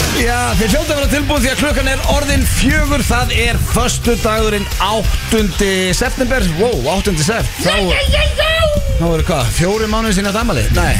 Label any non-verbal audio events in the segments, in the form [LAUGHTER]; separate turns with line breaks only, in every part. Þið hljóta að vera tilbúið því að klukkan er orðin fjögur Það er förstu dagurinn 8. september Wow, 8. september Þá, þá eru hvað, fjóri mánuði sinni að damali? Nei,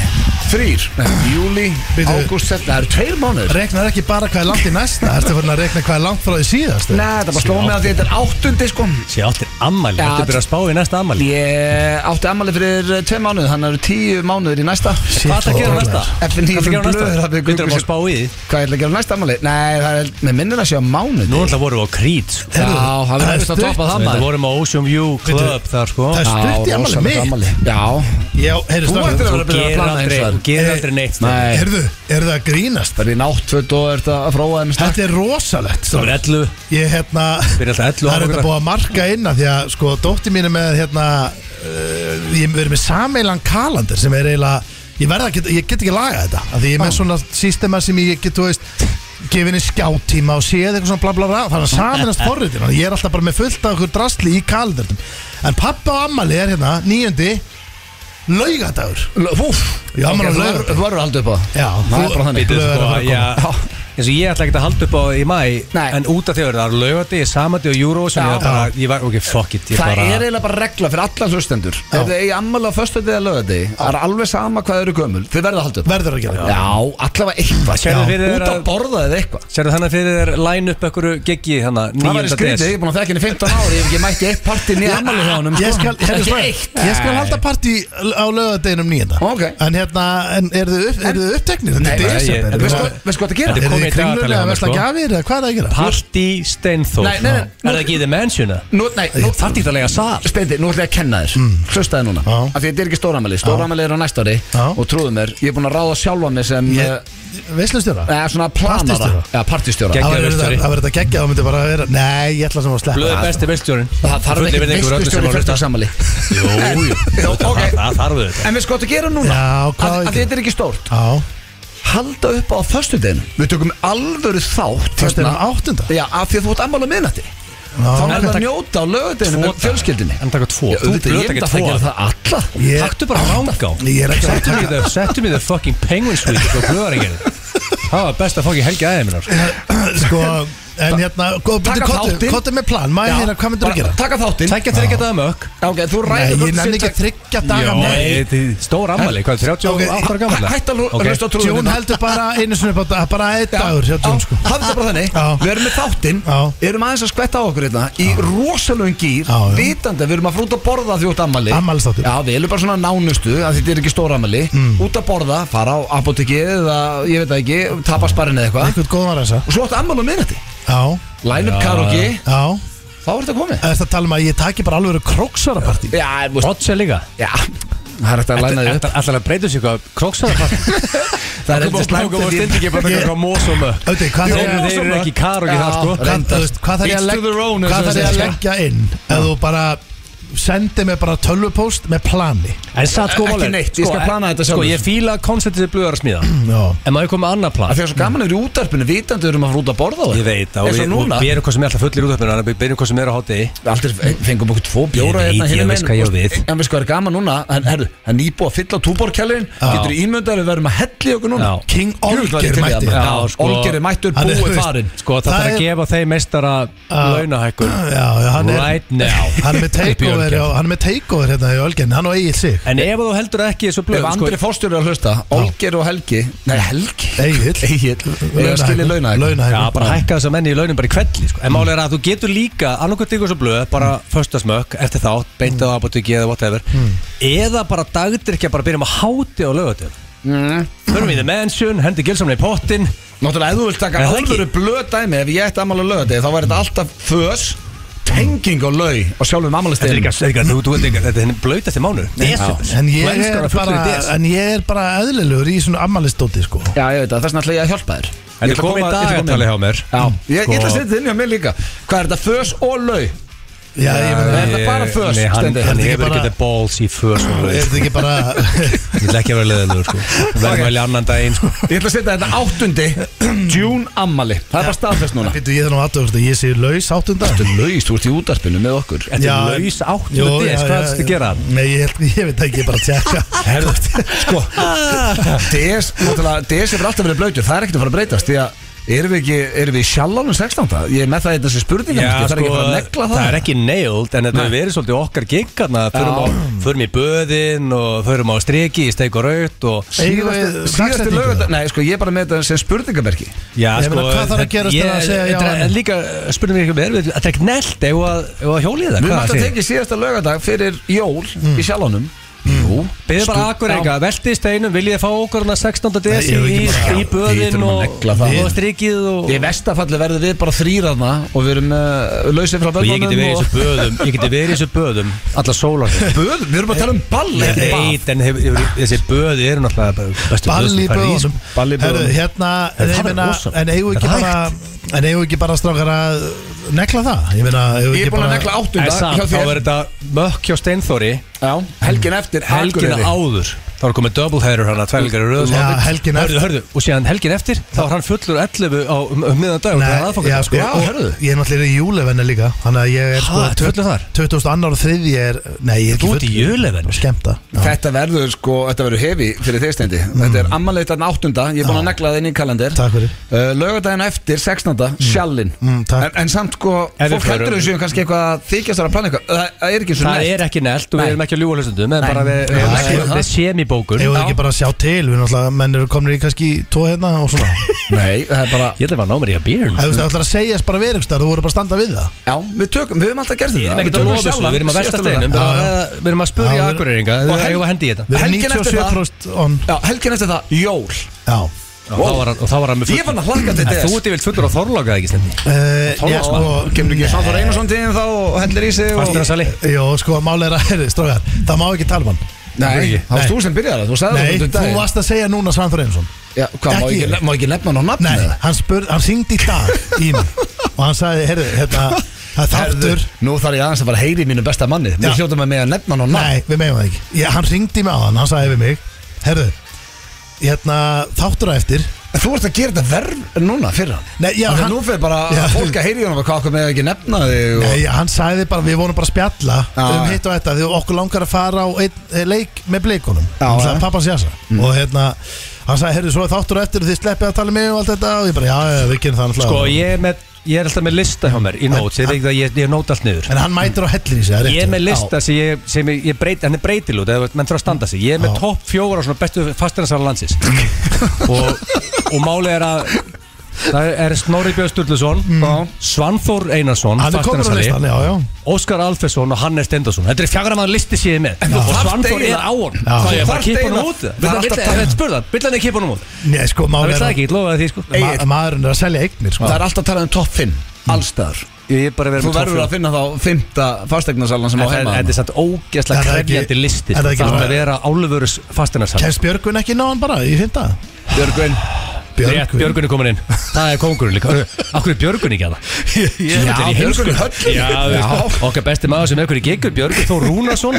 þrýr Júli,
Bíddu.
ágúst, september Það eru tveir mánuðir
Reknar ekki bara hvað er langt í næsta Ertu farin að rekna hvað er langt frá því síðast
Nei, þetta bara sló mig að því þetta er 8. sko
Sér áttir ammali,
Já.
þetta er byrjað að spá í næsta ammali
Ég átti ammali fyrir eh, tveir mánuð Þannig eru tíu mánuðir í næsta
Hvað ætla að gera næsta?
Eftir
Hvað ætla að
nýjum
gera
blöður
næsta?
hafði
Við þurfum
Google
að spá í því
Hvað ég ætla að gera á næsta ammali? Nei, það er með minnir að sé á mánuði
Nú alltaf vorum við á Creed sko.
Já, það verður vist að
stutt.
toppa það
Við
maður
vorum á Ocean View Club þar sko
Það er stutt í ammali mitt
Já,
Já, heyrðu
þú
stofið
ættir að vera
Þú
að byrja að
gerir
plana eins
aldrei,
og það
þú gerir
Eh,
aldrei neitt sko.
Nei,
Heyrðu, eru það að grínast?
það er í náttföt og er þetta að fróa þeim stakk
Þetta er rosalegt
Það var
strákar.
11
Ég hérna
Byrja alltaf 11
Það er þetta
ára.
búið að marka inn að Því að sko dóttir mín er með hérna uh, Ég verið með sameilan kalandir Sem er eiginlega Ég, verð að geta, ég get ekki laga þetta af Því ég er með svona sístema sem ég get, þú veist gefinni skjáttíma og séð eitthvað svona bla bla bla þannig
[LAUGHS]
að saminast forritin ég er alltaf bara með fullt af okkur drasli í kalendurnum en pappa og ammali er hérna nýjöndi laugadagur
Úf,
Já, maður er lögur.
Þú verður haldið upp á það
Já,
það er bara þannig
Bíddu. Blöð er
Bíddu,
að
sko,
fara að
já,
koma.
eins og ég ætla ekki að halda upp á í mæ
Nei.
en út af því að það er lögati samandi og Eurovision
Já.
ég var bara, ég var, ok, fuck it ég
Það
bara,
er eiginlega bara regla fyrir allan hlustendur Ef
Já.
þið eigi ammali á föstudegi eða lögadegi Það er alveg sama hvað þau eru gömul Þið verður að halda upp á það.
verður að gera þetta.
Já, allavega eitthvað
Sérðu fyrir þér
Út að
að-
borða eða eitthvað
sérðu þannig fyrir þér line upp ekkur geggi þannig,
Það væri
9.
skrítið, ég er búin að þekka henni í 15 ári Ég hef ekki mætti eitt partinn í ammali hjá honum
Ég
sko.
skal, hérna,
Ekki
Snær,
eitt
ég skal halda partí á lögadeginum nýjenda
Ok.
En hérna, en eru þið, upp, er þið uppteknir? Þetta
Nei,
er
nei,
ég-
desember
en
Veistu
Er
veist
hvað- veistu hvað það
Þetta
gerir?
er komið
þið
í dagatalið
kringlunlega
á
að
mér,
vesla
sko.
gjafir eða hvað er það að gera?
Parti Steinþór
Nei, nei, nei,
er það ekki í The Mansion eða?
Nú, nei, nú,
þarf ekki að lega sal
Spendi, nú ætla ég að kenna þér Hlustaði núna
Já.
Af því þetta er ekki stóramæli Stóramæli er á næsta ári
Já.
Og trúðu mér Ég er búin að ráða sjálfa mig sem eh,
Veslustjóra?
Eða svona planara
Partistjóra?
Eða partistjóra
Gegn-
Það verður
veistlustjóri.
þetta- það verður þetta geggjað, það myndi bara vera Nei, ég ætla sem að sleppa
Blöð er
það
besti veistjórin
Það þarf ekki veistustjóri fyrir samæli
Jú, jú,
ok.
það það þarf þetta
En við sko þetta gera núna
Já,
Af
hvað á
af
ég
því þetta er ekki stórt
Já,
Halda upp á föstudeginu Við tökum alvöru þátt
þessna hérna áttunda
Já, af því að þú ert ammál á minnati
Já.
Þá
En
Hérna. er það
takk-
njóta á lögadeginu
Tvo
með fjölskyldinni
En taka tvo,
Já,
þú
auðvitað,
blöð
Ég
ekki
myndi að það
tvo
gera það alla
Ég-
Taktu bara rangá
Ég er ekki að
Settu mig the, settu mig the fucking penguin suite frá blöðaringin Það var best að fá ekki helgi aðeins minnar
Sko, en hérna
Taka þáttinn.
Kottu með plan, maður hérna, hvað myndir að
Já,
gera?
Taka þáttinn
Tækja þryggja daga mökk
Ok, þú
Nei,
ræður
ég nefn ekki að þryggja daga
Nei, þetta er Stór ammali, hvað er 38 ára gammal?
Hætt að hlusta á trúðum
Jón heldur bara einu sinni upp á dag, bara einn dagur hjá Jón sko
Hafðu þetta bara þannig,
Já.
við erum með þáttinn
Já.
Erum aðeins að skvetta á okkur hérna Í rosalögum gýr,
Já, já.
vitandi að Við erum að frúta að borða því út ammali
Afmælisþáttur. Mm.
Já, við erum bara svona nánustu, að þetta er ekki stór ammali Út að borða, fara á apoteki Eða, ég veit það ekki, tapa sparinn eða eitthvað
Eitthvað góðan að reysa
Og svo áttu ammali á minnati
Já,
Line up karaoke,
já
þá er þetta komið
Það er að tala um að ég taki bara alveg kroksarapartí
Já, þú veist-
Odds er líka
já, það er hægt að læna því upp
Alltaf að breyta sér eitthvað Króksæðarparti
Það er heldur slæmt
Nákvæm og
ef ég-
stundi ekki bara með eitthvað mós og mökk
Öti, hvað
Þeir
þarf
eru
ég
þeir eru ekki kar og
Já.
ekki það sko
hvað- þú veist, Hvað þarf ég að
Each to
legg-
their own, eins og
hvað þarf
það
ég að
segja,
leggja inn Ef þú bara sendir mig bara tölvupóst með plani
En satt sko
Ekki
máli
neitt, ég skal plana þetta
Sko
sjálfur.
ég fíla konceptið sem blöðar að [CLEARS THROAT] smíða
Já.
En maður komið með annað plan
Af því að svo gaman er í útarpinu vitandi við erum að fara út að borða það
Ég veit að
Eins og
við,
núna
við erum hvað sem er alltaf fullir útafnir Þannig að við byrjum hvað sem er á hátegi
Við aldrei
eh,
fengum okkur tvo bjóra
Ég veit, ég
hinum
veist
hérna megin,
hvað ég
og-
við.
En við sko er gaman núna en herru, Það er nýbúið að fylla túborkjælirinn
Já.
Getur ímyndar við verðum að helli okkur núna
Já.
King
Jú, það er
Olger
til í
mætti
það.
Já,
Já,
sko.
Olger er mættur
Hann er-
búið
þú veist,
farinn
Sko það
Það
þarf að
er-
gefa þeim meistara launahækkun
Ah, Já, já, hann er
Right now
[LAUGHS] Hann
[LAUGHS]
er með
Upp í
takeover
Ölgerð.
og- Hann er með takeover hérna í Ölgen Hann og Egil sig
En ef þú heldur ekki þessu
Ef
blöð sko,
sko.
Andri Fórstjóri er að hlusta Olger og Helgi Nei, Helgi [LAUGHS]
Egil
Egil Ég skilja launa
Já,
Launahækkun
bara hækka þess að menni í launin bara í kvelli sko. En málið er að þú getur líka annarkvæmt ykkur svo blöð Bara föstasmökk eftir þátt Beintið
Mm.
á apotekki eða whatever Eða bara dagdrykja bara byrjum að háti á lögatum
Mm.
Förum við í the mansion, hendi gilsamna í pottin
Náttúrulega, ef þú vilt taka
Er það ekki?
alvöru blöð dæmi Ef ég ætti ammál að löða þig Þá væri þetta alltaf fös Tenging og lög Og sjálfum
Þetta er
ammálistinn
líka, þetta er líka- þú- þú- þetta er- þetta er blöyt eftir mánu
En ég,
Þú elskar
er
að fullur
bara,
í des.
en ég er bara eðlilegur í svona ammælistóti sko.
Já, ég veit það, þess vegna ætla ég að hjálpa þér
Þetta er komið dagatali hjá mér
Já, ég, ég ætla að
Sko.
setja inn hjá mér líka Hvað er þetta, fös og lau?
Já, ég meina,
Er þetta
Ég-
bara föst,
Nei, hann,
Steindi?
Er
hann
þetta ekki
hefur
bara-
ekki the balls í föst og
er
blöð
þetta ekki bara
[LAUGHS] Ég vil ekki að vera
[LAUGHS]
leðilegur sko Við verðum að velja annan daginn sko
Ég ætla að setja þetta áttundi [CLEARS THROAT] June ammali Það er bara staðfest núna
Býttu, ég þarf nú aðtöðast að ég sé laus áttunda
Þetta er laus, þú ert í útarpinu með okkur
Þetta er laus áttunda DS, hvað ertu að gera?
Nei, ég, held- ég veit ekki, ég bara
[LAUGHS]
tjekka
[LAUGHS]
Herðu, sko
Ah, DS, náttúrulega, DS hefur alltaf verið blöytur Það er ekkert að fara að breytast Því að Erum við ekki, erum við í sjálfálum 16. Ég er með það í þessi spurningar
Já,
Það er ekki að
sko,
fara að negla það
það er ekki nailed en þetta
Nei.
hefur verið svolítið okkar gingarna förum,
Já.
á, förum í böðin og förum á streki í steik og raut og
Eigum við
Síðasti- Síðasti
dagsetningu?
lögadag Nei, sko, ég er bara með þetta sem spurningamerki
já, sko,
Ég meina, hvað þarf að gerast til að segja já
þetta
eða
er-
nei?
en líka spurning mér ekki um erfið þetta er ekki nelt ef að, ef að hjólið það
Við
hvað
mátt að
segir?
tekið síðasta lögadag fyrir jól í sjálfánum Jú
Beðið Mm. bara akkur eitthvað, veltið steinum, viljið þið fá okkur hana 16.
Nei,
desi
ég
í,
hef ekki
í böðin
þurfum að
og,
negla það.
og strikið og...
Í vestafalli verðum við bara þrýraðna og við erum
eh,
uh, lausið frá
Og ég
bönnunum
geti verið í þessu böðum, ég geti verið í þessu böðum alla sólar
Böð, við erum að tala um ball
Ég
ekki bað.
veit, en hef- hef- þessi böði eru náttúrulega bara bestu
Ball
böð
í
sem fara
böðunum
sko.
Ball í
Herðu,
böðunum.
hérna En
En það er
ég meina,
rosa.
en eigum við ekki
Er það
bara En eigum við ekki bara strákar að Negla það Ég meina, eigum við
Ég er
ekki
búin að
bara
negla
En
áttunda
samt,
hjá
þá
þér
er þetta mökk hjá Steinþóri
Já, helgin eftir
helgina
Akureyri.
áður þá er komið doubleheader hana, tvælgar í röð
Já, helgin
hörðu, hörðu, og síðan helgin eftir þá er hann fullur 11 á um, um miðan dag og það er
Nei,
aðfangur
já, sko,
Já,
og-
hörðu.
Ég er náttúrulega í júlevenni líka Þannig að ég er sko
ertu fullur þar?
22. og 3. er Nei, ég er ekki
Þú ert í julevenni?
Bara Skemmta Já.
Þetta verður sko, þetta verður hefi fyrir þeir stendi
Mm.
Þetta er ammaleit þarna áttunda, ég er búin að negla það inn í kalender
Takk fyrir.
uh, Lögadaginn eftir, 16. sjallinn
Mm, takk.
en, en samt sko,
Ef við
fólk
förum-
heldur þessu kannski eitthvað að þykjast þar að plana eitthvað Það, það er ekki svo
það
neitt
er ekki nelt og
Nei.
við erum ekki að ljúa hlustundum en
Nei.
bara við
Nei,
við-
það er
við-
það.
við séum í bókun
Eigum við
Já.
ekki bara að sjá til Við náttúrulega, menn eru komin í kannski tvo hérna og
[LAUGHS]
svona
Nei, það er bara
ég ætla að ná mér í að býr
Ef Þú veist, það ætlar að segjast bara veringstar Þú voru bara að standa við það
Já, við tökum, við höfum alltaf gert þetta
Við erum ekki að
tökum
lofa þessu,
sjálfan
við erum að velta
síðasta
steinum
lögadag.
lögdag. Já,
bara
já.
að- Við erum að
Já,
spurja
við-
akureyringa
Og
Við
hel-
erum að hendi í þetta
Við erum
Helgin eftir það.
97% on
Já, helgin eftir það, jól
Já
Og þá var hann- og þá var hann með
Ég var
full
hann að hlakka til
En Þú
þess
ert yfir fullur á þorlokað ekki stemmi
Eh, ég sko
Kemur ekki Sáþór Einarsson til þín þá og hellir í sig og...
Fastur að sali
Jó, sko, máli er að [LAUGHS] herri, strókar Það má ekki tala um hann
Nei, það varst þú sem byrjaði það, þú sagði
Nei,
það um
þú
daginn.
varst að segja núna Svanþór Einarsson
Já, hvað, má
Ekki
ekki,
ég.
má ekki nefna hann á nafni?
Nei, hann, spur, hann syngdi í dag í mig Og hann sagði, herri, hérna Það er þáttur
Nú þarf ég aðeins að fara að heyri í mínu besta manni Nú
Já.
hljóttum við með að nefna hann og nafn
Nei, við meðum það ekki ég, Hann syngdi mig á hann, hann sagði við mig Herru, hérna, þáttur að eftir
En Þú ert að gera þetta verð núna fyrir hann
Nei,
Þannig
já,
að
hann-
nú fyrir bara
Já.
fólk að heyri í honum Hvað okkur með ekki nefna þig og...
Nei, hann sagði bara, við vorum bara að spjalla
Já,
um
já.
hitt og þetta, því okkur langar að fara á einn eh, leik með bleikunum
Já,
hann
já. Mm.
sagði pappans jasa og hérna, hann sagði, heyrðu, svo er þáttur á eftir og þið sleppið að tala um mig og allt þetta og ég bara, já, já, við gerum það náttúrulega."
Sko ég er með Ég er alltaf með lista hjá mér í nót Ég veit ekki að ég, ég nót allt niður
en hann mætir á hellin í sig, það er
Ég er
rétt
með lista sem ég, sem ég, ég breyti, hann er breytilút eða þú veist, menn þarf að standa sig Ég er með
Já.
topp fjóra á svona bestu fastinarsala landsins og, og málið er að það er Snorri Björn Sturluson Svanþór Einarsson
hann er komin á
fastinarsali
listan, já, já
Óskar Alfesson og Hannes Stendarsson Þetta er fjagra maður listi séð með
þú
og
þarft
Svanþór
eiginlega-
er á honum
Já.
Það
Þú
er bara
þarft
að kipa honum
eiginlega-
út
Það er alltaf
Það er spurðan, vill hann ekki kipa honum út
Nei, sko,
Það
máli
vill
er
það
að
ekki, ég lofaði því sko
Egill.
ma- maðurinn er að selja eignir, sko
Það er alltaf að tala um topp
Mm.
5 Allstaðar
Ég er bara að vera
Þú
með
verður að
topp
finna þá Fymta fastegnarsalan sem á
fjóra En
heima
Þetta er samt ógeðslega
Er það ekki-
krefjandi listi sko.
er það
Það
ekki
er
bara-
að vera álfurus fastinarsala
Kæst Björgun ekki ná hann bara, ég finn það
Björgvin
Rétt, Björgun er komin inn Það er kongurinn líka Akkur er Björgun ekki að [LAUGHS] það?
Já, Björgvin Höll
Já, þú veist, okkar besti maður sem er ykkur í geggur Björgun Þór Rúnarsson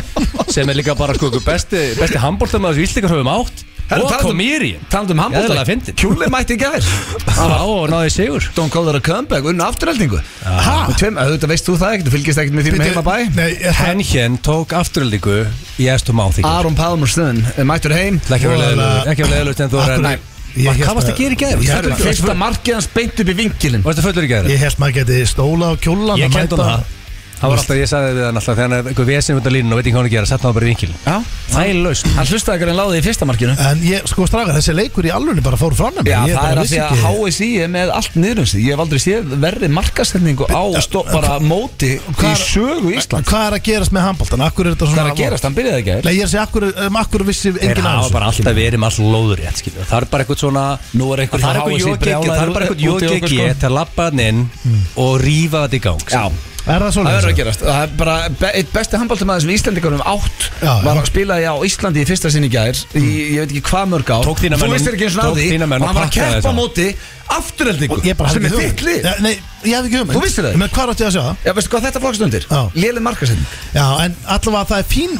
sem er líka bara sko ykkur besti, besti handbóltamaður sem íslikar höfum átt
Herra,
og
talandi um-
Komýri
Talandum
Jæðilega
handbólta
fyndið.
Kjúli mætti í gær
Já, og náði sigur
Don't call that a comeback Unna afturheldingu
Ha?
Með tveim- Auðvitað veist þú það ekkert Þú fylgist ekkert með þínum heimabæ
Nei, er það
Henjen tók afturöldingu í Estum Áþingur
Aron Palmersson eh, Mættur heim
Ekki að vera leiðilegur- ekki að vera leiðilegt en þú er
Akkur-
Nei,
Ég
Hvað-
hélt
Hvað varst
að-
að gera í gæður?
Ég-
Herru, Fyrsta markið hans beint upp í vinkilin
Varstu fullur í gæður?
Ég held maður geti stóla á kjólan
Ég
að
kent hún
mæta-
það Það var alltaf, ég sagði við hann alltaf Þegar hann er eitthvað vesinn út af línun og veit ekki hvað hann er að gera Sett hann bara í vinkil
Já
Það er laust
Hann hlustaði ekki að hann láði í fyrsta markinu
En ég, sko strákar, þessi leikur í alvöru bara fór fram með
Já, það er að því að HSI er með allt niður um sig Ég hef aldrei séð verri markasendingu á stó, bara móti í
hvað-
sögu Ísland
Hvað er að gerast með handbóltan? Akkur er þetta
Það
svona
er að gerast, hann byrjaði ekki að
Nei, ég er að segja, akkur, um, akkur vissi
Þeir
enginn
hafa
af
bara alltaf verið með all lóður rétt skilju Það er bara eitthvað svona
Nú er einhver
Það er
hjá
eitthvað
HSI
jógegi
brjálaður
Það er bara
út-
eitthvað
út í okkur,
jógegi
sko.
Til að lappa hann inn og rífa þetta í gang
Já,
Er það
það
svona?
verður að gerast Það er bara be- eitt besti handbóltamaður sem Íslandingunum átt
Já, já.
var að spila á Íslandi í fyrsta sinni í gær í, ég veit ekki hvað mörg ár
Tók þína
Þú
menn-
veist ekki eins og
tók
náði
þína menn
og
og
hann var að
pakkaði
keppa á
saman.
móti afturheldingu
Ég bara
sem
hafði
er
ekki
þitt
hugmynd.
lið
Ja, Nei, ég hafði ekki hugmynd
Þú vissir það?
Men hvað áttu ég að sjá það?
Já, veistu hvað þetta flokkst undir?
Já.
Lélið markasending
Já, en allavega það er fín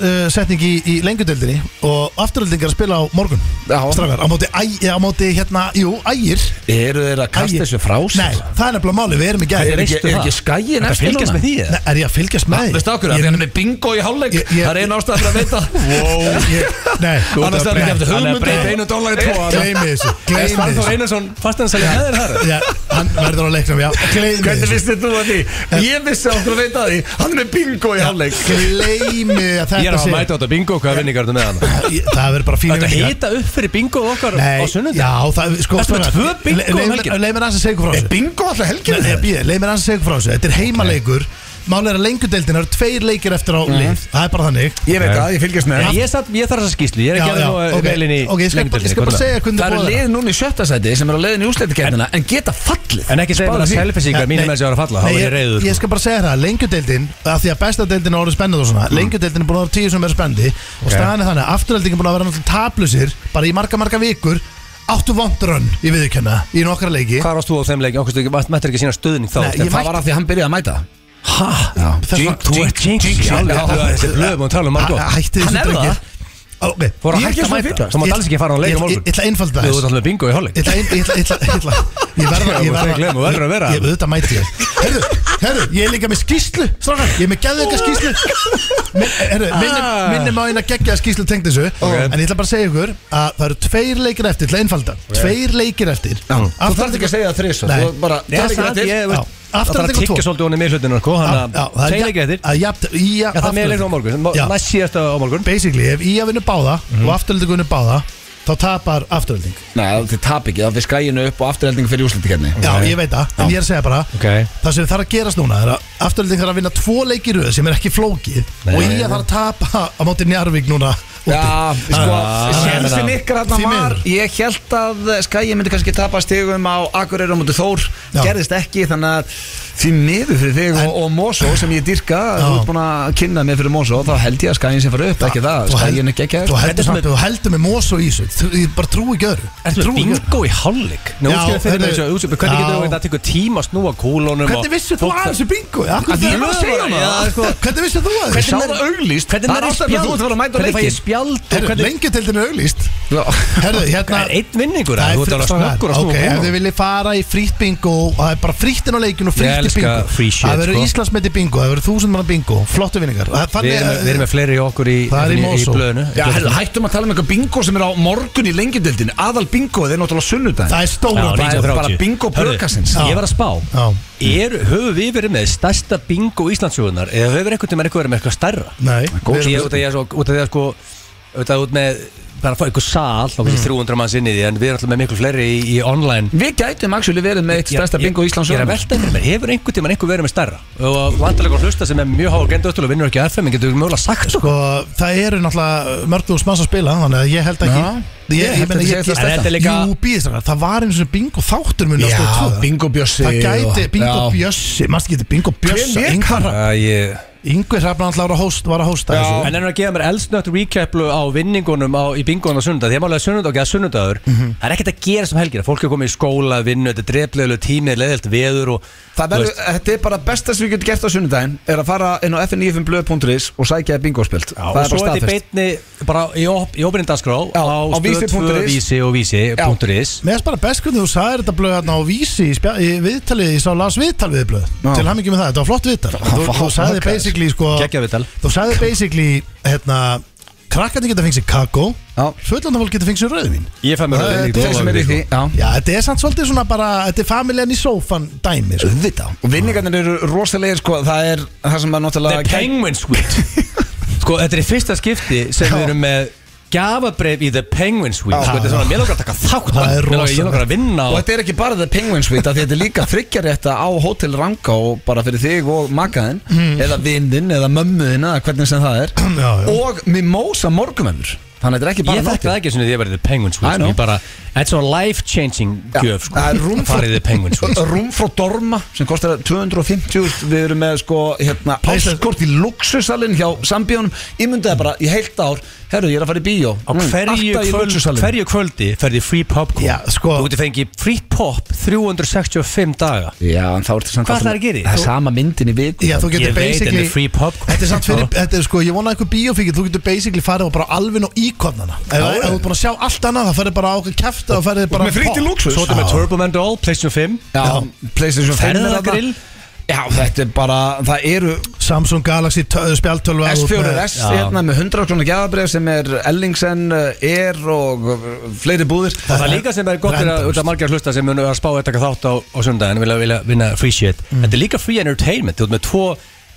markastsetning í, í lengjudöldinni Og afturöldingar að spila á morgun
Já.
Strákar, á móti, æ, á móti hérna, jú, ægir
Eru þeir að kasta
Ægir.
þessu frá
Nei,
sér?
það er nefnilega máli, við erum í
Er
gæð
ekki,
Veistu
er
það?
ekki skæin
Þetta
eftir
fylgjast
núna?
með því eða?
Er ég að fylgjast með því?
Veistu ákveður,
Ég
því
er-
hann er með bingo í hálfleik
Ég- ég-
Það er einn ástæð fyrir að veita [LAUGHS]
Ég- Nei,
Annars er hann ekki eftir
Hann er að
hugmyndu
breyta einu dollar í tvo
Gleimi þessu
Svanþór
Gleimi þessu
Einarsson fannst hann að selja hæðir þar?
Já, hann verður á leiknum, já
Hvernig
Gleimi
vissið þú að því? Ég vissi okkur að veita því Hann er með bingo í hálfleik
Gleimi að
Ég er
þetta
að
sé
mæta á þetta bingo, hvaða vinningar ertu með hann?
Ég- Það verður bara fínu
Þetta
vinningar.
hita upp fyrir bingo okkar á
Nei,
sunnundag
já, það, sko
Ertu með
strákar,
tvö bingo um
leið- leið-
helgina?
Leið mér aðeins að segja ykkur frá
Er
þessu
bingo alltaf helginu
Nei, býðu, Leið mér aðeins að segja ykkur frá þessu Þetta er heimaleikur Málega er að lengjudeildin Það eru tveir leikir eftir
Mhm.
á lið Það er bara þannig
Ég veit það, ég fylgjast með
Ég, satt, ég þarf þess að skýslu, ég er
Já,
ekki
já,
að
ok,
vera meilin í
ok, ég skal bara- ég skal bara
lengdinni,
segja hvernig
Það eru
boðar.
lið núna í sjötta sæti sem eru að leiðin í úsleitikernina en geta fallið
En ekki segja
Spáðu
mér að
því.
selfisingar mínum
Eh, Nei,
með þessi ára falla, þá
nei,
er ég sko. reyður
Ég skal bara segja það, lengjudeildin að Því að besta deildin er orðið spennandi og svona
Mhm.
Lengjudeildin er búin að vera tíu sem er spennandi Og staðan er þannig að afturöldin er búin að vera náttúrulega tablusir Bara í marga marga vikur Áttu vondrönn í viðurkenna Í nokkra leiki
Hvað varst þú á þeim leik, okkur stu ekki, mættir ekki sína stöðning þá
En
Nei, ég
Það
mætti-
var að því að hann byrjaði að mæta
Hæ?
Þess vegna-
Þú ert jinx,
Já,
alveg,
já.
þú ert þessi blöðum og tala um margótt
Hæ- Hætti
Hann
þessu
er það?
drengir Ok,
Fór að
ég-
hætta að
ég-
mæta. Þú mátt
ég-
alls ekki fara á leik á
ég-
morgun.
ég- Ég ætla að einfalda
Þú ert
þess
alltaf með bingo í hálfleik
Ég ætla ein- ég ætla- ég ætla- ég ætla- Ég verða
Já,
Ég
þú
verða
þarf ekki að gleyma, þú verður að vera.
Ég auðvitað mæti ég Herru, herru, ég er líka með skýslu Strákar, ég er með geðveika skýslu Min- Herru, minnum
Ah.
minni má eina geggja skýslu tengd þessu En ég ætla bara að segja ykkur að það eru tveir leikir eftir til að einfalda Tveir leikir eftir
Þú þarf ekki að segja það þrís
Nei.
Nei, það er
Það
það, ég
Já.
veist Það
Aftur
þarf
að
að
tyggjast
tiggja svolítið honum í miðhlutinu, sko, þannig að segja ekki eftir Já, það er með leiknum á morgun,
Já.
næst Mhm. síðasta á morgun
Basically, ef ég vinnur báða og afturölding vinnur báða þá tapar afturölding
Nei, þið tap ekki, það fyrir skæinu upp og afturhelding fyrir úsleitikernina
Já, ég veit það, en ég er að segja bara
Ok.
Það sem þarf að gerast núna er að Afturölding þarf að vinna tvo leiki í röð sem er ekki flókið
Nei.
Og ég þarf að tapa á móti Njarvík núna úti.
Já, sko,
Ah,
sjensin ykkar
því
hann var
miður.
Ég held að Skæi myndi kannski tapa stigum á Akureyra mútið Þór
Já.
Gerðist ekki, þannig að því miður fyrir þig og, og Mosó sem ég dyrka
Já.
Þú ert búin að kynna mig fyrir Mosó Þá held ég að Skæin sem fara upp, ekki það
Þú held-
Skæin er geggjær
Þú
Þetta er
heldur
sem
samt, þú heldur með mós og ísut Ég bara trúi ekki öðru
Ertu með
Trúi ekki öðru.
bingo í hálfleik? Nú
Já,
útskjöðu fyrir
heyrðu,
þessu, útskjöðu,
já.
hvernig getur þú þetta tekur tíma að snúa kúlunum og-
Hvernig vissu þú
fólk-
að þessu bingo? Af hverju
Að ég
þarf
var að segja
Já, sko.
það? Hvernig vissu þú að
Hvernig
þessu?
sá það auglýst? Það
Hvernig
er
maður
ástæðan að þú ert að fara að mæta á
Hvernig fæ ég
leikinn.
spjald og
Herru,
hvernig
Lengjutildin er auglýst
Já.
Herru, hérna
Það er einn vinningur
Það
að
er
þú ert alveg
frí-
snöggur að
Ok,
snúa
ef þið
kúlunum
viljið fara í frýtt bingo og það er bara frýttin á leikinu og frýtt í
elska
bingo
free shit,
Það verður
sko.
Íslandsmeti bingo, það verður þúsund manna bingo Flottu vinningar Það-
Við
þannig-
erum, við erum með fleiri í okkur í,
Það er í Mosó.
blöðinu
Já, heyrðu, hættum að tala um eitthvað bingo sem er á morgun í lengjudildinu Aðal bingoð er náttúrulega sunnudaginn
Það er stóra
Já,
bingo
er bara bingo bröðkassins.
Ég var að spá
Já.
er, Höfum við verið með stærsta bingo Íslandsjóðunar eða höfum við einhvern tímann eitthvað verið með eitthvað stærra
Nei,
Góð
við
Ég,
erum-
út af því að svo- út af því að sko út af út með bara að fá eitthvað sal og mm. 300 manns inn í því en við erum alltaf með miklu fleiri í, í online
Við gætum actually verið með eitt
Ég-
stærsta
ég-
bingo Íslands
Ég er að velta fyrir mér, hefur einhvern tímann einhver verið með stærra og vandalega að hlusta sem er mjög háa gendöðtul og vinnur ekki á FM en getur mögulega sagt okkur
Sko, það eru náttúrulega mörgdús manns að spila Þannig að ég held ekki
Já.
Ég,
Ég held
meina,
að
ég,
þetta sé
stærsta. En þetta er
ég,
líka-
Jú, býðist þarna Það var eins og bingo þáttur mun að stóð tvö
bingo bjössi
Það gæti bingo bjössi Manst ekki þetta bingo bjössi
lék hann?
Æ, ég...
Yngvi Hrafnand Lára Hóst var að hósta þessu
En ennur að gefa mér elsnött recaplu á vinningunum á, í bingoðan á sunnudag Því að málega sunnudag eða sunnudagur
Mhm.
Það er ekkert að gera sem helgina Fólk er komið í skóla, vinnu, þetta er dreflegulegu tími, leðilt veður og
Það verður, þetta er bara besta sem við getum gert á sunnudaginn er að fara inn á fn95blöð.is og sækja bingospilt
Já,
Það
og
er
svo
bara
er þetta í
staðfest
beinni bara í, op, í opinindaskrá
Já,
á,
á
stöð
vísi.is.
2 vísi og vísi.is
Mér finnst bara best hvernig þú sagðir þetta blöð hérna á vísi í, spja, í viðtalið, ég sá las viðtal við blöð
Já.
til hammingjum með það, þetta var flott viðtal þú,
vá,
þú sagði
ok.
basically sko
Geggjaviðtal.
þú sagði basically hérna krakkandi geta fengið sér kakó
Já.
fullanda fólk geta fengið sér rauðvin
Ég fæ mér
Það
rauðvín
er
í
þetta
Þeir sem er í
góðan
því,
við, sko.
já
Já, þetta er samt svolítið svona bara þetta er familjan í sófan dæmi sko.
Auðvitað. Og vinningarnir eru rosalegir sko Það er það sem er
The
náttúrulega
Penguin
[LAUGHS]
Suite Sko, þetta er í fyrsta skipti sem við erum með gafabreif í The Penguin Suite
Já.
Sko, þetta er svona, mér langar að taka
Það
þátt
er
Mér langar- Ég
rosalegt.
langar að vinna
Og
og
þetta er ekki bara The Penguin Suite af því Þetta er líka þryggjarétta á Hotel Ranga og bara fyrir þig og makaðinn
Hmm.
eða vindinn eða mömmuðinn eða hvernig sem
[CLEARS THROAT]
það er
Já, já.
og Mimosa morgumennur Þannig að þetta er ekki bara
Ég þekk það ekki sem því að ég verið The Penguin
I
Suite
know.
sko, Ég bara, þetta er svona life changing gjöf sko,
Það er rúm
að fara í The sko. Penguin Suite
Sko, Rúm frá Dorma sem kostar 250 Við erum með sko hérna,
Playstation-
áskort í luxusalinn hjá sambíunum Ég myndi það bara í heilt ár Herru, ég er að fara í bíó
[LAUGHS] Á hverju,
Mm. Alltaf í
kvöld,
luxusalinn
hverju kvöldi ferði free popcorn
Já, sko.
Þú getur fengið free pop 365 daga
Já, en þá ertu samt
Hvað ætlarðu að gera í?
Það er
Þú-
sama myndin í viku
Já, þú
Ég
getur
veit, en
basically
þetta er free popcorn.
Þetta er samt fyrir,
[LAUGHS] Já.
þetta er sko, ég vona eitthvað bíófíkil Þú getur basically farið og bara alvin og íkonnana Ef ef þú ert búin að sjá allt annað, það farið bara á okkur kæfta og farið bara
með frítt í
pop.
lúxus.
Svo þetta með
Já.
Turbo Man Doll, PlayStation 5
Já, Playstation 5 er þarna.
Ferðagrill
Já, þetta er bara, það eru
Samsung Galaxy tö- eh, spjaldtölva þú ert með-
S4S
Já.
hérna með 100 krónu gjafabref sem er Ellingsen, Air og uh, fleiri búðir
Og það líka sem er gott er að, út af margir hlusta sem munu að spá eitthvað þátt á, á sundaginn vilja, vilja vinna free shit
Mm.
Þetta er líka free entertainment, þú ert með tvo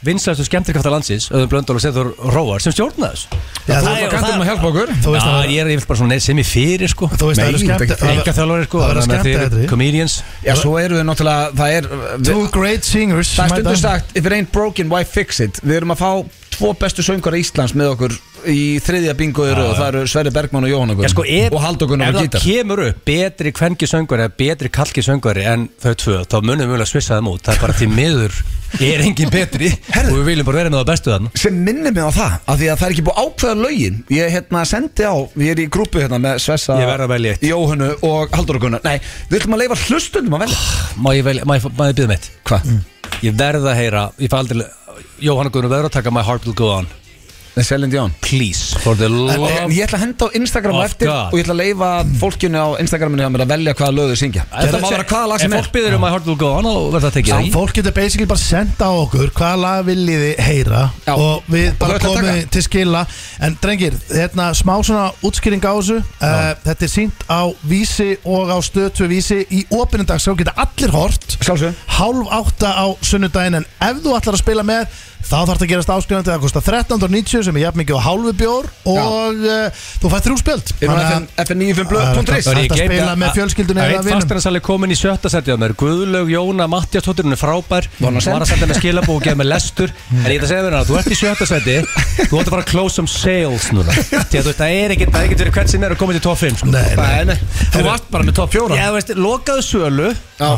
vinslastu skemmtirkrafta landsins, öðum Blöndal og Seður Róar sem stjórna þessu
Já,
Þú
það
er
er-
kantum að hjálpa okkur
Þú veist
Já,
að-
ég er ég vil bara svona neitt sem ég fyrir sko
Þú veist að það eru skemmt- það-
Enga þjálfari sko,
það verða
þannig að
skemmt
þeir
atriði.
eru comedians
Já,
sko.
svo eru við náttúrulega, það er við,
Two great singers
Það er
mæta.
stundu sagt, if it ain't broken, why fix it Við erum að fá tvo bestu söngara Íslands með okkur í þriðja bingoður og það eru Sverri Bergmann og Jóhann okkur
Já, sko, ef,
og Haldur Gunnar
ef
og
það
Gítar
kemur upp betri kvenki söngari eða betri kalki söngari en þau tvö þá munum við mjög að svissa þeim út það er bara því miður er engin betri og við viljum bara vera með það bestu þann
sem minnir mig á það, af því að það er ekki búið að ákveða lögin ég hérna sendi á, ég er í grúpu hérna með Svessa,
Ég verð að velja eitt.
Jóhannu og Haldur Gunnar, nei, við ætlum að leifa hlustundum að velja Mm.
Má ég, vel, má ég, má ég býða mitt?
Ah, Hvað?
Ég verð að heyra, ég fæ aldrei Jóhann Gunnar verður að taka My Heart Will Go On
Nei, Selin Dion
Please, for the love
En Eh, ég ætla að henda á Instagram á
Of
eftir
God.
og ég ætla að leifa fólkinu á Instagraminu hjá mér að velja hvaða lög þau syngja Þetta má vera hvaða lag sem
Ef
er
fólk býður um My Heart Will Go On og verður það tekið
Já,
það í?
fólk getur basically bara senda á okkur hvaða lag viljið þið heyra
Já.
og við
Og
bara
þau ætla að
komum
taka.
til skila en drengir, hérna smá svona útskýring á þessu uh, þetta er sínt á vísi og á stötu vísi í opinundags þá geta allir hort
Sjálfsögum
hálf átta á sunnudaginn en ef þú ætlar að spila með þá þarf það að gerast áskrifandi það kostar 13.90 sem er jafn mikið á hálfu bjór og uh, þú fætt þrjú spjöld
Inn á fn95blöð.is
Hægt að
Ég gleymi
spila með fjölskyldunni
að
eða
einn
vinum.
fastanarsali komin í sjötta seti á mér Guðlaug Jóna Mattiastóttir, hún er frábær
Var hún
hún
að senda?
var að senda með skilabú og gefa með lestur en ég ætla að segja þér hana, þú ert í sjötta seti þú ætti að fara að close some sales núna því að þú veist, það er ekkert, það er ekkert verið hvern sem er að koma til top 5 sko.
Nei, nei.
nei.
Þú varst bara með top 4
Já, þú veist, lokaðu sölu
Já.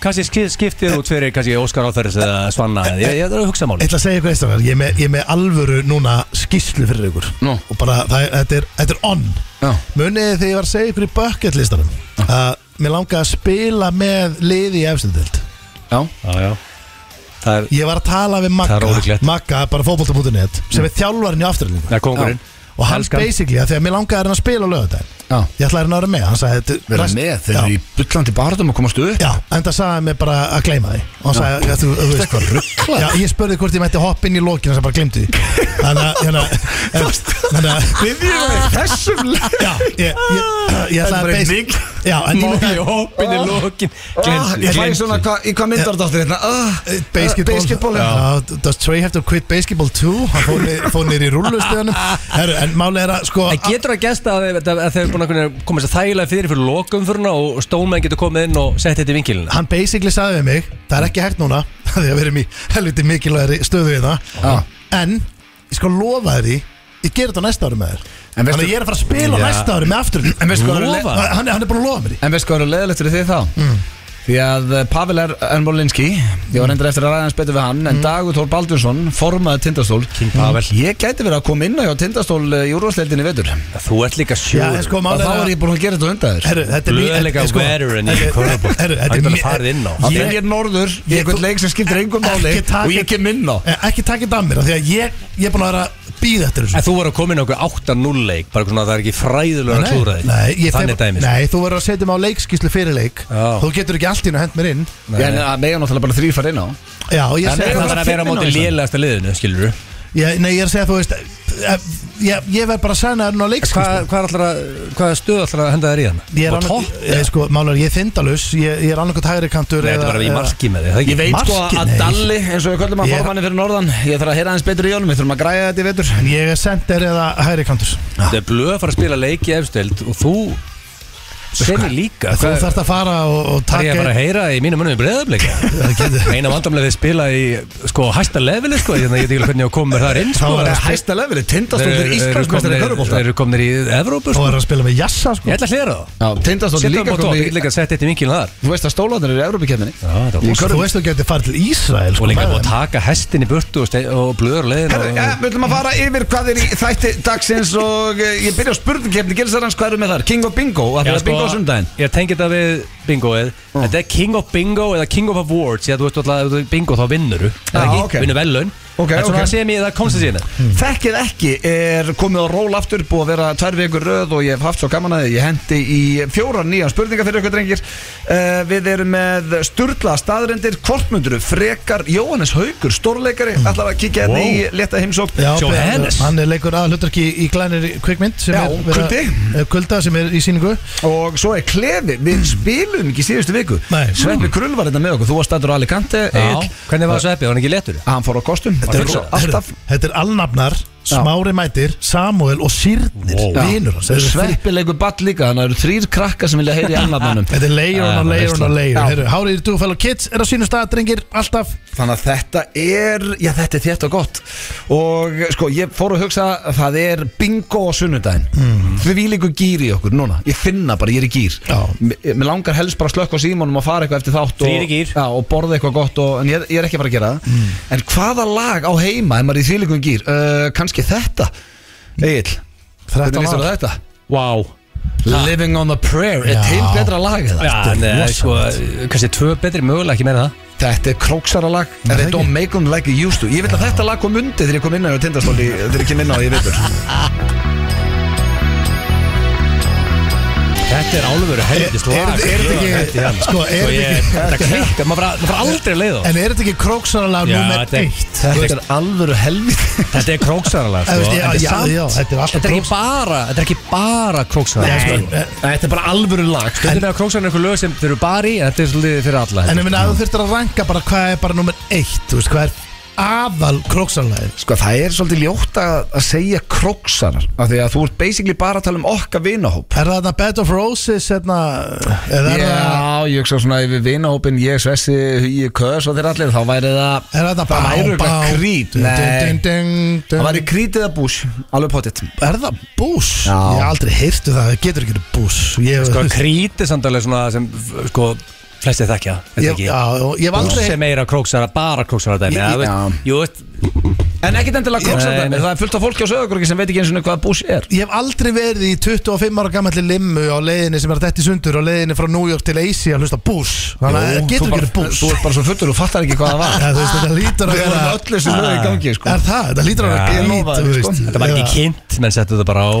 kannski skip- skiptið út fyrir kannski Óskar Áþæris eða Svanna eða- ég, ég þarf að hugsa
Ég
máli
ætla að segja eitthvað einstakar, ég er með, ég er með alvöru núna skýslu fyrir ykkur
Nú.
Og bara, það, er- þetta, er, þetta er on
Já.
Munið þið þegar ég var að segja ykkur í bucket listanum Að mér langaði að spila með liði í efstundild
Já
Já, já Það er,
Ég var að tala við
Það er
Magga,
ólíklegt.
Magga bara fótbolta.net Sem er þjálfarinn í afturlíku
það er kongurinn
Og hann
Elskan.
basically, að því að mér langaði að reyna að spila á lögadaginn
Já
Ég ætlaði að reyna að vera með, hann sagði þetta-
Verða
rest-
með, þeir eru
Já.
í bullandi barðum að komast upp
Já, en það sagði hann mér bara að gleyma því Og hann sagði, "Já, þú þú veist hvað ruggla Já, ég spurði hvort ég mætti hoppa inn í lokinu og hann bara glemdi því Þannig að, [LAUGHS] hérna Þannig að
Við erum með þessum leik
Já, ég, ég, ég ætlaði
bara
að
einn
beis-
vik.
Já, en ég Ah,
Móli
lúkaði
hópinni lókin
Ah,
Ég fæði svona hva, í hvað myndar þetta hérna Ah,
eh, Basketball,
Basketball
Já, Does Trey have to quit basketball too? Hann fór niður- fór niður í rúllustöðunum Herru, en máli er að sko
En getur það gæst að þeir, að þeir búin að kunna koma sér þægilega fyrir fyrir lokumfurna og Stónmenn getur komið inn og sett þetta í vinkilina
Hann basically sagði við mig Það er ekki hægt núna [LAUGHS] Því að við erum í helviti mikilvægri stöðu við
Já.
það En ég sko lofa þér því Ég ger þetta á næsta ári með þér
En veistu-
Þannig að ég er að fara að spila á
Já.
næsta ári með aftur
En veistu hvað er
Lofa?
le-
Hann er hann er búin að lofa mér því
En veist hvað eru leðilegt fyrir þið þá? Því að eh, Pavel er Ermolinski Ég var reyndar eftir að ræða hans betur við hann En Dagur Þór Baldursson formaði tindastól Mm. Pavel Ég gæti verið að koma inn á hjá tindastól eh, í úrvarsleildinni í vetur
Þú ert líka
Já,
sjúr
en sko
Og
máli
þá er ég búin að gera þetta undaður
Herru, þetta er
Blöð
mjög-
er líka
eh, sko,
veteran í
þetta-
körfubolta.
herru, þetta er
Hann getur
mjög-
alveg farið inn á.
Þá
Ég-
fer ég norður í
Ég-
einhvern leik sem skiptir engum máli
Ekki taka-
og ég kem inn á
Eh, Ekki takit af mér af Því að ég, ég er búin að vera að býða eftir þessu
En þú voru að koma inn á okkur 8-0 leik bara svona að það er ekki fræðulega að
Nei,
klúra þig
nei,
sko.
ég
Þannig sko.
fer-
dæmis
Nei, þú verður að setja mig á leikskíslu fyrir leik
Já.
Þú getur ekki allt í hennu hend mér inn
Já, en að mega náttúrulega bara þrýr fara inn á
Já, og ég
Það
segi
er að vera á móti lélegasta liðinu, skilur du
Ég, nei, ég er að segja, þú veist eh, Ég, ég verð bara að sæna þennan á
Hvað
leikskýrslu
hvað er allra, hvað stöð allra að henda þér í hann?
Ég er
Á
annað,
topp?
ég, sko, málar, ég er þindalus Ég, ég er annarkot hægri kantur
Nei, þetta er bara í marki með þig, það
Ég
ekki?
veit sko
Markið,
að
nei.
Dalli, eins og við köllum að
Ég-
formanni fyrir norðan Ég þarf að heyra aðeins betur í honum, við þurfum að græja þetta í vetur
Ég er sendir eða hægri kantur
Þetta er blöð að fara að spila leik í efstöld og þú semir líka
Þú þarft að fara og, og
Það er ég að fara
taka
að heyra í mínum munum í breyðarbleika Eina vandamlega við spila í sko, hæsta leveli sko, þannig að ég veit ekki alveg hvernig ég kom með þar inn
Þá er
sko.
Það
að
er
spila-
hæsta leveli,
Þeir-
tindastóttir
þeir eru
Íslandsmeistari
komnir-
Körubólta
Þeir eru komnir í Evrópu
Þú
sko.
er að spila með jassa
Ég
sko.
ætla að hlera það
Já, tindastóttir
Setja það
líka
bara tótt, ég
komið
ætla
í
ekki að setja þetta í vinkilin þar
Þú veist að stólanir eru Európa-kefninni
Já,
Þú
það var-
þú veist þú getur farið til Ísrael
Og
sko,
líka
með
búið að
þeim.
taka hestin í burtu og, ste- og blöður leiðin
Herru, ja, við ætlum að fara yfir hvað er í þætti dagsins og eh, ég byrja á spurningkefni Gilsarans, hvað eru með þar? King og Bingo, að
sko.
það er Bingo á Mm. sundaginn
Ég tengi þetta við bingoið Þetta er King of Bingo eða King of Awards Ég að þú veist alltaf að ef þú ert bingo þá vinnur
Já, ok.
Vinnur velun
Ok,
en svona
ok. Mm.
okay. sem ég það komst að síðan
Þekkið ekki er komið á ról aftur búið að vera tvær vekur röð og ég hef haft svo gaman að því. ég hendi í fjóra nýja spurningar fyrir ykkur drengir uh, Við erum með Sturla staðrendir Kortmunduru, Frekar, Jóhannes Haugur Stórleikari, ætlar að kíkja henni
Wow.
í leta heimsókn
Já,
Johannes.
Hann er leikur að hlutarki í glænir kvikmynd sem
Já,
er verið að-
Kuldi.
eh, Kulda sem er í síningu
Og svo er Klefi, við spilum ekki síðustu viku
Nei.
Sveppi Krull var þetta með okkur, þú var stættur á Alicante Egill.
Hvernig var Sveppi, var hann ekki letur?
Hann fór á kostum
Þetta er
Hann fór
rosa-
alltaf
Þetta er alnafnar,
Já.
smári mætir, Samuel og Sýrnir
Wow.
Já.
Vínur hans Þetta er þrý-
Sveppi leikur ball líka, þannig að það eru þrýr krakka sem vilja heyri annarnanum
Þetta er layer
Ah,
on layer
veistla.
on layer
Já.
Heyrðu, How do you do fellow kids er á sínum stað, drengir, alltaf
Þannig að þetta er, já þetta er þetta gott Og sko, ég fór að hugsa að það er bingo á sunnudaginn Við líku gýr í okkur núna Ég finna bara, ég er í gýr
Já.
M- Mér langar helst bara að slökka á símónum og fara eitthvað eftir þátt
Þrír í
og,
gír.
já, og borða eitthvað gott og, En ég, ég er ekki að fara að gera það En hvaða lag á heima ef maður er í þvílíku gýr? Uh, kannski þetta Egil,
13
hvernig lýsir
ára.
þetta?
Vá
Living on a prayer, er
Já.
til betra lag eða?
Já, neða, sko, kannski tvö betri mögulega ekki meira það
Þetta er króksara lag
Nei,
And they
ekki.
don't make them like they used to Ég vil að þetta lag kom undir þegar ég kom inn á tindastóli Þegar ég kem inn á því vitur
Þetta er álfur helvitist
Er- er- er þetta ekki- sko, er þetta ekki-
Þetta klikkar, maður bara- maður fara aldrei leið á
En er þetta ekki króksaralag
Já,
nummer
þetta er-
1?
Þetta er alvöru helvít
Þetta er króksaralag
Þú
sko.
veist, já,
Þetta er
já,
samt-
já, þetta er alltaf
Þetta er ekki bara Þetta er ekki bara króksaralag
Nei. eh,
sko. Þetta er bara alvöru lag sko. Þetta er króksaralag einhver lög sem þeir eru bara í en Þetta er svolítið fyrir alla
En ég minna að þú þurftir að ranka bara hvað er bara nummer 1 Þú veist, hvað er aðal króksaralagið
Sko það er svolítið ljótt að, að segja króksarar Af því að þú ert basically bara að tala um okkar vinahóp
Er það þarna Bed of Roses hérna, eða er það
Já, ég hugsa svona yfir vinahópin Ég, Svessi, Hugi, Kös og þeir allir Þá væri það
Er það
Það væri
bá, bá
örugglega Creed.
dun,
Nei.
dun, dun, dun,
Það
dun.
væri krítið að bús Alveg pottitt
Er það bús?
Já.
Ég hef aldrei heyrtu það, það getur ekki verið bús Ég
Sko krítið samtalið svona sem f- Sko flesti þekkja Þetta
Ég,
ekki
já, og ég hef
Bús
aldrei
er meira króksara Bara króksara dæmi
Ég-
það veist-
já.
Jú veist
En ekkit endilega
Nei, nei.
króksarar Það er fullt af fólki á sögurkróki sem veit ekki eins og hvað bús er
Ég hef aldrei verið í 25 ára gammalli limmu á leiðinni sem er dætt í sundur á leiðinni frá New York til Asia að hlusta bús Þannig að það
Jú,
getur
þú
ekki
bara-
verið bús [LAUGHS]
Þú ert bara svo fullur og fattar ekki hvað það var
Ja, þú veist, Þetta lítur að
Við
vera
erum öll þessu lög í gangi sko.
Er það? Þetta lítur að vera
Já.
Ég
grít
lofa þér,
þú
sko.
veist.
Þetta var ekki
Eða-
kynnt Menn settu þetta bara á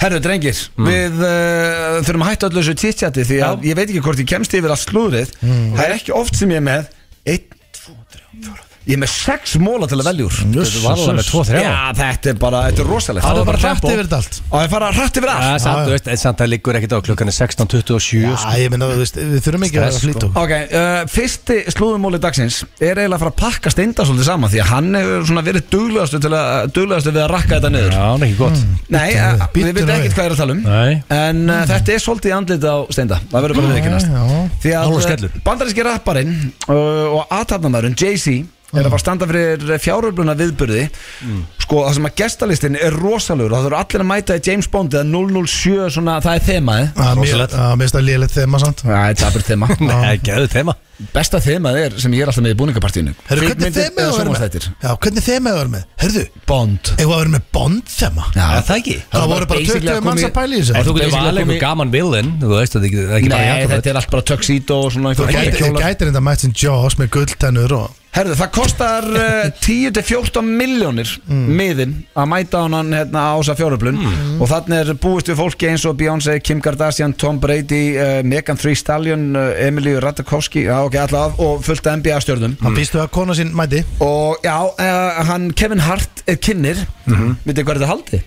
Herru drengir, við uh, þurfum að hætta öllu þessu títjati því að ég veit ekki hvort ég kemst yfir allt slúðrið Það er ekki oft sem ég er með 1, 2, 3, 4 Ég er með 6 móla til að velja úr
Jesus.
Þetta var alveg með tvo, þrjá.
Já, þetta er bara, þetta er rosalegt
Það
Og
er bara
Tempo.
hrætt yfir þetta allt
það er bara rætt yfir
Já,
allt
Ah, samt,
já.
þú veist, en samt það liggur ekkert á klukkan er 16.27
sko.
Já, ég minna, þú veist, við þurfum ekki að vera
Stress,
að flýta okkur
Ok, uh, fyrsti slúðumóli dagsins er eiginlega að fara að pakka steinda svolítið saman því að hann hefur svona verið duglegastu til að duglegastu við að rakka þetta niður
Já, hann er ekki gott
Mm.
Nei, uh,
Bíddu
við veitum
nú
ekkert
við.
hvað er að tala um
Nei.
En uh, þetta er svolítið andlit á steinda Það verður bara viðkynast
Já, já.
Því
Hálfur
að eh,
skellur.
bandaríski rapparinn uh, og aðtapnamæðurinn Jay-Z er að fara að standa fyrir fjáröfluna viðburði
Mm.
Sko, það sem að gestalistin er rosalegur og það þurfa allir að mæta í James Bond eða 007, svona, það er þemaði
Að mér-
Rosalegt.
að Mér finnst það lélegt þema samt
Það er tapir þema
[LAUGHS] Nei, gæðu þema
Besta þemað er sem ég er alltaf með í búningapartíinu
Herru, hvernig þema
eða
þú verið með?
sjónvarpsþættir?
Já, hvernig þema þú verið með? Herðu,
Bond
eigum við að vera með bond þema?
Já,
Er það ekki?
Það voru bara
basically
20
að koma
manns
í-
að pæla í
En
þessu
þú getur
basically
valið
komi-
einhver gaman villin Þú veist, það er ekki- það er ekki bara
Nei,
Jakobet.
þetta er allt bara tuxedo og svona
Þú
einhver-
gætir-
einhver
þú
kjólar.
gætir enda mætt sem Jaws með gulltennur og
Herðu, það kostar uh, 10-14 miljónir miðin að mæta honan hérna, á þessa fjóruflun og þannig er búist við fólki eins og Beyoncé, Kim Kardashian, Tom Brady, uh, Megan Thee Stallion, uh, Emily Ratajkowski, já ok, allavega og fullt af NBA stjörnum
Mm.
Hann býstu að kona sín mæti
og já, uh, hann Kevin Hart er kynir, mm -hmm. vitið hvað er þetta haldið?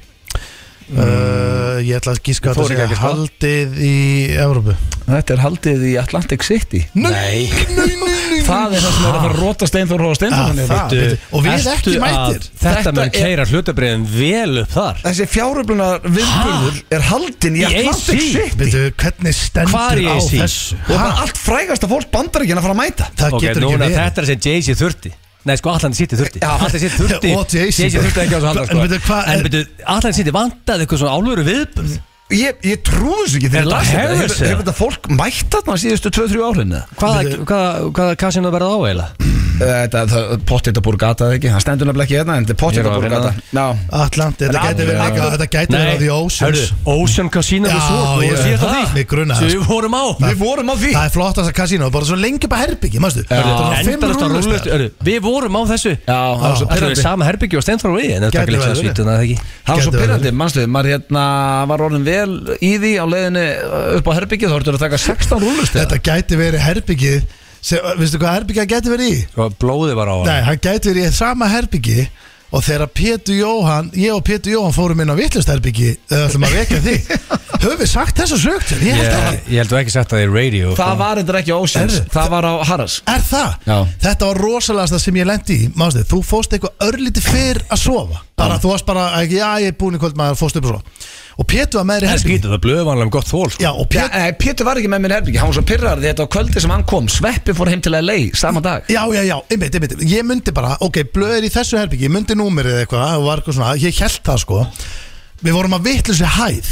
Mm.
Uh, Ég ætla að gíska að
Þú þorir
þetta sé
ekki sko. að giska.
haldið í Evrópu
Þetta er haldið í Atlantic City
Nei,
Það er það sem er að fara að róta steinþór hérna, og
Ah,
steinþór
það, veitu, Og við
ertu
ekki
að
mætir
Þetta
Þetta
mun
er-
keira hlutabriðin vel upp þar
Þessi fjáröflunar viðbörður er haldin Ah. í
Í AC?
Atlantic City
Veitu, hvernig
Hvar
stendur
í
á
AC?
þessu?
og bara allt frægasta fólk bandaríkina að fara að mæta
Það
Ok,
getur ekki
núna
verið
þetta er sem Jay-Z þurfti Nei, sko, Allan City þurfti
Já.
Allan City þurfti
Og Jay-Z.
Jay-Z þurfti ekki á þessu halda
En veitu, hvað
sko. En
er-
betur, Allan City vantaði eitthvað svona álveru viðbörð
Ég, ég trúi þessu ekki þegar ég
Er
las
þetta
þetta
Harris
Hefur
eða?
hefur þetta fólk mætt þarna síðustu 2-3 árin eða?
Hvaða, hvaða, hvaða kasinu verða á eiginlega?
Eh, Þetta er pottit að burgata það ekki Það stendur nefnilega ekki hérna En þetta er pottit
Ég
að
var að finna
burgata Já
Atlanti, þetta gæti verið líka Þetta gæti verið á því Oceans
Ocean Casino
Já,
Resort
ég-
Þú síðast á
Ha?
því
Mig grunaði
Sem
það,
Við vorum á
Við vorum á því
Það er flottast að kasínu, bara svo lengi bara herbyggi, mástu Þetta var fimm
Endalasta rúllust
rúllust
Við vorum á þessu
Já, það var svo
Það er
pirrandi
sama herbyggju og Stenþór og við En það
Gæti
er ekki
verið.
svítuna það ekki
Það var svo
Gæti verið.
pirrandi, mannstu Maður hérna var orðin vel í því á leiðinni eh, upp á herbyggið Þá ertu að taka 16 rúlust
Þetta gæti verið herbyggið sem, Veistu hvað herbyggið hann gæti verið í?
Sko, blóði var á
Nei, hann gæti verið í sama herbyggi Og þegar Pétur Jóhann, ég og Pétur Jóhann fórum inn á vittlust herbyggi Það ætlum að vekja
[LAUGHS]
því Höfum við sagt þessa sögt? Ég held
Ég,
ekki
ég held þú ekki sagt að það er radio
Það var þetta ekki á Oceans
Herðu,
Það var á Harras
Er það?
Já.
Þetta var rosalegasta sem ég lendi í Mástu, þú fóst eitthvað örlíti fyrr að sofa Bara, þú varst bara, ekki, já, ég er búin í kvöld maður fóst upp og svo Og Pétur var meðri
Það
herbyggi
skýtur, það blöði vanlega um gott þól sko.
Já, og
Já,
Pétur
nei, eh, Pétur var ekki með mér herbyggi Hann var svo pirrandi Þetta á kvöldi sem hann kom Sveppi fór heim til LA Sama dag
Já, já, já, einmitt, einmitt Ég myndi bara, ok, blöð er í þessu herbyggi Ég myndi númerið eða eitthvað og var eitthvað svona Ég held það sko Við vorum að vitlu sér hæð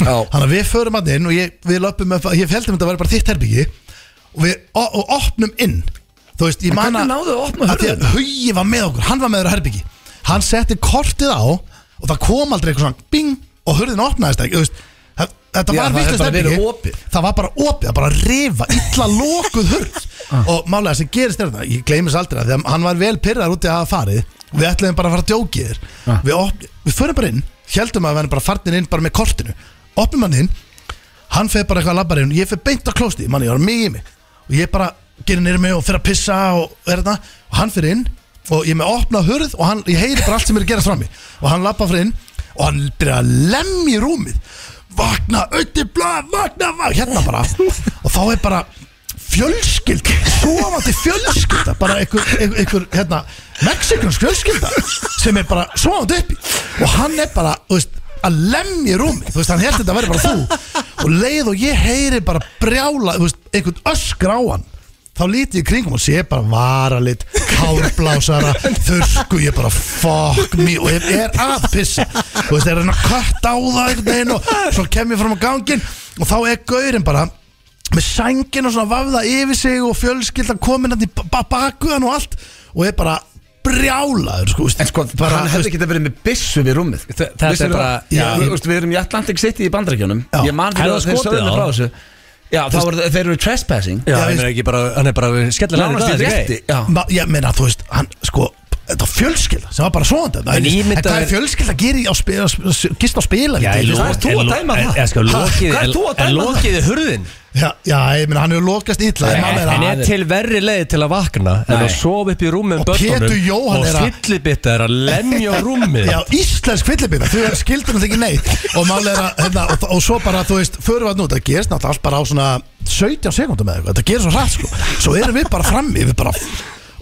Já.
Þannig að við förum að inn og ég, við löpum upp Ég held að þetta væri bara þitt herbyggi Og við o, og opnum inn Þú veist, ég man
hvernig náðuð þið að opna
af því að Hugi var með okkur, hann var með þeirra herbyggi Hann setti kortið á Og það kom aldrei eitthvað svona bing Og hurðin opnaðist ekki, þú veist það- Þetta
Já, það
var
hefði
vitlaust
bara verið
herbergi.
opið.
Það var bara opið, það var bara að rifa Illa lokuð
[LAUGHS]
hurð
Ah.
Og málega sem gerist er þetta, ég gleymis aldrei Þegar hann var vel pyrrar úti að hafa farið Við ætluðum bara að fara að djóki þér
Ah.
við, opn- við förum bara inn, heldum að við erum bara farnir inn Bara með kortinu, opnum hann inn Hann fer bara eitthvað að labba inn Ég fer beint á klósti, manni, ég var mig í mig Og ég bara gerir nýri mig og fer að pissa Og, er þarna, og hann fer inn Og ég er með opna hurð og hann, ég heyri bara allt sem er að gerast frammi Og hann labba fyrir inn Og hann byrja að lemja í rúmið Vakna, ötti, blá, vakna, vakna Hérna bara Og þá er bara fjölskyld Sofandi fjölskylda Bara einhver, einhver, einhver hérna Mexikansk fjölskylda Sem er bara sofandi uppi Og hann er bara, þú veist að lemja í rúmi, þú veist, hann held þetta að vera bara þú og leið og ég heyri bara brjála, þú veist, einhvern öskra á hann þá líti ég í kringum og sé bara varalit, kárblásara þurrsku, ég bara fuck me og ég er að pissa þú veist, ég er að reyna að kött á það einhvern veginn og svo kem ég fram á gangin og þá er gaurinn bara með sængin og svona vafða yfir sig og fjölskyldan komin hann í ba- ba- bakuðan og allt og er bara brjálaður sko, þú veist,
En sko,
bara,
hann
þú veist,
hefði ekki verið með byssu við rúmið
Þa- þetta er
Vissirðu
bara-
það?
já.
Þú- þú veist, Við erum í Atlantic City í bandrækjunum
Já.
Ég man
Hefði
fyrir að
það
þeir
skotið
sögðu
á?
mig frá þessu Já, þá voru þeir eru trespassing
Já,
Já,
hann
veist-
er ekki bara, hann er bara skellilega
Nánast í rétti Já.
Ma, ég meina, þú veist, hann, sko Þetta var fjölskylda sem var bara svona
En ímyndaðu
Þetta er
þér-
fjölskylda að gera í á spi- á sp- gist á spila
Já,
já,
en lo-
Hvað ert þú að
en lo-
dæma
en-
það?
en sko,
Ha?
lokið-
Hvað ert þú að
en- en
dæma það?
lokið er hurðin
já, ég meina, hann hefur lokast illa ég man
En
meira
en
að-
er til verri leið til að vakna En
Nei.
að sofa upp í rúmið um
Og Pétur Jóhann
Og
er að-
fyllibitta er að lemja á rúmið
Já, íslensk fyllibita, þau er skildur en ekki neitt og mál er að, hérna, og, og svo bara, þú veist, förum við að nú, það gerist náttúrulega allt bara á svona 17 sekundum eða eitthvað, þetta gerist svo hratt, sko svo erum við bara frammi, við bara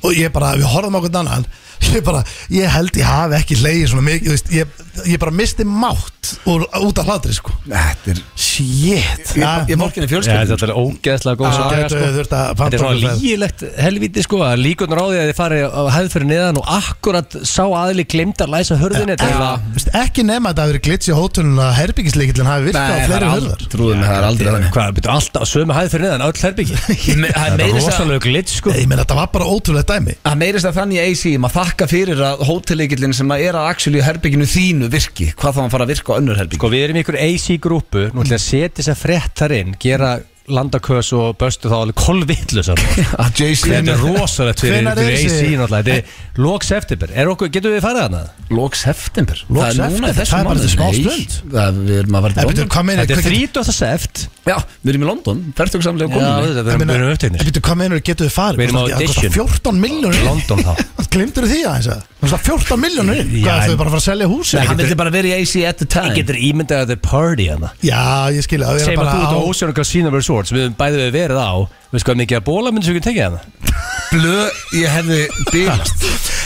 og ég bara, við horfum okkur annan ég bara, ég held ég hafi ekki leiði svona mikið, þú veist, ég, ég bara misti mátt úr, út af hlátri, sko
Þetta er
Shit
Ég- Ég fólkinni
Já,
fjölskyldi
Þetta er ógeðslega góð
Já,
saga,
þetta
sko.
er þurft að
Þetta er
panta
svona
okkur
lígilegt helviti sko að líkurnar á því að þið farið á hefð fyrir neðan og akkurat sá aðli glemt að læsa hörðinni til að
Veist, Ekki nema að það hafi verið glitch í hótunum að herbyggisleikillin hafi virkað á
Nei, það er
fleiri
aldrei
hörðar
Trúðum, það er aldrei þannig
Hvað, byrju, alltaf sömu hæð fyrir neðan, öll
[LAUGHS]
herbyggi
Me- það er
Það er
meira þess að-
rosalega glitt sko
Nei, ég meina þetta var bara ótrúlega dæmi
Það meirist að þannig í AC maður þakka fyrir að hótelíkillin sem að er að axil í herbygginu þínu virki hvað þá hann fara að virka á önnur herbygg
Sko við erum í ykkur AC-grúpu Nú ætlum ég að setja þess að frett þar inn Gera landakös og böstu þá alveg kolvillusar
að
Þetta er
JC
rosalegt fyrir,
Hvenær er
fyrir AC
þessi-
náttúrulega Þetta er lók september Er okkur, getum við farið hana?
lok september
Lok
það er núna
september,
í þessum
það er bara
mánuði.
smá
Nei,
stund.
það- við erum að vera í
Nei, betur,
London.
hvað meina
Þetta er 30. sept
já, við erum í London, ferðtöku samlega
Já,
komum
þetta er verið upptegnir
Býttu, hvað meinar getur þið farið?
Við erum á
Það kostar
audition.
14 miljónur
London þá
Glimtur því aðeins að Það kostar 14 miljónur inn
Já,
Hvað er
en-
þau bara að fara að selja húsi?
Nei, hann vildi bara vera í AC at the time
Ég getur ímyndað að þetta er party hérna. hana
Já, ég skilja það
Segjum að þú ert á
á
Ocean Casino Resort sem við höfum bæðið við verið á Við sko að mikið að bóla myndi sem við getum tekið hérna? hana
blö, ég hefði bílast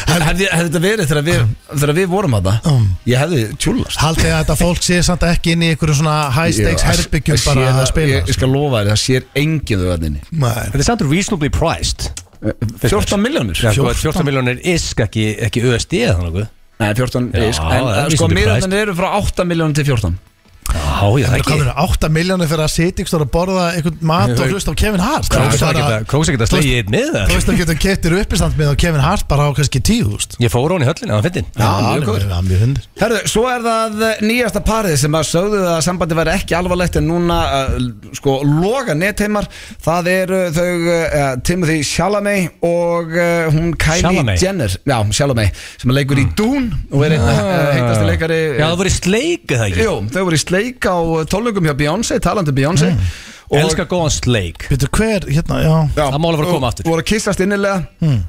hefði, hefði þetta verið þegar við, þegar við vorum að það
Um.
ég hefði tjúlast
Haldið þið að þetta fólk sé samt ekki inn í einhverju svona high stakes herbyggjum bara að spila
ég, ég skal lofa þér, það sér enginn þau verðinni
Nei,
Þetta er samt reasonably priced eh,
14 miljónur
Já, sko, 14 miljónir isk ekki, ekki USD eða þannig
Nei, 14
Já,
isk, en
það er
eh, sko
vísindi
miðarnir eru frá 8 miljónum til 14
já, það
Það
ekki
komur 8 miljónir fyrir að sitja ykkur og borða einhvern mat og hlusta á Kevin Hart
Króks að geta- Króks að geta slegið einn með
Þú
það
veist að getur kettir uppistand með á Kevin Hart bara á kannski tíu húst
Ég fór hún í höllinu, hann fyndin
mjög góður.
er mjög hundur
Herðu, svo er það eh, nýjasta parið sem að sögðu að sambandi væri ekki alvarlegt en núna uh, sko loga netheimar það eru þau uh, Timothy Chalamet og uh, hún Kylie
Chalamet? Ah.
Jenner Já, Chalamet sem leikur í Dune og er einn uh, heitasti leikari
Já, það voru sleik eða ekki
Jú, þau voru í sleik á tólugum hjá Beyoncé, talandi um Beyoncé og
Mm. Elskar góðan sleik
Býtu hver, hérna, já
já,
það mál að fara að koma
og-
aftur. Mm.
Voru að kissast innilega Nema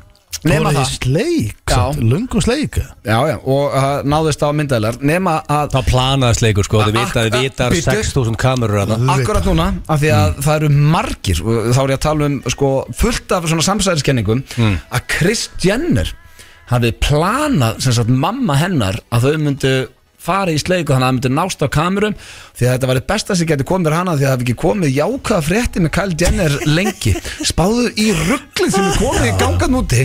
Nema það
það
Sleik,
Já.
lungu sleik
Já, já, og uh, náðist á myndaðilar Nema að
Það planaði sleikur sko, þið vita,
Ak-
þið vita
bíddu.
6.000 kamerur að það
Auðvitað.
Akkurat núna, af því að það eru margir og þá er ég að tala um sko, fullt af svona samsæðiskenningum að Kris Jenner hafi planað, sem sagt mamma hennar að þau myndu fara í sleik og þannig að það myndu nást á kamerum því að þetta var besta sem geti komið fyrir hana því að það hafi ekki komið jákvæða frétti með Kyle Jenner lengi spáðu í rugglið sem er komið í gangan úti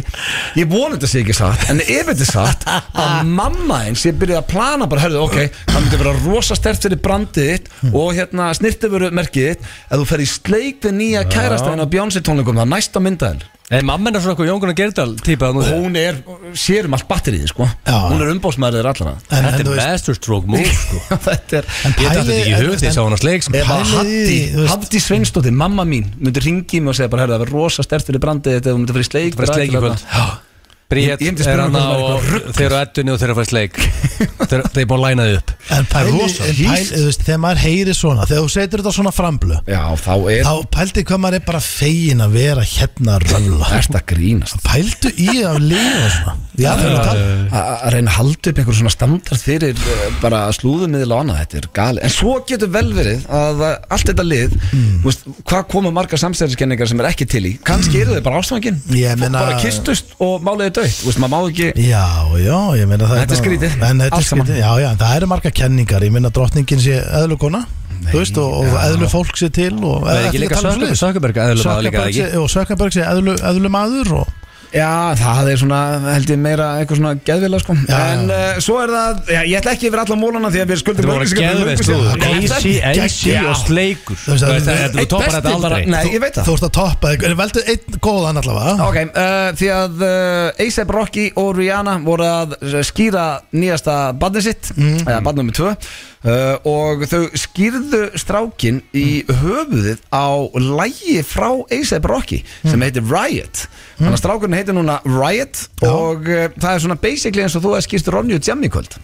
ég vonu þetta sé ekki satt en ef þetta er satt að mamma eins ég byrjaði að plana bara, herðu, ok það myndi vera rosa stert fyrir brandið þitt og hérna snirtifuru merkið þitt að þú fer í sleik við nýja kærastæðin á Beyoncé tónleikum, það er næsta myndaðin
Er mamma hennar svona eitthvað Jón Gunnar Gerdal típa að nú
hún er, sér um allt batterið sko.
Já.
hún er umbóðsmaður allra
Þetta er masterstroke move sko
[LAUGHS] þetta er
Ég dætti
pælið-
þetta ekki í hug því sá hún að sleik sko.
Ef að
Pælið í
Hatti,
því, þú veist.
Hatti Sveinsdóttir, mamma mín myndi ringi mig og segja bara, herðu, það verður rosa stert fyrir brandið þetta, þú myndi fyrir sleik
Það var sleik í kvöld Bríett
Ég- ég myndi
er
spyrja
hann
hvort
á
það væri eitthvað rugl.
Þeir eru ettunni og þeir eru að fara í
[LAUGHS]
sleik Þeir þeir eru búin að læna þið upp
En pæli,
rosa.
en pæli, þú veist, þegar maður heyri svona Þegar þú setur þetta svona framblu
Já, þá er
Þá pældi hvað maður er bara fegin að vera hérna að rölla
þetta grínast
Pældu í að lifa svona Já, það er að tala
að að reyna að halda upp einhver svona standard fyrir eh, bara slúðumiðil og annað þetta er gali, en svo getur vel verið að eh, allt þetta lið, mm. veist, hvað koma margar samstæðiskenningar sem er ekki til í kannski eru þau bara ástöngin,
Ég meina-
bara kistust og máliði döitt, veist, maður má ekki
Já, já, ég meina það
Þetta er skrítið.
En þetta
Allt
er
saman.
skrítið, já, já, en það eru marga kenningar Ég meina drottningin sé eðlugona Þú veist, og, og eðlu fólk sé til Og
Það er ekki líka
um
Sökkaberg eðlumaður líka
Sökkaberg
ekki
um sé, og Sökkaberg sé eðlu, eðlu maður og,
Já, það er svona, held ég meira eitthvað svona geðvila sko
Já, já.
En uh, svo er það, já, ég ætla ekki yfir alla mólana því að við skuldum
Þetta voru geðveist slúður AC, AC og sleikur
Þú veist,
Þú veist,
það-
Eitt
Þetta þú toppar þetta
besti-
aldrei
Nei, ég veit það
Þú ert að toppa, þig. en veldu einn góðan allavega
Ok, uh, því að uh, A$AP Rocky og Rihanna voru að uh, skýra nýjasta badnið sitt mm. eða badnið nummer 2 uh, og þau skýrðu strákin í höfuðið á lægi frá A$AP Rocky sem heitir Riot þannig að strákurinn heitir núna Riot
Já.
og uh, það er svona basically eins og þú að skýrst Ronju Jammi kvöld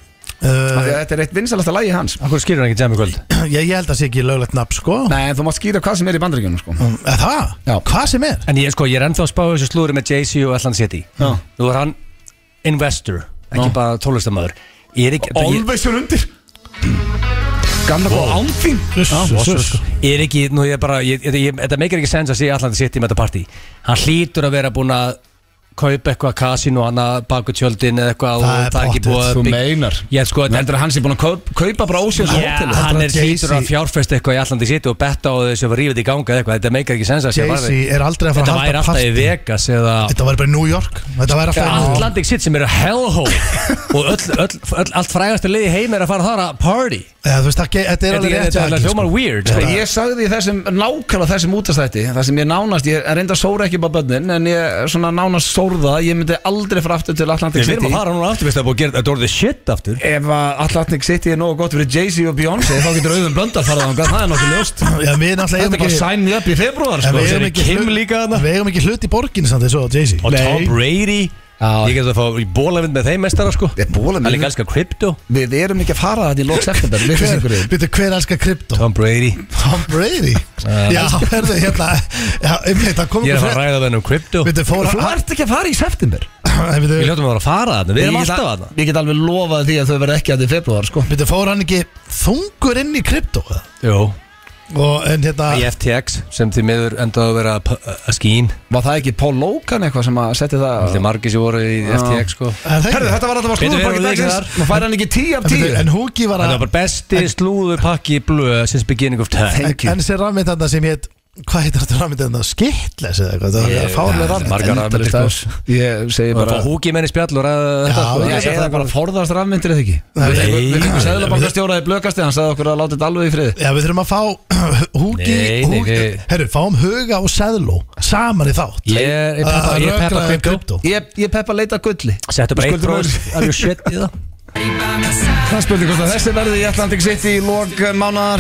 Af því
uh,
að þetta er eitt vinsalasta lægi hans
Akkur skýrur hann ekki jam í kvöld
ég, ég held að sé ekki löglegt nafn, sko
Nei, en þú mátt skýra hvað sem er í bandaríkjunum sko
Mm, eða Það?
Já.
Hvað sem er?
En ég, sko, ég er ennþá að spá þessu slúri með Jay-Z og Allan City
Já.
Nú er hann investor, ekki bara tólustamöður Ég er ekki, ég,
hér undir Gamla góð án þín
Sus,
sko, ég er ekki, nú ég er bara ég, ég, ég, Þetta meikir ekki sens að sé Allan City með þetta partí Hann hlýtur að vera búinn að kaupa eitthvað kasín og annað baku tjöldin eða eitthvað
Það
og
er
það er ekki
pottet,
búið að
Þú
bygg-
meinar
Ég sko, þetta
Vendur að hans er búin að kaup, kaupa bara ósins
Já, hann er
Þetta er
hlýtur að
Jay-Z.
fjárfesta eitthvað í Allandi City og betta á þessu að rífið í ganga eða eitthvað, þetta meikar ekki sens að sé
Jay-Z
varðið.
er aldrei að fara
Þetta
að
væri
halda
alltaf í
partí.
Vegas eða
Þetta væri bara í New York Þetta væri alltaf í New York.
Atlantic City sem eru [LAUGHS] hellhole og öll, öll, öll, allt frægastu liði heim er að fara þar að party
Eða, þú veist, það, ge- þetta er
Þetta
alveg
er-
rétt
þetta
hjá
er alveg
Agli,
hljómar
sko.
weird,
Þetta-
sko.
Ég sagði í þessum, nákvæmlega þessum útastætti Það sem ég nánast, ég er enda sóra ekki bara bönnin En ég svona nánast sórða Ég myndi aldrei fara aftur til Atlantic
Við erum
City
að fara núna aftur, veist það er búið að gera þetta orðið shit aftur
Ef að Atlantic City er nógu gott fyrir Jay-Z og Beyoncé Þá getur auðvun blöndar farað þangað, það er náttúrulega
[LAUGHS]
ljóst
Já, við náttúrulega
Þetta er bara
eigum ekki
sign me up í februar
en
sko.
við
sér
eigum
í
ekki
Kim
hlut-
líka þarna.
Við eigum ekki hlut í borgin samt þessu og Jay-Z
og Tom Brady
Já.
ég get að fá í bólavind með þeim mestara sko
Ég bóla
hann
með-
er líka elskar krypto
Við erum ekki að fara þetta í loks eftir Við finnst ykkur yfir
Býttu, hver elskar krypto?
Tom Brady
Tom
[LAUGHS]
Brady Já, verður hérna Já, einmitt, það kom
ég er
ykkur
að fara að
frétt
ræða við hann um krypto
Býttu, fór
Þú ert ekki að fara í september
[LAUGHS] hann
við
Býttu,
hljóttum að vera að fara þarna, við erum alltaf þarna
Ég get alveg lofað því að þau verða ekki að þetta í februar sko.
býttu, fór hann ekki þungur inn í krypto eða?
Jú.
Og en hérna
í FTX sem því miður endaði að vera p- að skín
Var það ekki Paul Logan eitthvað sem að setja það
allir margir sem voru í FTX sko
er það ekki?
Herðu, þetta var alltaf að
Bíddu,
slúðupakki
við erum líka
dagsins
þar.
Nú fær hann ekki 10 af
En býttu,
10
En Húki var
Þetta
að
var bara besti slúðupakki í blöð since beginning of time
Thank you.
En sér rafmynd þarna sem hétt hvað heitir þetta rafmyndið þetta? Skittles eða eitthvað, það
Ég-
var fárlega
Já,
rafmyndið
margar rafmyndir, sko.
Ég segi
Bara
bara
fá húki menni spjall og ræða
Já,
þetta sko.
já,
Ég
ég-
eða bara forðast rafmyndir eða ekki
Nei.
Við komum sæðlabankastjóraði blökast eða hann sagði okkur að láta þetta alveg í frið
Já, við þurfum að fá húki,
Nei, nei,
húki
við-
Herru, fáum huga og seðló saman í þátt
Ég er ég peppa,
Að
ég peppa
rökra
krypto
kryptó.
Ég, ég peppa að leita að gulli
Settu bara eitt
Skuldum
brós Are you shit í það?
Það spurði hvort að þessi verði í Atlantic City í lók mánar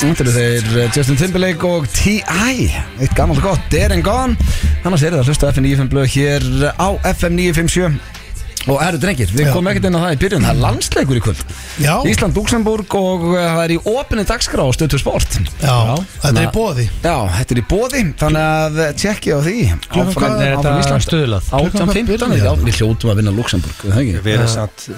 Þetta eru þeir eh, Justin Timberlake og T.I. Eitt gammalt gott, Dead and Gone Annars er það að hlusta á FM 95 blöð hér á FM 957 Og eru drengir, við
Já.
komum ekkert inn á það í byrjun Það er landsleikur í kvöld
Já,
Ísland, Luxemburg og eh, það er í opinni dagskrá á stöðtur sport
já, þetta er í
Þannig-
bóði
Já, þetta er í bóði, þannig að tjekki á því
Klukkan
Áfram-
hvað er
áfram
þetta
Ísland.
stuðlað?
Klukkan hvað
18.15
byrjar
já,
þetta?
Við hljótum að vinna Luxemburg, er það ekki? Eh,
Við erum samt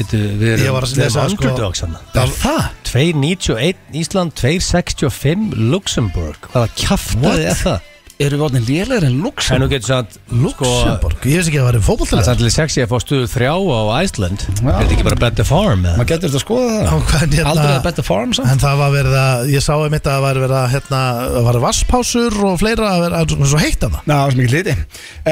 Við við
Ég var
erum
að
við
lesa,
erum
sko-
underdogs hann
Er það?
2.91 Ísland 2.65 Luxemburg Hvaða
What?
kjaftaði er það?
Eru við orðin lélegir en
En nú
Luxemburg?
getur samt
Luxemburg, ég veist ekki að það væri
Það er
fótbolltilega
samt til sexy að fá stuðu þrjá á Æsland
Já.
Er þetta ekki bara better farm eða?
Maður getur þetta að skoða það Aldrei að
Aldrei
betta farm samt
En það var verið að, ég sá einmitt að það var verið að, hérna, það var vasspásur og fleira að vera, að svo heitt að það.
Ná, það var sem ekki liti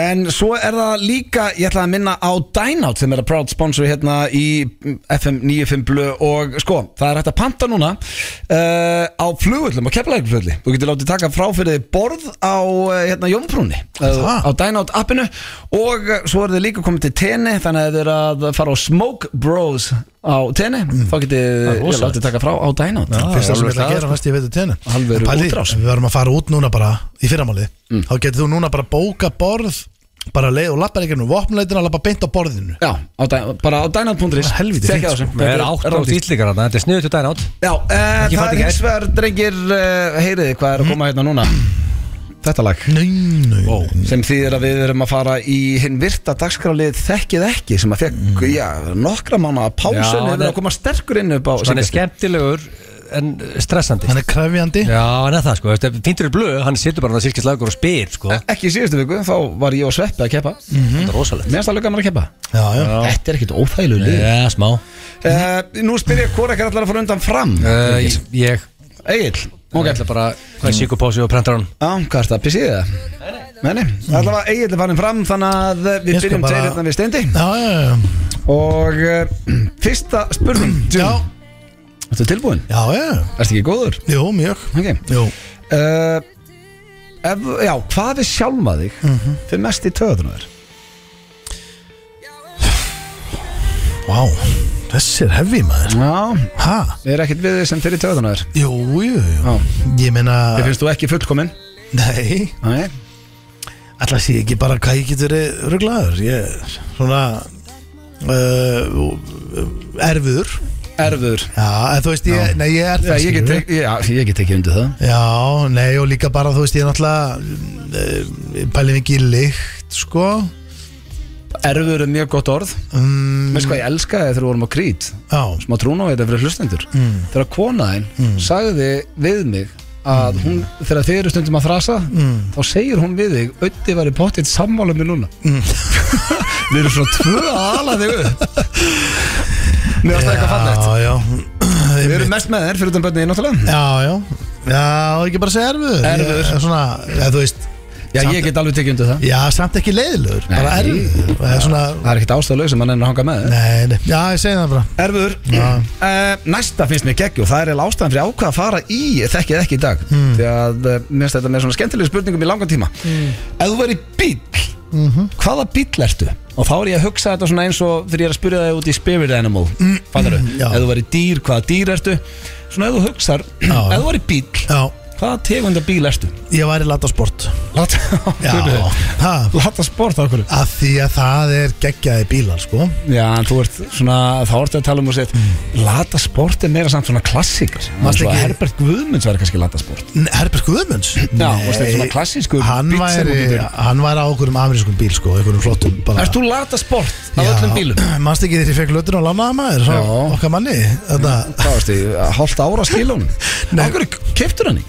En svo er það líka, ég ætla að minna á Dynout sem er að proud sponsor hérna í mm, FM 95 Blu og sko, það er hægt að panta núna uh, á flugullum, á keflækflugulli Þú getur látið taka frá fyrir þig borð á uh, hérna, Jómfrúni
Það?
uh, á Dynout appinu og uh, svo eru þið líka komið til tenni þannig að þið eru að fara á Smoke Bros á tenni þá getið
Það er
þið
rosalegt.
látið taka frá á Dynout
Já.
Fyrst það sem ég
alveg
ætla að
það,
gera
sko.
fast ég veit að tenni.
Alvöru útrás.
Við varum að fara út núna bara í fyrramáli. Þá getur þú núna bara bóka borð, bara leið og lappar ekki um vopnleitina og lappa beint á borðinu.
Já, á, Dy- bara á Dynout.is
Helvíti
Tekja
fínt,
á þessu.
sko.
Það er
Þetta
átt á
rándýrt.
dýrlingar hann Þetta er sniðut og dænátt
Já, uh, það
fatt
er
ekki
hins vegar, drengir, uh, heyriði hvað er að koma hérna núna Þetta lag
Nei, nei, nei.
sem þýðir að við erum að fara í hinn virta dagskrálið Þekkið ekki sem að fekk, Mhm. já, Sko, nokkra mánu að
Já,
pásun
hann
hefur
er-
að koma sterkur inn upp á
Hann er
Sigurði.
skemmtilegur eh, en stressandi
Hann er krefjandi.
Já, hann er það sko, Þú veist, fíntur er blöð, hann situr bara hann að sirkist lagur og spyr sko
Ekki í síðustu viku, þá var ég og Sveppi að keppa
Þetta er rosalegt
Mér Mhm. er það gaman að keppa
Já, já.
Þetta er ekkit óþægilegu lið
Já, eh, smá
uh, Nú spyr ég hvora ekki allar að fara undan fram
uh, Ég, ég Mm.
Egil,
okay.
Eh. ok
ætla bara hvað er síkupósi og prentar hann
Já, hvað er það, pissið það? Nei, nei Nei, nei, allavega Egil er farin fram þannig að við
Ég skal
byrjum
bara-
tveir hérna við steindi
Já, já, já.
Og uh, fyrsta [CLEARS THROAT] spurning
Já,
Þetta er tilbúin
já, já.
Erstu ekki góður?
Jú, mjög.
Ok
Jú.
uh, ef, Já, hvað er sjálma þig fyrir mest í töðunar?
Vá, þessi er hefði maður.
Já
Ha?
Er ekkert við þig sem fyrir töðunar?
Jú, jú, jú.
Já
Ég meina,
Þið finnst þú ekki fullkomin?
nei.
Nei
Alltaf sé ég ekki bara hvað ég getur rugglaður Ég er svona uh, Erfur
Erfur
Já, en þú veist ég, nei ég er
Já,
það
ég get,
skilurðu.
tek- já, ég get ekki undir það
Já, nei og líka bara þú veist ég er náttúrulega uh, Pælið ekki í lykt sko
Erfur er mjög gott orð
um,
Veist hvað ég elskaði þegar við vorum á krít
Já,
Smá trúna á þetta fyrir hlustendur
Mm.
Þegar konaðinn sagði við mig að
Mm.
hún, þegar þið eru stundum að frasa þá segir hún við þig Ötti var í pottitt sammála mér núna
Mm.
[LAUGHS] Við erum svona tvö að ala þig upp Mér varst það eitthvað fallegt
já, já
Við erum mest með þér fyrir utan börnið í náttúrulega
Já, já Já, og ekki bara segja erfur
Erfiður.
ég, er Svona, ja, þú veist
Já, ég get alveg tekið undir það
Já, samt ekki leiðilegur,
Nei.
bara erfur Það er svona,
Það er ekkit ástæðuleg sem hann er að hanga með þér
nei, nei Já, ég segi það bara
Erfur
Já.
uh, Næsta finnst mér geggjú Það er eiginlega ástæðan fyrir ákvað að fara í Þekkið ekki í dag
Hmm.
mm. Því að uh, mér finnst þetta með svona skemmtilegu spurningum í langan tíma Ef þú verið bíll
Mhm.
Hvaða bíll ertu? Og þá er ég að hugsa þetta svona eins og Þegar ég er að spyrja það út í spirit animal mm. Fattaru,
Hmm. Já.
ef þú verið dýr, hvaða dýr ertu? Svona ef þú hugsar
Já.
Ef þú verið bíll,
Já,
hvaða tegunda bíl ertu?
ég væri lata sport
[LAUGHS] Lata,
Já, það
Lata sport okkur
að því að það er geggjaði bílar sko
Já, en þú ert svona, þá ertu að tala um og segja Lata sport er meira samt svona klassik
Manstu
Svo
ekki-
Herbert Guðmunds var kannski lata sport
N- Herbert Guðmunds
Já, og þetta er svona klassískur
hann
bíll sem þú
væri,
getur-
hann væri á okkur um amerískum bíl sko, einhverjum flottum bara
Erst þú lata sport af
Já,
öllum bílum?
manstu ekki þegar ég fekk lötun og lánaði maður frá
Já.
okkar manni þetta,
Hvað veist þið, uh, hálft ára skilun [LAUGHS] Akkur keftur hann í?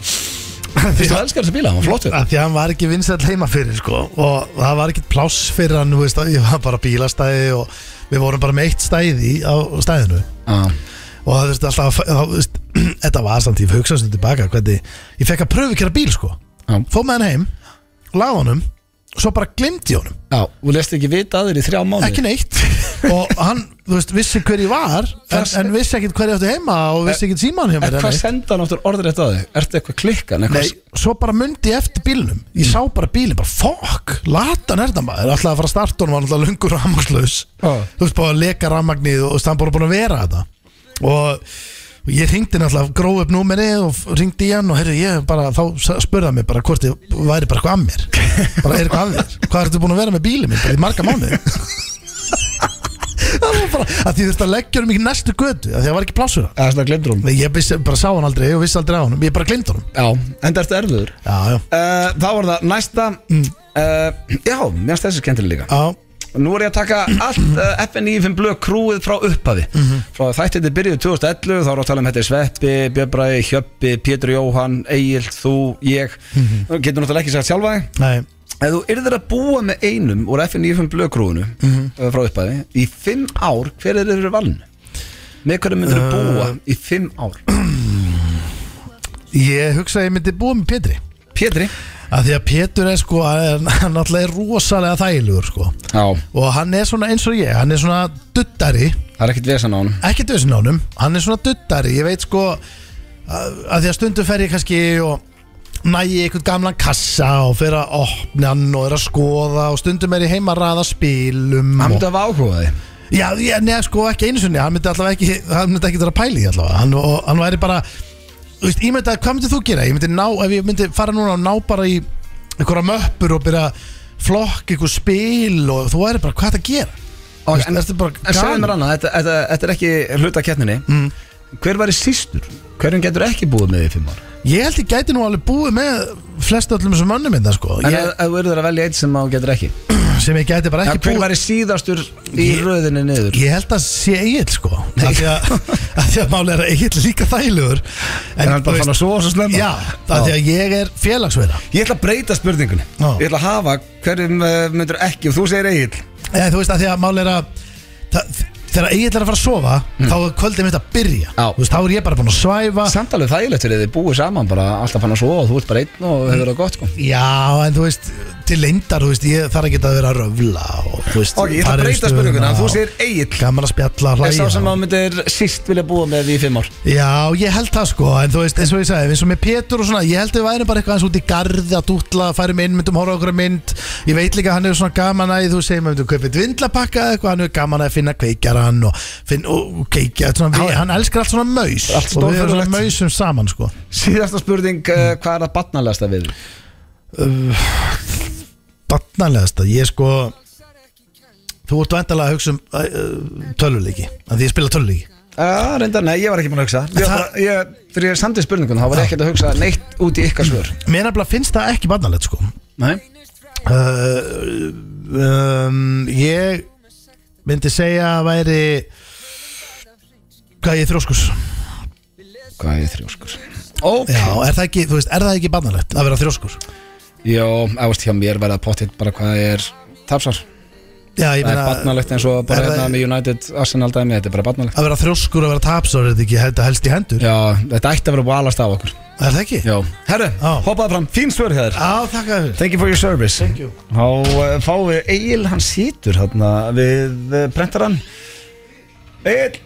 Þú veist, þú elskar þessi bíla, hann var flottur
að því að hann var ekki vinsett heima fyrir sko, og það var ekki pláss fyrir hann þú veist, að ég var bara á bílastæði og við vorum bara með eitt stæði á stæðinu
Já,
og [CLEARS THROAT] það þurfti alltaf að, þá, þú veist, þetta var samt, ég hugsaði sem tilbaka hvernig, ég fekk að pröfu kera bíl sko
Já.
Fóð með hann heim, lagði honum Svo bara glimti honum,
Já, og lest ekki vita aður í þrjá mánu
ekki neitt Og hann, þú veist, vissi hver ég var En, en vissi ekkit hver ég átti heima Og vissi ekkit síman hjá
En
mér eða
eh, hvað
neitt.
senda hann áttur orður þetta að þig? Ertu eitthvað klikkan? Eitthvað
Nei, svo bara myndi ég eftir bílnum Ég sá bara bílinn, bara fokk Latan er það maður, alltaf að fara að starta honum Var alltaf lungur [LAUGHS] rafmagnslaus
Já.
Þú veist, bara að leka rafmagnið og þú veist, hann bara búin að vera þetta Og, og ég ringdi náttúrulega Gróð upp númeri og ringdi í hann Og heyrðu, ég bara, þá s- spurði hann mig bara Hvort ég væri bara eitthvað að mér Bara er eitthvað að þér, hvað ertu búin að vera með bílinn minn Bara í marga mánuði Það var bara, að því þurfti að leggja um í næstu götu að Því að var ekki plásur
Það er svona glemdur hún
Ég vissi, bara sá hann aldrei, ég vissi aldrei á hann Ég bara glimta honum
Já, en það ertu erfiður
Já, já,
uh, Þá var það næsta uh, Já, mér finnst þessi skemmtileg líka
já
Nú er ég að taka allt uh, FNI5 blöð krúið frá upphafi Frá þættið byrjuðu 2011 Þá er að tala um þetta er Sveppi, Björnbræði, Hjöppi Pétur Jóhann, Egil, þú, ég Þú getur náttúrulega ekki sagt sjálfa þig
Nei,
Ef þú yrðir að búa með einum úr FNI5 blöðkrúinu mm frá upphafi í fimm ár, hver er þeir valin? Með hverju myndir þú búa í fimm ár?
ég hugsa að ég myndi búa með Pétri
Pétri
að Því að Pétur er [LAUGHS] sko, hann hann náttúrulega er rosalega þægilegur sko
Já,
Og hann er svona eins og ég, hann er svona duttari
það er ekkert vesan á hann
Ekki döðsinn á honum, hann er svona duttari Ég veit sko, að að því að stundum fer ég kannski og næ ég einhvern gamlan kassa og fer að opna hann og er að skoða og stundum er ég heima að raða spilum
Hann
og...
myndi hafa áhuga á því
Já, ég, neða sko ekki einu sinni Hann myndi allavega ekki, hann myndi ekki þar að pæli allavega Hann, og, hann væri bara þú veist, Ég myndi að, hvað myndi þú gera? Ég myndi ná, ef ég myndi fara núna og ná bara í einhverja möppur og byrja að flokk einhver spil og þú væri bara, hvað er þetta að gera?
Og-
Þú veist,
En,
ertu bara
en segðu
galinn?
mér annað, þetta, þetta, þetta er ekki hluta kettninni mm. Hver var í sístur? Hverjum getur ekki búið með í fimm ár?
Ég held ég gæti nú alveg búið með flest öllum þessum mönnum minna sko
En
ég,
ef ef þú yrðir að velja eitt sem þú getur ekki,
sem ég gæti bara
ja,
ekki
Hver
búið
var í síðastur í
Ég-
röðinni niður?
Ég held að sé eigill sko af því
[LAUGHS]
að, að því að máli er að eigill er líka þægilegur En, þú veist-
svo og svo slemma?
Já, af því að ég er félagsveira
Ég ætla að breyta spurningunni
Já.
Ég ætla að hafa hverjum uh, myndur ekki og þú segir Egil
Eða, þú veist að því að mál er að það, þegar Egil er að fara að sofa þá er kvöldið mitt að byrja
Mm. Já.
Þú veist, þá er ég bara búin að svæfa
Ah. Samt alveg þægilegt fyrir þið búið saman bara alltaf fann að svo og þú ert bara einn og hefur það gott sko
já en þú veist til leyndar þú veist ég þarf ekki að vera að röfla og þú veist
Ok, ég ætla að
fara yfir
breyta
stöðuna
spurninguna Þú
og
segir Egil
gaman að spjalla
Er sá
hlæja
sem að myndir síst vilja búa með í fimm ár
Já, ég held það sko, en þú veist, eins og ég sagði, eins og með Pétur og svona, ég held við væri bara eitthvað eins út í garði að dútla, færum inn, myndum horfa á okkur mynd, ég veit líka að hann hefur svona gaman að, þú segir, myndum kaupa dvindlapakka eða eitthvað, hann hefur gaman að finna kveikjaran og, finn, og keikja, svona, við, hann elskar allt svona maus
Allt
og við erum
stórfurðulegt.
svona mausum saman sko.
Síðasta spurning, uh, hvað er að batnalegasta við?
Batnalegasta, ég sko, þú ert vandalega að hugsa um uh, uh, tölvuleiki, af því ég spila tölvuleiki.
Uh, reyndar, nei, ég var ekki búin að hugsa Ég,
Það-
bara, ég, Þegar ég samtið spurninguna, þá var ég ekkert að hugsa neitt út í ykkar svör
Mér nefnilega finnst það ekki batnalegt sko,
Nei
Uh, um, ég myndi segja að væri hvað ég er þrjóskus
Hvað er ég þrjóskur? Ok
já, er það ekki, þú veist, er það ekki bannalegt að vera þrjóskur
Jó, ást hjá mér verða pottitt bara hvað ég er tapsar
já,
Það
ég
er
meina,
barnalegt eins og bara
er það-
hérna með United Arsenal dæmi, þetta er bara barnalegt
að vera þrjóskur að vera tapsar er þetta ekki þetta helst í hendur,
Já, þetta ætti að vera búið að alast af okkur
er það ekki?
Já, herru,
Já.
hoppaðu fram, fín svör hér
á, þakka þér
Thank you for your service Thank
you.
Þá uh, fáum við Egil, hann situr hérna við uh, prentarann Egil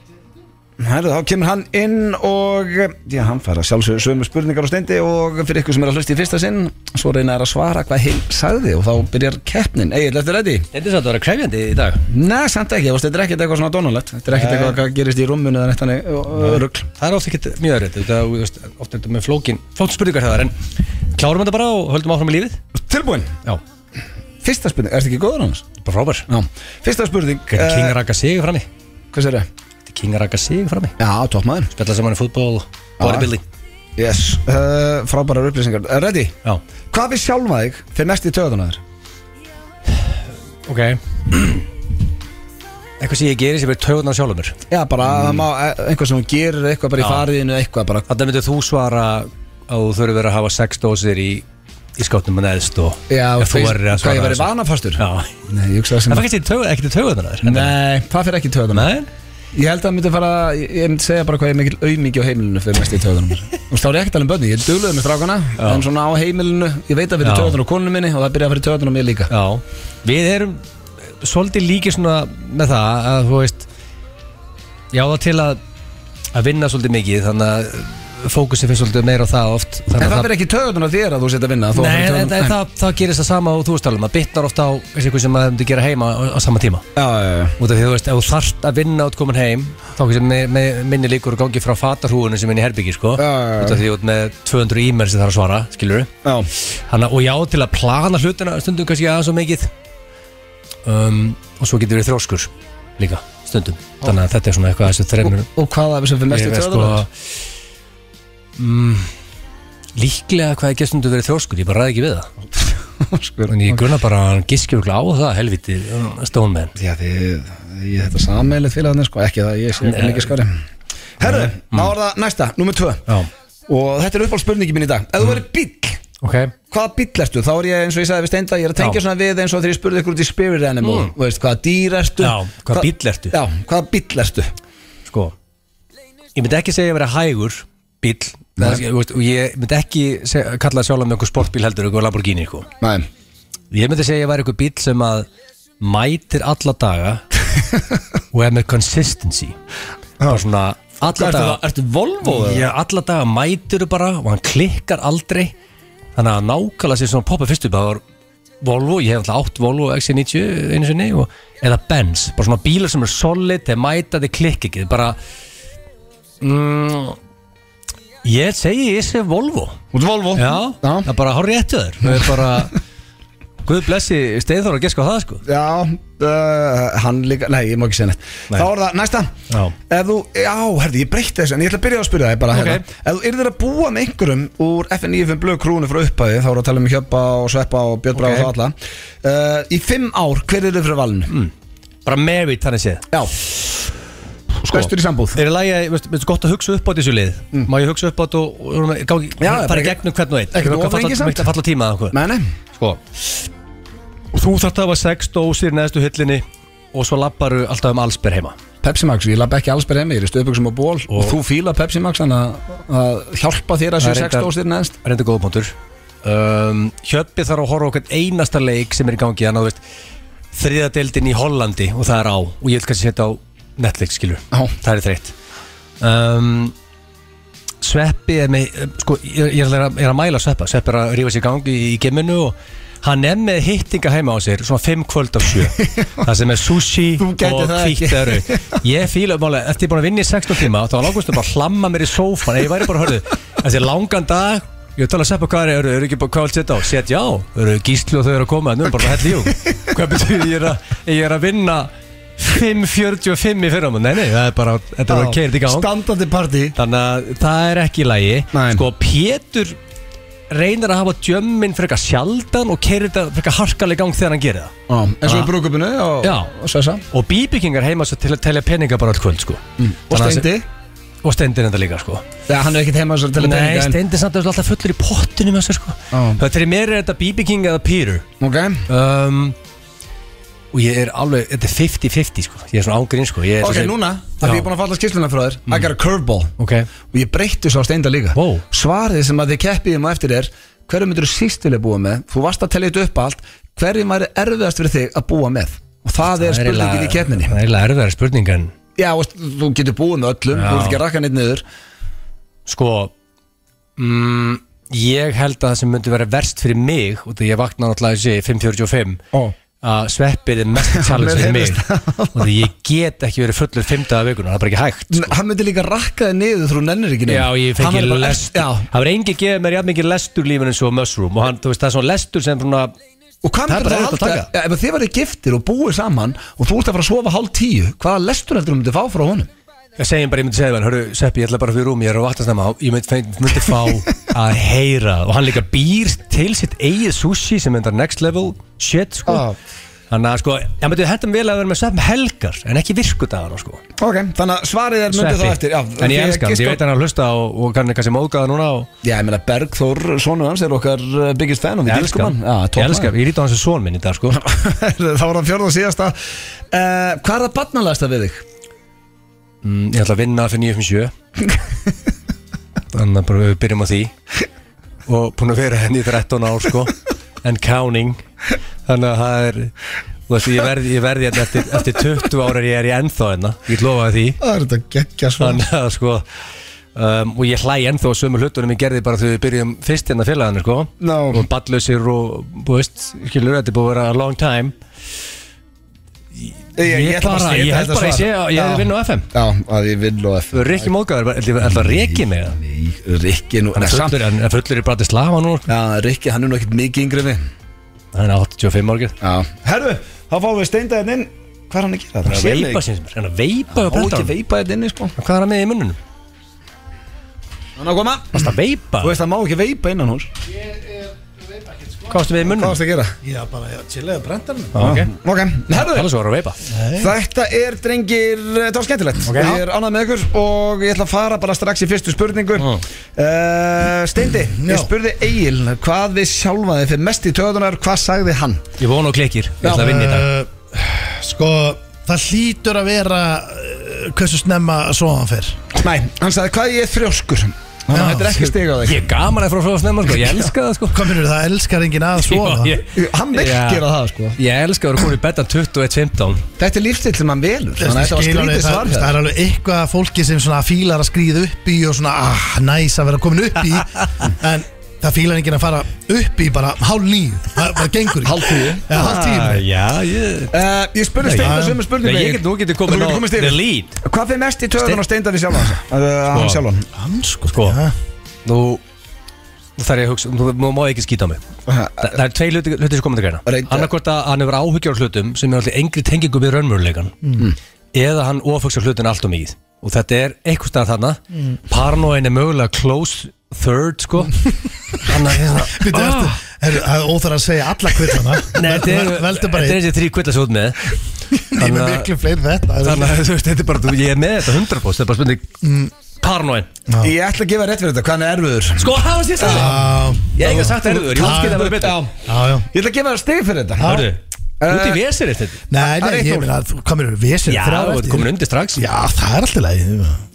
Herru, þá kemur hann inn og uh, já, hann fara sjálfsögur sömu spurningar á steindi og fyrir ykkur sem er að hlusta í fyrsta sinn svo reyna er að svara hvað hinn sagði og þá byrjar keppnin Egil, ertu ready?
Þetta er satt að vera krefjandi í dag
Nei, samt ekki, þú veist, þetta er ekkert eitthvað svona dónulegt Þetta er ekkert
Nei.
eitthvað hvað gerist í rúmmunni eða neitt hannig rugl
Það er ofta ekkert mjög öðrið Þetta þú veist, ofta er þetta með flókin Flótt spurningar það er en Klárum þetta bara og höldum áfram í lífið
Tilbúin
Já,
Fyrsta spurning, ertu ekki góður annars?
bara frábær
Já Fyrsta spurning eh,
Þetta er King Raka Sigur frammi
Hvað sér það?
Eh, Þetta er King Raka Sigur frammi
Já, toppmaður
Spjalla saman í fútból Bodybuilding
Yes uh, Frábærar upplýsingar uh, Ready?
Já
Hvað við sjálfa þig fyrir mest í töðuna þér?
Ok [CLEARS THROAT] Eitthvað sem ég gerir sem er taugun á sjálfur mér
Já, bara mm. má, eh, eitthvað sem hún gerir eitthvað bara í
Já.
fariðinu eitthvað bara
Þannig myndir þú svara að þú þurfur að hafa sex dósir í, í skátnum en eðst og
Já,
ef þú
veist,
verður
Hvað
að
ég
svara
verið
þessu.
vanafastur?
Já
Nei, ég hugsa það
En
sem
það fækist ekki taugun að þér
Nei, það fyrir ekki í töðuna
Nei
Ég held að það myndi fara, ég ég myndi segja bara hvað ég er mikill auðmikið á heimilinu fyrir mest í
[LAUGHS]
töðunum Þú veist, þá er ég ekkert alveg um börni, ég er duglegur með strákana En svona á heimilinu, ég veit að fyrir
Já.
töðunum og konunum minni Og það byrja að fyrir töðunum mér líka
Já, við erum svolítið líki svona með það að þú veist já það til að, að vinna svolítið mikið þannig að fókusin finnst svolítið meira á það oft
En
þannig
það
að
byrja ekki töðunum að þér að þú setja að vinna þó að
Nei,
fyrir
en, en,
töðunum-
en það, það gerist það sama og þú veist talum að bitnar ofta á eitthvað sem maður myndi gera heima á, á sama tíma
Já, já, já
út af því þú veist, ef þú þarft að vinna út komin heim þá kannski með, með minni líkur að gangi frá fatarhúinu sem er inn í herbyggi sko
Já, já, já.
út af því þú ert með 200 e-mail sem það er að svara skilur
Já,
Hanna, og já, til að plana hlutina stundum kannski aðeins og mikið um, og svo getur við þróskur líka stundum þannig að þetta er svona eitthvað að þessu þremur
og hvað af þessu fyrir mest í
Ég sko, er
töðunum?
mm, líklega hvað ég get stundum verið þróskur, ég bara ræði ekki við það [LAUGHS]
Skur.
en ég grunna bara að hann giskir örugglega á það um, helviti stónmenn
Já, þið, ég þetta sameilið félagarnir sko, ekki það, ég sé ekki mikið skari Herru, þá er það næsta, númer tvö
Mm. Já,
Og þetta er uppáld spurningi mín í dag Ef þú verið bíll,
ok
hvaða bíll ertu? Þá er ég eins og ég sagði við steinda, ég er að tengja
Já.
svona við eins og þegar ég spurði ykkur út í spirit animal mm. veist, Hvaða dýr ertu?
Já, hvaða
Hva-
bíll ertu?
Já, hvaða bíll ertu?
Sko, ég myndi ekki segja að vera hægur bíll Það- þú veist, og ég myndi ekki segja, kalla sjálf með einhver sportbíl heldur, einhver Lamborghini sko. eitthvað
Nei,
Ég myndi segja að ég væri eitthvað bíl sem að mætir alla daga og er með consistency bara svona alla
Ertu
daga
það- ertu Volvo eða?
Já, alla daga mætir bara og hann klikkar aldrei þannig að nákvæmlega sér svona poppa fyrst upp það var Volvo, ég hef alltaf átt Volvo XC90 einu sinni og, eða Benz, bara svona bílar sem er solid þeir mæta, þeir klikka ekki þeir bara mm, ég segi ég sé Volvo
út Volvo
Já,
Já.
það er bara hár réttu þér Það er bara Guð blessi Steinþór að geska á það sko
Já, uh, hann líka, nei, ég má ekki segja neitt
Nei.
Þá er það næsta
Já.
Ef þú, já, herði, ég breytti þessu En ég ætla að byrja að spyrja það bara
Ok.
hérna. Ef þú yrðir að búa með einhverjum úr FNIFM blöð krúnu frá upphæði Þá eru að tala um Hjöppa og Sveppa og Björn Braga
Ok.
og þá alla uh, Í fimm ár, hver er þau fyrir valinu?
Mm. Bara merit þannig séð
Já sko. Bestur í sambúð
Er í lagi, að- veistu, veistu gott að hugsa upp á þessu lið Má ég hugsa upp á þetta og, og, og, og, og,
Já,
og
bara
fara í
ekki-
gegnum hvern og einn
ekkert
Mér
of lengi
falla,
samt.
mér falla tíma að okkur
Nei, nei
Sko Og þú þarft að hafa sex dósir neðstu hillinni Og svo labbaru alltaf um allsber heima
Pepsi Max, ég lappa ekki alls byrja heimi, ég er í stöðböksum og ból og, þú fíla Pepsi Max hann að að hjálpa þér að
Það
sér
er
sex
reyndar-
dósir neðst
reynda góða punktur um, Hjöppi þarf að horfa okkur einasta leik sem er í gangi þannig að þú veist þriðadeldin í Hollandi og það er á og ég vil kannski setja á Netflix skilur
Já.
það er þreytt um, Sveppi er með um, sko, ég, ég er, að, er að mæla Sveppa Sveppi er að rífa sér í gangi í, í geminu og hann er með hittinga heima á sér svona fimm kvöld af
[LAUGHS]
sjö það sem er sushi
Þú gætir
og
það ekki.
kvítt eru ég fíla málega, eftir ég er búin að vinna í 16 tíma þá var langustum bara að hlamma mér í sófan ef ég væri bara að hörðu, þessi langan dag ég tala að seppa hvað er, eru, eru ekki bara hvað allt setja á set já, eru gísli og þau eru að koma en nú er
[LAUGHS]
bara hætti jú, hvað betur ég er að ég er að vinna 5.45 í fyrramund, nei nei, það er bara þetta er að keira í gang
Standandi party
Þannig að það er ekki í lagi
Nei.
Sko Pétur reynir að hafa djömmin frekar sjaldan og keirir þetta frekar harkalega í gang þegar hann gerir það
Já, eins og í
Ah.
brúkupinu og,
Já.
og Svessa
Og bíbyggingar heima svo til að telja peninga bara all kvöld sko
Og
Þannig að-
Steindi
Og steindir þetta líka sko
Já, hann er ekkert heima þessar til að
Nei,
peninga en-
steindir samt að alltaf fullur í pottinu með þessu sko
Já.
Það fyrir mér er þetta bíbygging eða Pírur
Ok,
um, Og ég er alveg, þetta er 50-50 sko Ég er svona ángrín sko ég, er
ok,
svo sem-
núna Það er ég búin að falla skýrsluna frá þér I got a curveball
Ok,
Og ég breytti svo á steinda líka
Vó.
Svarið sem að þið keppið um á eftir er Hverju myndur þú síst vilja búa með? Þú varst að tella þetta upp allt Hverju væri erfiðast fyrir þig að búa með? Og það er spurningin í keppninni
Það er eiginlega erfiðar spurning en
Já, veist, þú getur búið með öllum
Já.
Þú ert ekki að rakka neitt niður
Sko mm, Ég held að það sem myndi vera verst fyrir mig og því ég vakna náttúrulega þessi 5.45
Ó.
að sveppið er mest
[LAUGHS]
challenge fyrir mig
heyrist
og því ég get ekki verið fullur 5 dagar vikuna, það er bara ekki hægt
N- Hann myndi líka rakka þig niður þú nennir ekki niður
Já, ég
Hann
fengi
væri bara-
lest
Já,
Það var engi gefið mér jafn mikið lestur lífin eins og Mushroom og hann, þú veist, það er svona lestur sem svona
Og hvað
Það er
myndir
bara
það
erfitt að
halda? Ja, ef þið verður giftir og búið saman og þú ert að fara að sofa hálf tíu, hvaða lestur heldur þú myndir fá frá honum?
Ég segjum bara, ég myndi segja við hann, hörru, Sveppi, ég ætla bara fyrir rúm, ég er að vatna snemma Ég myndi, myndi
[LAUGHS]
fá að heyra Og hann líka býr til sitt eigið sushi sem myndar next level shit, sko
Ah.
Þannig að, sko, ég myndi hættum vel að vera með Sveppi helgar En ekki virkudagana, sko
Ok, þannig að svarið er myndið þá eftir. Já,
en ég elska hann, ég veit hann að hlusta Og, og hann er kannski móðgæða núna og,
Já, ég meina Bergþór, sonu hans, er okkar uh, biggest fan og við
Ég
elskum
elska
hann.
hann,
Já,
ég elska
[LAUGHS]
hann, ég líti á hans sem son minn í dag, sko
Eh, hann. þá var hann fjörð og síðasta. Uh, hvað er það barnalegasta við þig?
mm, Ég ætla að vinna fyrir
[LAUGHS]
957 Þannig að bara við byrjum á því Og búin að vera henni í 13 ár sko And counting Þannig að það er Þú veist, ég verði, ég verði hérna eftir, eftir 20 ára ég er ég ennþá hérna, ég get lofaði því
Það er þetta geggja svona
þannig að sko um, og ég hlæ ennþá að sömu hlutunum ég gerði bara þegar við byrjum fyrst hérna félaginu sko
Ná.
og ballausir og bú veist, skilur þetta er búið að vera a long time
Ég,
ég
ætla
bara-
að-
ég
ætla
held
að
bara að ég sé
svara.
að ég
Já.
hefði vinn á FM.
Já, að ég vinn og FM
Rikki Móðgæður, er þetta Rikki mig það?
Nei, Rikki nú
Hann er
samt-
fullur, hann er fullur í Bratislava nú sko.
Já, Rikki, hann er nú ekkert mikið yngri en við
hann er 85 árgið
Já Herru, þá fáum við steindaðið inn Hvað er hann að gera?
hann er að
Sér
veipa
mig.
sem sem hann er að veipa á
Ó, ekki
brendan
veipa þetta inni, sko
hvað er hann með í munnunum?
Hann er að koma
varst að veipa?
Þú veist, það má ekki veipa innan hús Hvað
hvað varst með í munnunum?
varst að gera?
Já, bara, já, chillega brendan
Ah, ok
Ok, herru
hann er svo að vera að veipa
Þetta er, drengir, þetta var skemmtilegt
Ok.
Ég er ánað með ykkur og ég ætla að fara bara strax í fyrstu spurningu
Mm.
uh, Steindi, ég
Já.
spurði Egil hvað við sjálfaði fyrir mest í töðunar, hvað sagði hann?
ég vona og klikir ég ætla að vinna í dag
uh, Sko, það hlýtur að vera uh, hversu snemma svo hann fer
Nei, hann sagði hvað ég er frjóskur Þannig að
Já.
þetta er ekki stiga á
ég
þig
er gaman að frá svo snemma sko ég elska það sko
Hvað myndir það elskar enginn
[LAUGHS]
að svo
Já, ég-
Hann virkir
Já.
að það, sko
Ég elska að vera komin í betan 21.15
Þetta er lífstill sem hann velur Þannig að þetta var skrítið svar sko.
það, það
hér
er alveg eitthvað að fólki sem svona fílar að skrýða upp í og svona ah, næs að vera komin upp
[LAUGHS]
í en það fílar enginn að fara upp í bara hálf nýju, það, það gengur
Hálf tíu.
ja, hálf tíu
Já, ég
Uh, ég spurði
Nei,
Steinda
já.
sömu
Nei,
spurningu
ég get nú getið
Þú
komin
getur
á
komist yfir.
The Lead
Hvað fyrir mest í töðunar Steinda við sjálfan uh, Hann
Sko.
sjálfan
Hann sko,
Sko.
ja.
Nú Nú þarf ég að hugsa Nú, nú má ég ekki skýta á mig Þa, Það er tvei hluti, hluti sem komandi greina
Reyndu.
Annarkvort að hann hefur áhyggjur á hlutum sem er alltaf engri tengingu við raunmöruleikan eða hann ofaksar hlutin allt og mikið og þetta er eitthvað stað þarna mm. paranoin er mögulega close third sko Þannig að hérna-
Býttu,
Ah.
ertu- er, Það er óþar að segja alla kvillana
[LAUGHS] Nei, þetta er
Veldu
þetta
bara
er
einn
þessi þrý kvilla svo út með
Ég er
Þannig
með
að-
miklu fleiri en þetta Það er-
Þannig að þú veist, þetta er bara, þú- ég er með þetta 100% þetta er bara spurning mm. paranoin
Ég ætla að gefa rétt fyrir þetta, hvað hann er erfiður
Sko, það var síðan
Já,
Ég hef ekki sagt erfiður, ég útskýrði það bara betur
já, já
Ég ætla að gefa það stig fyrir þetta
Hörðu, út í
Eh,
vesir eftir
Það
Nei,
er
nei,
eitt
ég
núll.
meina að þú komir yfir vesir
Já, þú ert komin undir strax
Já, það er alltaf
[LAUGHS]
leið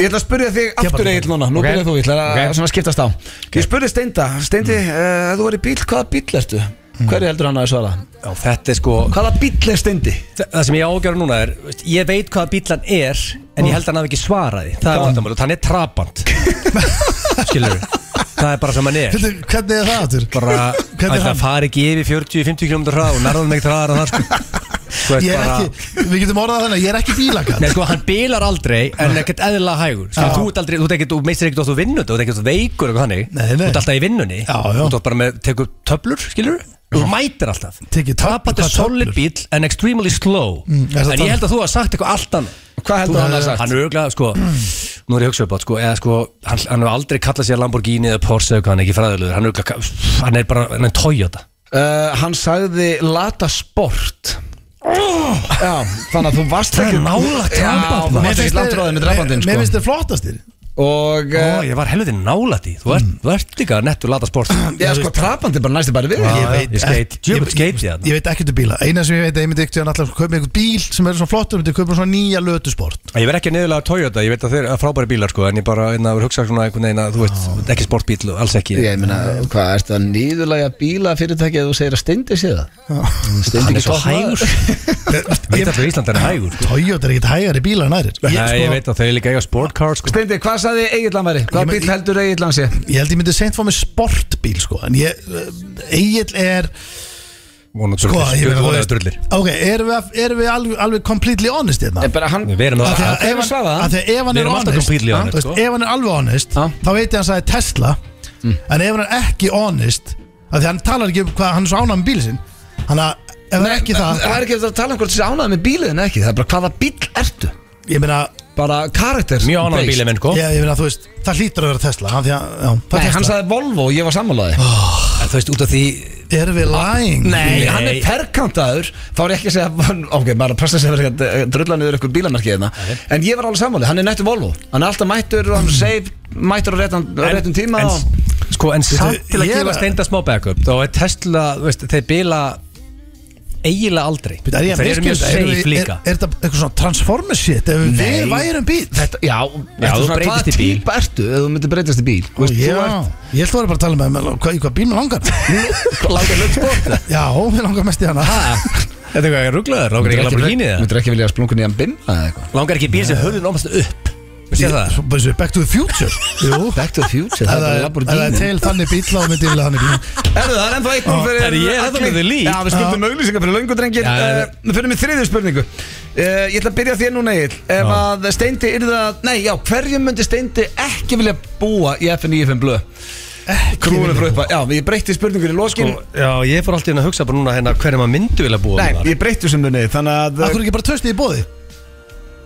Ég ætla að spurja þig aftur
bara-
Egil núna Nú
Ok.
byrjar þú, ég ætla að
Ok.
svona skiptast á Ég spurði Steinda, Steindi, uh, þú er í bíl, hvaða bíl ertu? Hverju heldur hann að svara?
Já, þetta er sko
Hvaða bíl er Steindi?
Þa- Það sem ég ágjör núna er, veist, ég veit hvaða bílan er En ég held að hann hafi ekki svaraði Það er vandamál, hann er trabant
[LAUGHS]
Skilur, það er bara sem hann er
Hvernig hvernig er það aftur?
Bara,
Hvernig er
ætla
hann?
að fara ekki yfir 40-50 km hraða Og nærðum ekki hraðar að það sko Þú veist,
Ég er
bara-
ekki, við getum orðað þannig, að ég er ekki bílakall
Nei sko, hann bilar aldrei en ekkert eðla hægur Skil, Þú ert aldrei, þú ert ekkert, þú meistir ekkert að þú vinnur Þú ert ekkert veikur eitthvað hannig
Nei, nei.
Þú ert alltaf í vinnunni
Já, já.
Þú ert bara með, tekur töflur, skilur Þú mætir alltaf
Tekið töflur,
Tapandi
hvað
solid
töflur?
bíl en extremely slow
Mm, er það
En ég
töflur?
held að þú hafa sagt eitthvað allt annað
Hvað heldur hann að hafa sagt?
Hann er auðvitað, sko, nú er ég að hugsa upp á, sko, eða sko, hann, hann hefur aldrei kallað sér Lamborghini eða Porsche eða hvað hann er ekki fræðilegur, hann er auðvitað, hann er bara, hann er Toyota.
Uh, hann sagði lata sport Já, þannig að þú varst
Það
ekki
er nálægt
Já,
tramband,
þú
maður.
varst
Mér
ekki
finnst
langt
þeir-
ráðið með drafandinn
Mér
sko.
finnst þið flottastir
Og
Ó,
uh,
ég var helviti nálætt í, þú ert, þú ert líka nettur lata sport.
Já, sko, trapandi bara næstu bara við
Já,
Ég
veit- ég skeit-
ekki-
djöfull
ég-
skeit ég þarna.
Ég veit ekkert um bíla Eina sem ég veit að ég myndi ekkert að alltaf kaupa einhvern bíl sem er svona flottur, myndi kaupa svona nýja lötusport
Ég verð ekki niðurlega Toyota, ég veit að þeir eru frábæri bílar sko, en ég bara einna, hugsa svona einhvern veginn að þú veist, ekki sportbíl og alls ekki
Ég meina,
eh,
hvað, ertu að nýðulega bíla fyrirtæki að þú segir að steindi sé það? Steindi
Hann er
ekki
svo
topp
[LAUGHS] hægur
maður.
Ég veit allir að Ísland er hægur sko.
Toyota er ekkert hægari bíla en aðrir
Nei,
ég,
ég
sko,
veit að þau líka eiga sportcar sko.
Steindi, hvað sagði Egillan væri?
Ég
Hvaða
meina-
bíl heldur Egillan sé?
ég held ég myndi seint fá mig sportbíl sko En ég, Egil er
Vona
sko,
drullir,
ég
Djöfull
þú
vona
veist-
drullir
Ok, erum við, erum við alveg, alveg completely honest hérna?
En bara hann
Við erum
Af því
það
að ef hann-
svaraði það.
af því að ef hann
Við
er
erum alltaf
honest
completely
ha?
honest,
Þú veist,
sko.
ef hann er alveg honest
Já.
þá veit ég að hann sagði Tesla en ef hann er ekki honest af því að hann talar ekki um hvað hann er svo ánað með bíl sinn hann að ef hann er ekki það
Það er ekki eftir að tala um hvort þessi ánæði með bíliðin ekki Það er bara hvaða bíl ertu?
ég meina
Bara karakter
Mjög ánægð með bílið minn sko.
ég, ég meina þú veist það hlýtur að vera Tesla af því að já
Nei,
það er
hann
Tesla
sagði Volvo og ég var sammálaði
En Þú veist, út af því
erum við lying
Nei, hann er
Nei.
perkantaður Þá er ég ekki að segja [LAUGHS] Ok, maður er að passa sig að vera ekki að drulla niður eitthvað bílamarkið hérna En ég var alveg sammálaði, hann er nættur Volvo Hann er alltaf mættur og hann seif Mættur á réttan- á réttum tíma
en,
og-
Sko, en samt til að
ég er
gefa
að-
steinda smá backup þá er Tesla, þú veist, þeir bila eiginlega aldrei
Bíddu, Er ég að
Þeir eru mjög
misskilja þetta? Erum
safe
við-
líka
Er er þetta eitthvað svona transformer shit Ef við
Nei.
værum bíl
Þetta, já,
Já,
ertu
þú
svona, hvaða
breytist í bíl.
típa ertu ef þú myndir breytast í bíl Þú veist,
Já,
þú ert-
ég held að vera bara að tala með með- hvað, í hvað bíl mér langar
Hvað langar lögt sport
Já, mér langar mest í hana
Þetta er eitthvað ekki rugglaður, langar ekki alveg línið það
Myndir ekki vilja að splunga nýjan bimba eða eitthvað
Langar ekki bíl sem höfðin ómast upp Við séð það
Svo bara eins og Back to the future Jú
Back to the future,
Ef
það er bara
það er- ef það er
Lamborghini
til þannig bíl þá myndi ég vilja þannig
[LAUGHS]
bíl
Erðu það, er ennþá eitt núl fyrir
Herri, ég er ennþá með þau líf.
Já, við skuldum auglýsingar fyrir löngu drengir
Já,
Við
já, já.
uh, fyrir með þriðju spurningu uh, Ég ætla að byrja þér núna Egil Ef að Steindi yrði að, nei já, hverjum myndi Steindi ekki vilja búa í FNIFM blöð? Krúinu frá uppa, já, ég breytti spurningur í loskin
Sko, Já, ég fór alltaf inn að hugsa bara núna hérna hverju maður myndu vilja búa
Nei,
þar.
ég breytti sem munni, þannig að
Akkur ekki bara töstið í
[LAUGHS]
bóði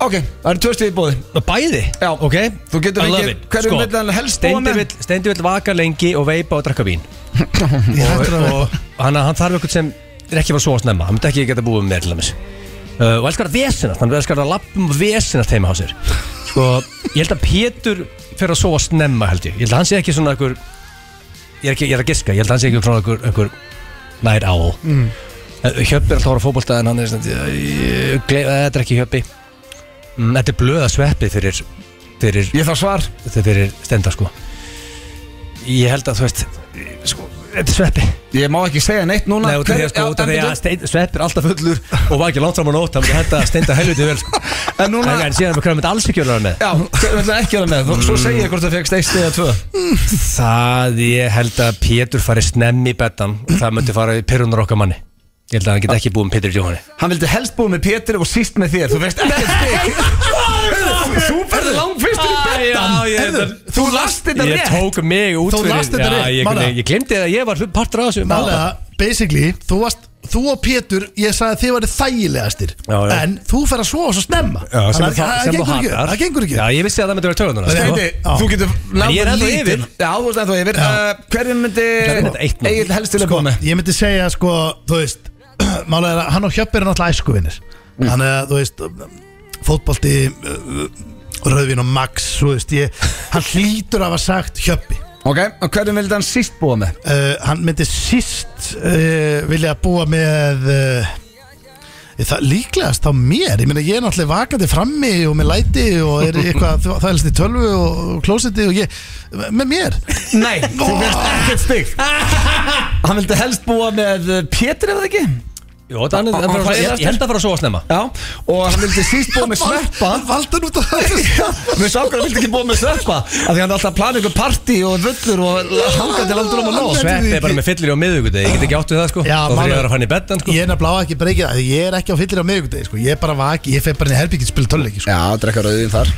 Ok, það eru tvö stið í bóði
Bæði?
Já.
Ok
Þú getur
I love
fengið-
it. Sko,
hverju Sko, vill hann helst búa
Steindi
með?
vill- Steindi vill vaka lengi og veipa og drakka vín
Ég hættur að
og hann, hann þarf eitthvað sem er ekki bara svo að snemma hann myndi ekki geta búið með mér til dæmis uh, og elskar að vesinast, hann elskar að lappum og vesinast heima á sér sko, ég held að Pétur fer að svo að snemma held ég, ég held að hann sé ekki svona einhver ég er, ekki, ég er að giska, ég held að hann sé ekki frá einhver, einhver nær á mm. Hjöppi er alltaf að hóra fótbolta en hann er svona "Ég- ég gleymi- þetta er ekki Hjöppi mm, þetta er blöða sveppi fyrir, fyrir
Ég þarf svar
þetta er fyrir stenda sko ég held að þú veist sko, þetta er sveppi
Ég má ekki segja neitt núna
Nei, út af því
Hver-
að sko,
já,
út af
en
því að
byrju.
stein- svepp er alltaf fullur og var ekki langt fram á nót þannig að þetta steinda helviti vel sko.
En núna-
en, en síðan er við kræmum þetta alls ekki að vera með
Já, við ætlum ekki að vera með Svo segja ég hvort það fegst eitt stið eða tvö
það ég held að Pétur fari snemm í betan og það myndi fara í pyrrunar okkar manni ég held að hann get ekki búið um Pétur Jóhanni
Hann vildi helst búið með Pétur og síst með þér Þú fegst ekki eitt stið Þú ferði langfyrstur í betan
já, ég-
Heyrðu, Þú last þetta
ég
rétt
tók mig út
Þú last þetta rétt,
já, ég,
málega.
ég, ég glemdi að ég var hlut partur af þessu
Málega, basically, þú, varst, þú og Pétur, ég sagði að þið væri þægilegastir
Já, já.
En þú fer að sofa svo snemma
Já, sem,
Þannig
það,
að
sem þú
gengur ekki,
hatar
Það gengur ekki
já, ég vissi að það myndi vera tölunar
Nei,
Steindi,
Já.
þú getur náð
ég er ennþá
lítinn-
yfir.
Já, þú veist ennþá yfir
Já.
Uh, Hverjum myndi
er þetta eitt núll.
Egil helst til að
sko,
búið með
Ég myndi segja, sko, þú veist [CLEARS THROAT] Málega er að hann og Hjöpp eru náttúrulega æskuvinir
Mm.
Þannig að, þú veist, fótbolti uh, Rauðvin og Max, þú veist ég, Hann hlýtur af að hafa sagt Hjöppi
Ok, og hverjum vildi hann síst búið með?
uh, Hann myndi síst uh, vilja búa með uh, það, Líklegast á mér Ég meina ég er náttúrulega vakandi frammi og með læti og er eitthvað það helst í tölvu og og klósetti og ég með mér
Nei, þú fegst ekkert stig [LAUGHS] Hann vildi helst búa með uh, Pétur ef það ekki?
Jó, það er- það er bara- ég ég held að fara að sofa snemma
Já, og hann vildi síst búa með sveppa
Hann valdi hann út á [LAUGHS] þessu
Mér sá okkur að vildi ekki búa með sveppa Af því hann er alltaf að plana ykkur partí og völlur og hanga til landur um að nóg
Sveppi er bara með fyllir á miðugudegi, ég get ekki áttu það sko
Já,
Þá þarf ég
málega.
að vera að fara inn í beddan sko
Ég er nefnilega á ekki breykið það því Ég er ekki á fyllir á miðvikudegi sko. Ég er bara vaki, ég fer bara inn í herbyggin spil tölvleiki sko.
Já, drekka rauðin þar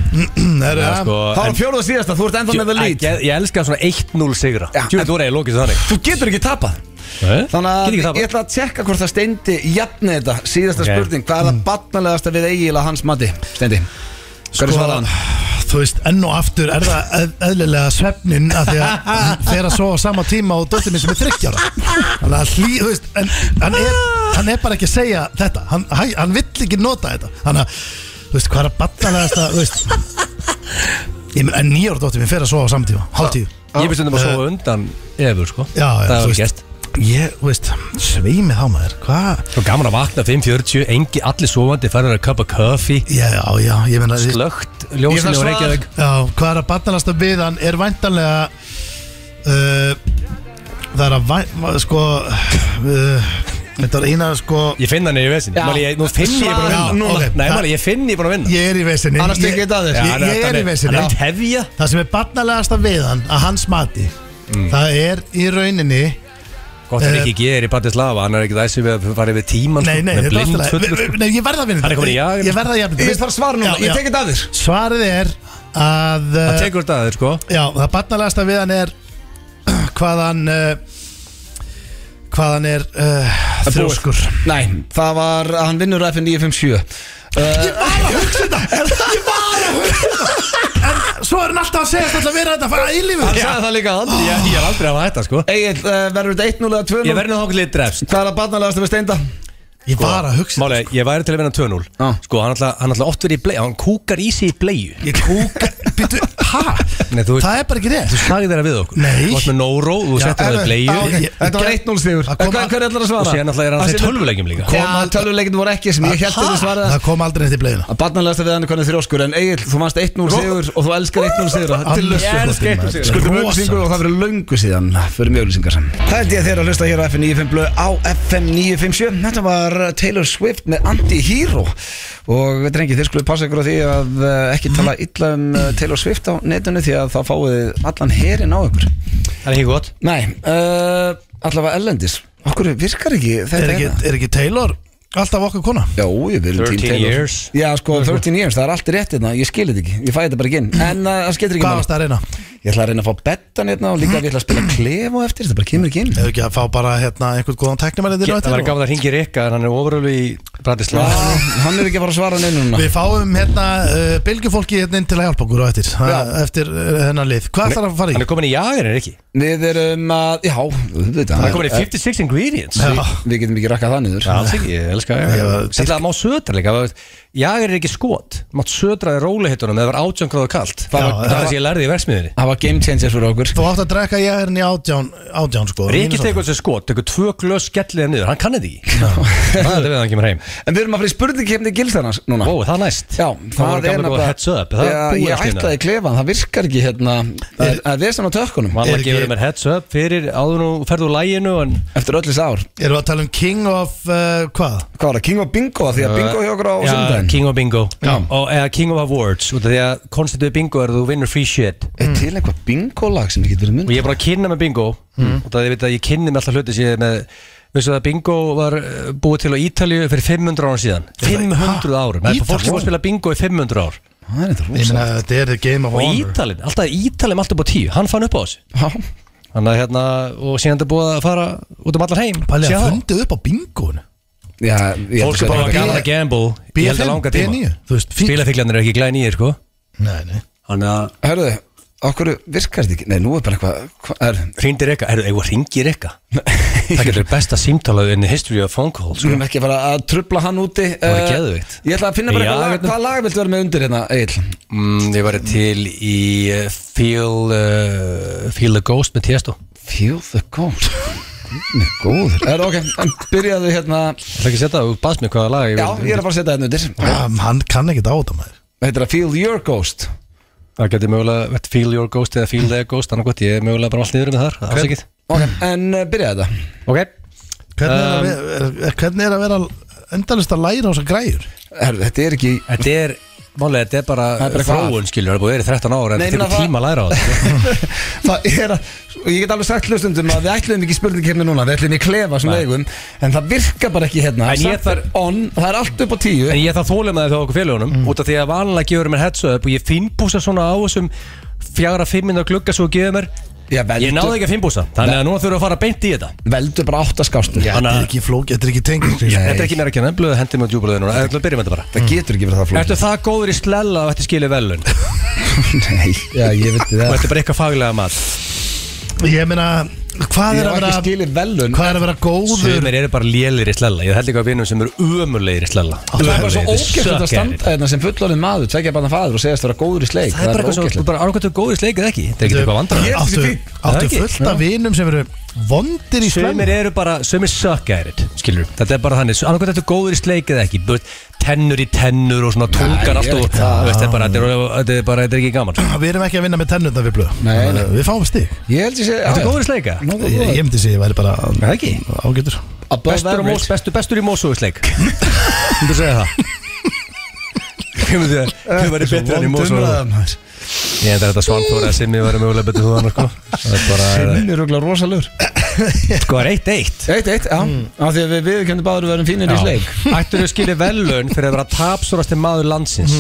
Það eru
Já, sko,
Það var
en-
fjóruð og síðasta, þú ert ennþá með það
Ég-
lít
Ég ég elska svona 1-0 sigra
Já,
Tjúrið voru eiginlega lókist þannig
Þú getur ekki tapað Þannig að ég ætla að tjekka hvort það steindi jafni þetta Síðasta
Ok.
spurning, hvað er það batnalegasta við eiginlega hans mati? Steindi, hvað er svaraðan?
Sko, Þú veist, enn og aftur er það eð- eðlilega svefnin að því að hún fer að sofa á sama tíma og dóttir minn sem er 30 ára Þannig að hlý, þú veist, en hann er, hann er bara ekki að segja þetta Hann, hæ- hann vill ekki nota þetta Þannig að, þú veist, hvað er að battalegast að, þú veist Ég menn, en nýjára dóttir minn fer að sofa á sama tíma, hálf tíu
Ég finnst þetta bara svo undan efur sko
Já, já,
Það
þú
var
veist.
gæst
Ég, þú veist, sveimi þá maður, hvað?
Svo gaman að vakna 5.40, engi, allir sofandi, færður að köpa kaffi
Já, já, já, ég menn
Sko,
að
Ég
Glögt,
ætla
ljósinu
að
og
svara-
reykjaðug
Já, hvað er að barnalasta við hann er væntanlega uh, Það er að vænt, sko uh, Þetta er eina, sko
Ég finn hann í vesin
Já.
Máli, ég, Nú finn ég búin að
Svara
vinna
núna.
Nei,
Það-
máli, ég finn ég búin að vinna
Ég er í vesinni
Annars tekur ég þetta að þér.
Ég,
Já, hann
ég,
hann
er í vesinni
Hann er tefja
Það sem er barnalegasta við hann, að hans mati
Mm.
Það er í rauninni
Gott er
Eh,
ekki gerir í Bratislava Hann er ekki þessi við að fara yfir tíman
Nei, nei,
með
þetta er
blind
alltaf
fullur,
leið.
sko.
Nei, ég verða að vinna
Hann er
þetta.
komin í jagir.
Ég verða að jafna
Ég þarf að svara núna,
Já, já.
ég tek þetta að þér
Svarið er að
Hann
uh,
tekur þetta að þér sko
Já, það barnalegasta við hann er [CLEARS THROAT] hvað hann uh, hvað hann er uh, þrjóskur
Nei, það var að hann vinnur FN 957
Ég var að hugsa þetta Ég var að hugsa þetta En svo er hann alltaf að segja þetta að vera þetta að fara í
Hann
lífið
sagði það líka að
Ég ég er aldrei að hafa þetta sko
Egil, eh, verður þetta 1-0 eða
Ég
2-0?
verði nú þangað til ég drefst
Hvað er að batnalegasta við steinda?
Ég var
Sko,
að hugsa sko.
Máli, ég væri til að vinna 2-0
Já.
Sko, hann alltaf, hann alltaf oft verið í bleið Hann kúkar í sig í bleiðu
Ég kúka Býtu, ha?
Nei, þú veist-
það er bara ekki rétt
Þú sagði þeirra við okkur
Nei.
Þú varst með Nóró, þú
Já,
settir
en-
það í bleiðu
já, ok.
Þetta var 1-0 sigur Eh,
Það kom
Hvað
að-
hver ætlar að svara?
Og síðan alltaf er hann
Það
þeir
sem-
tölvuleikjum líka
Já, tölvuleikin voru ekki sem ég held að þú svaraði
Það kom aldrei neitt í bleiðina
Að barnalegasta við hann er konið þrjóskur En Egil, þú mannst 1-0 sigur og þú elskar 1-0 sigur og- Til
Annars
lössu
er þetta maður.
Skuldum
Rosa.
auðvisingu og það fyrir löngu síðan fyrir mjög auðvisingar Það held ég að þeir að hlusta hér á FM 95 blöð á FM 957 Þetta var Taylor Swift með Anti-Hero og drengi þeir skulle passa ykkur á því að eh, ekki tala illa um eh, Taylor Swift á netinu því að þá fáið þið allan herin á ykkur
Það er ekki gott
Nei, uh, allavega ellendis Okkur virkar ekki
er
þetta
ekki,
hérna?
er ekki Taylor alltaf okkar kona?
Já, ég vil
13 years.
Já, sko, 13 years, það er allt rétt hérna Ég skil þetta ekki, ég fæ þetta bara ekki inn En uh, það skilur ekki
Hvað
máli.
varst það að reyna?
Ég ætla að reyna að fá bettan hérna og líka við ætla að spila klef og eftir, þetta bara kemur ekki inn
Hefur ekki að fá bara hérna, einhvern góðan teknimæri
Það var gaman að ringi Rikka en hann er ofurölu í Bratislava
Já, Ah, hann er ekki að fara að svara neina núna
Við fáum hérna uh, bylgjufólki hérna inn til að hjálpa okkur á eftir
Já.
Eftir uh, hennar lið Hvað þarf að fara í?
Hann er komin í jagerinn, ekki?
Við erum að, já, auðvitað
Hann er komin í 56 ingredients
Já.
Eh, Við getum ekki rakkað það niður Eh,
Já, Alls ekki, ég elska
Já,
jagerinn
dýrk.
Sennlega má södra líka þú veist, Jagerinn er ekki skot Mátt södra í rólihittunum eða var átjöngráðu kalt Það
Já,
var
það-
það sem ég lærði í versmiðinni
Það var game changer fyrir okkur
Þú átt að drekka ég hérna í átján, átján sko
Rikki tekur þessi skot, tekur tvö glös skelliða niður Hann kannið því Það er við að hann kemur heim
En við erum að fara í spurningkefni gildarnas núna
Ó, það er næst
Já,
var
það er hérna
gamla góða heads up, það er
Já,
búið
Ég
að skilja.
ætlaði klefa, það virkar ekki hérna Það er- það er svona á tökkunum
Vanlega
Er ekki-
gefur mér heads up fyrir áður nú ferðu úr læginu en
Eftir öllis ár
Erum við að tala um King of uh, hvað?
Hvað var það, King of Bingo? Því að Bingo hjá okkur á
Já,
sundaginn
King of Bingo
Já.
og, eða King of Awards út af því að konstitúi bingo er að þú vinnur free shit
Er til eitthvað bingo lag sem ég get verið mynd?
og ég er bara að kynna með bingo
Mm.
og það ég veit að ég kynni með alltaf hluti sem ég er með Veistu það að bingo var eh, búið til á Ítalíu fyrir 500 ára síðan 500 árum, það er bara fólk sem var að spila bingo í 500 ár
Það er eitthvað
Ég
rosa
meina þetta er the game of
Og
honor
Ítalinn, alltaf Ítalinn alltaf búið 10, hann fann upp á þessu
Já,
Þannig að hérna, og síðan þetta er búið að fara út um allar heim
Palli
síðan
að
þá.
fundið upp á bingoinu
já ég held
Fólk
að
er bara
þetta-
gaman að gamble Ég held
B5,
að langa
B9
tíma
Þú veist, fínt
Spilafíklandir er ekki glæði nýjir sko
Nei, nei
Þannig að
Hörðu, okkur virkar þetta ekki Nei, nú er bara eitthvað hva, er,
Hringdi Rekka, er það hringir Rekka?
[LAUGHS]
Það getur besta símtalaðu in the history of phone calls
Skulum ekki fara að trubla hann úti
Það var
Eh,
geðveikt.
Ég ætla að finna bara
Já,
eitthvað lag
hérna.
Hvaða lag viltu vera með undir hérna, Egil?
mm, Ég var til í uh, Feel uh, Feel the Ghost með Tiesto
Feel the Ghost Með góður Er ok, en byrjaðu hérna Já,
Það ekki setja það, þú baðst mér hvaða lag
ég er að fara að setja hérna undir
um, Hann kann ekki á þetta maður
Heitir það Feel Your Ghost
Það getur mögulega vett Feel your ghost eða Feel the ghost Þannig gott, ég er mögulega bara allt niður með þar Það er sækitt
Ok, en eh, byrjaðu þetta
Ok
Hvernig, er,
Um,
að vera, er- er, hvernig er að vera endalist að læra á þessar græjur?
Herðu, þetta er ekki
Þetta er, málega, þetta er bara,
Það er bara eitthvað
þróun skilur Það er búið að vera í 13 ára en
Nei,
það tekur
meina það-
tíma að læra á
[LAUGHS]
þetta
það er að, og ég get alveg sagt hlustundum að við ætlum ekki spurningkefni núna, við ætlum í klefa sem eigum, en það virkar bara ekki hérna
En ég
Samt er on, það er allt upp á tíu
En ég þarf þólum að það hjá okkur félagunum
Mm.
út af því að vanlega gefur mér heads up og ég finnbúsa svona á þessum fjara fimminna glugga svo gefur mér
Já, veldu,
Ég náði ekki að finnbúsa þannig að núna þurfum við að fara beint í þetta
veldu bara átt að skástu
Þetta
Þannig
er
að
ekki flók, þetta er ekki tengið
þetta er ekki mér að kenna blöðu hendi mig á djúbulöðu núna Þetta byrjum við þetta bara
það getur ekki verið það flókið
Ertu það góður í slella og þetta skilja velun
[LAUGHS]
og
Nei, já, ég veit það
þetta er bara eitthvað faglega mat
Ég meina, hvað
Ég
er að
hef ekki
vera
skilið velun
Hvað er að vera góður
Sumir eru bara lélir í slella Ég held líka að vinum sem eru ömurlegir í slella
Það er bara svo
Ömurlegir,
ógæft að
suck at
standa
it.
hérna sem fullorðin maður, tvekja bara faður og segjast að vera góður í sleik
Það er bara eitthvað svo,
ógeðslegt.
þú bara annarkvæmt er góður í sleik eða ekki Þetta er ekki eitthvað vandrar
Ég-
Áttu,
fínt.
Það er
áttu
ekki,
fullt af vinum sem eru vondir í
Sumir
slömmir
eru bara, sumir sökka er þetta, skilur Þetta er bara þannig, annarkvæmt þetta er góður í sleik eða ekki but, Tennur í tennur og svona tungar
ég
allt og
veit
þú veist, Þetta er bara, þetta er- þetta er bara, þetta er ekki gaman Þetta
Við erum ekki að vinna með tennutna við blöð
Nei, nei.
Við fáum stig
Ég held ég segi
er góður í sleika
Nógu
Ég
góður.
ég myndi segja að ég væri bara
Það ekki
ágætur
Above
Bestur, á mós,
average
bestur, bestur í mósu í sleik Þú segja það Hvað myndi það, hvað væri betur enn í mósu
Minn
Ég endur þetta svanþóra að Simmi væri mögulega betur þú hann sko. Það er bara,
er röglega rosalur
sko er eitt eitt
Eitt, eitt, já
Mm.
Af því að við viðkjöndum báður að vera fínir í sleik
Ættur þú skilja velun fyrir að vera tapsórasti maður landsins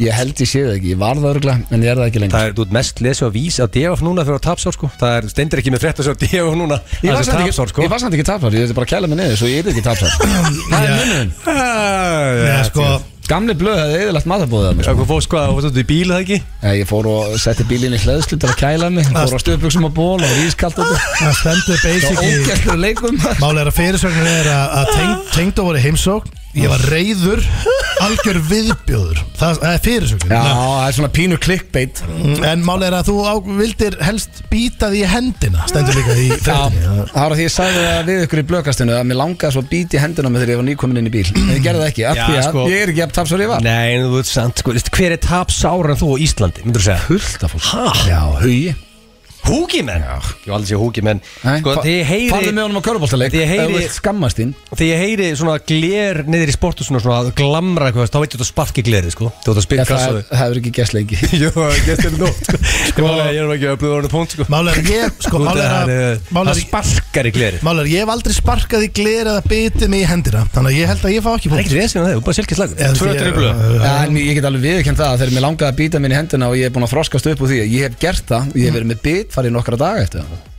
Ég held ég sé það ekki, ég var það örgulega en ég er það ekki lengur
Það er, þú ert mest lesið á vís á DF núna fyrir að tapsár sko Það er, stendur ekki með fréttas á DF núna
Ég var,
Það
samt
er
ekki,
tapsár sko
ég var samt ekki tapsar, ég er bara að kæla mig niður svo ég er ekki
[COUGHS]
tapsar Það er munum
Ah,
Nei, sko
Gamli blöð hefði eðilagt matabóðið að mér sko.
Hvað fórst hvað, fórst þú í bíl það ekki?
Nei, Ég fór og setti bílinn í hleðslu til að kæla mig Fór á stöðbuksum á ból og ískalt og þetta
Það stendur
Það var
basically
ógæstur leikum
Málega er að fyrirsögnir er að, að teng, tengdó voru í heimsókn Ég var reyður, algjör viðbjóður Það, það er fyrirsögnin
Já, það er svona pínu clickbait
En málið er að þú á, vildir helst býta því í hendina Stendur líka í
Já,
fréttinni
það var að því ég sagði það við ykkur í blökastinu að mér langaði svo að bíti hendina með þegar ég var nýkomin inn í bíl En ég gerði það ekki, af
Já,
því að
sko.
ég er ekki jafn tapsar ég var
Nei, en þú veit samt, sko, veist, hver er tapsára en þú á Íslandi, myndur þú segja?
Hulta fólk
Hæ?
Já, hugi
Húkimenn? Já, ég var aldrei sé húkimenn Sko, þegar ég
Farðu með
heyri,
honum á köruboltaleik
Því ég heyri-
Ef þú vilt skammast þín
þegar ég heyri svona gler niður í sportusinu og svona að glamra eitthvað, þá veit ég þetta sparki glerið, sko Þú veit að
Já,
spyrja
Það [LAUGHS]
kassaðu
það hefur ekki gerst lengi
Jó, gæst þetta nótt, [LAUGHS] sko Ég var alveg- ég er nú ekki að upplöða orðinu punkt, sko
Málið er að ég, sko,
Þú
málið
veit
er að
að það er-
Málið
Það
er að
sparkar í glerið
Málar, ég hef aldrei sparkað í gler eða bitið mig í hendina Þannig að ég held að ég fá ekki
Það
punkt
er ekkert vesinn að það, þú er bara silkið slagur
Eða
Tvö
því-
driblu
Já, en ég get alveg viðkjönd það að þegar mér langaði að býta mér í hendina og ég er búin að þroskast upp úr því ég hef gert það, ég hef verið með bit farið nokkra daga eftir það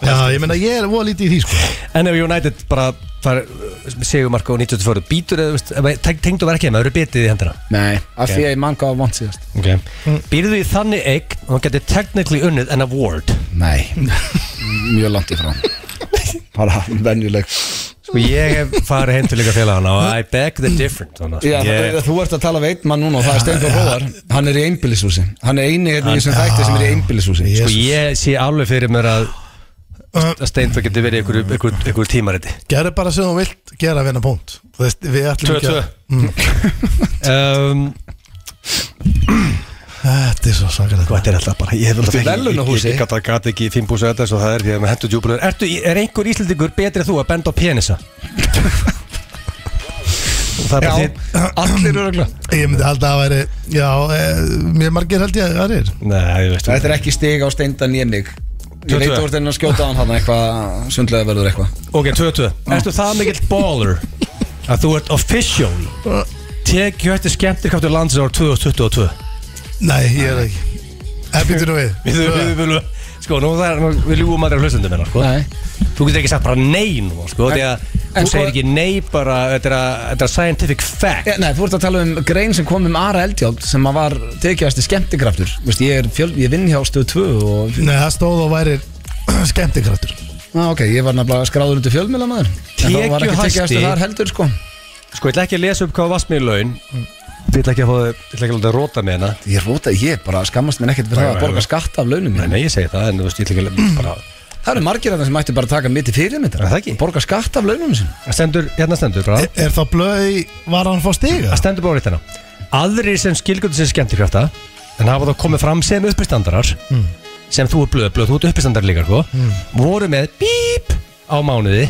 Já, ég meina ég er voða lítið í því, sko
En ef United bara fær uh, segumarka og 94 Býtur eða, þú veist, tengdu verið ekki með, það eru bitið í hendina
Nei, af því að ég manga á vant síðast
okay. Býrðu því þannig eign og hann geti technically unnið an award
[LAUGHS] Nei, mjög langt í frá Bara venjuleg
Sko ég hef farið heim til líka félagana og I beg the different þannig,
Já,
að,
yeah.
sko,
þú ert að tala við einn mann núna og það er Steindur Róðar Hann er í einbýlishúsi Hann er eini hérna í þessum þætti sem er í einbýlishúsi
Ég- Uh,
ég, sko ég sé alveg fyrir mér að að Steinfjörn geti verið í einhverju- einhverju einhverju tímariti
Gerðu bara sem þú vilt gera að vinna punkt Þú veist, við ætlum ekki að Mm,
um,
Ehm,
Þetta er svo
Sko
svakalegt
þetta er alltaf bara Ég hef alltaf
Þetta er verðlaunahúsið.
Ég gata gata ekki í fimm búsa þetta svo það er því að með hendur djúbulur Ertu, er einhver íslendingur betri en þú að benda á penisa? það
Já,
er bara þitt
allir eru regla
Ég myndi held að það væri Já, e, mér margir held ég að það er
Nei, ég veist
Þetta er ekki stig á Steindan ég mig Ég
22.
veit að þú ert enn að skjóta á hann hann eitthvað Sundlega verður eitthvað
Ok, 22 Ertu það mikill baller að þú ert official
Uh.
tekið eftir skemmtirkáttur landsins ára 2022
Nei, ég er það ekki En býttu nú
[LAUGHS]
við
Við við viljum Sko, nú það er, nú- við ljúum aldrei hlustendum hérna, sko
Nei.
Þú getur ekki sagt bara nei nú, sko Því að
en
þú
sko-
segir ekki nei bara, þetta er að- þetta er að scientific fact
Ja, nei, þú ert að tala um grein sem kom um Ara Eldjáld sem að var tekiðast í skemmtikraftur Vist, ég, er fjöl, ég vinn hjá stöð 2 og
Nei, það stóð og væri [CLEARS THROAT] skemmtikrættur
ah, ok, ég var nefnilega skráður undir fjölmjöla maður En það var ekki
Tekjuhæsti-
tekiðast þar heldur sko
Sko, ég ætla ekki að lesa upp hvað vastmið í laun
Mm.
Ég ætla ekki að fá þau, ég ætla ekki að láta þau róta með hérna
Ég róta, ég bara skammast mér ekkert fyrir það að borga skatta af launum
Nei,
mínum.
nei, ég segi það, en þú veist, ég ætla ekki að bara
Það eru margir af þeim sem ættu bara að taka mitt í fyrirmyndar
Er það ekki?
Borga skatt af launum sin
Stendur, hérna stendur, bara
Er, er þá blöði, var hann að fá stiga?
Það stendur bara á réttina Aðrir sem skilgjöndu sér skemmtikrafta En hafa þá komið fram sem uppistandarar
Mm.
Sem þú er blöð, blöð, þú ert uppistandar líka sko, Voru með bíp Á mánuði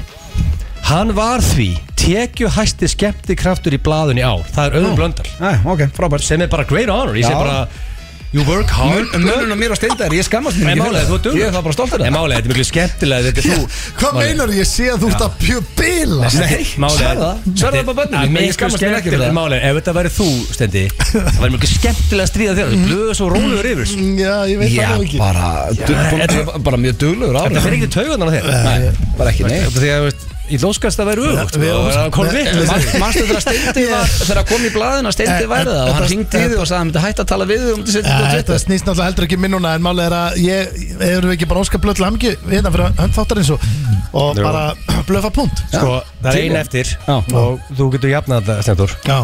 Hann var því tekju hæsti skemmtikraftur Í blaðun í ár, það er auðvitað blöndal
Nei, ok, frábært
Sem er bara great honor Ég sé
Ah. Já.
bara, you work hard
Mörnum um mér og steindar, ég skammast mér
En
ekki
málega,
fyrir
þú ert duglegur.
Ég er það bara stoltur
En
af
málega, þetta er miklu skemmtilega
[LAUGHS]
Þetta er þú
Hvað meinar ég sé að þú ert að pjö bila?
Nei,
sverða
málega
það. Sverða það bara börnum, ég
Mér
skammast
skammast
mín
mér
ekki
ekki
fyrir það.
Málega, ef þetta væri þú,
[LAUGHS]
Stendi Það væri miklu skemmtilega að stríða þér Blöðu svo rólegur yfir
Já, ég veit
Já,
það nú ekki
bara, du, bara, bara mjög duglegur á
Það fyrir ekki taugan á þér
Nei, Eh, bara ekki nei
Þetta því að, veist, í lóskast það væri öfugt sko,
við-
Það væri að koma
Nei,
vitt
Manstu þegar [LAUGHS] Steindi var, þegar kom í blaðina Steindi væri það og hann ringdi í þig og sagði hann myndi hætta að tala við þig og myndi setja
Ja,
eh, þetta á
þetta
Twitter
snýst náttúrulega heldur ekki minnuna en málið er að ég, erum við ekki bara óskar blöð til hamingju hérna fyrir hönd þáttarins og, og
Jú.
bara blöfa punkt
Sko, það er
til-
ein eftir
Já.
Og þú getur jafnað þetta, Stendur
Já,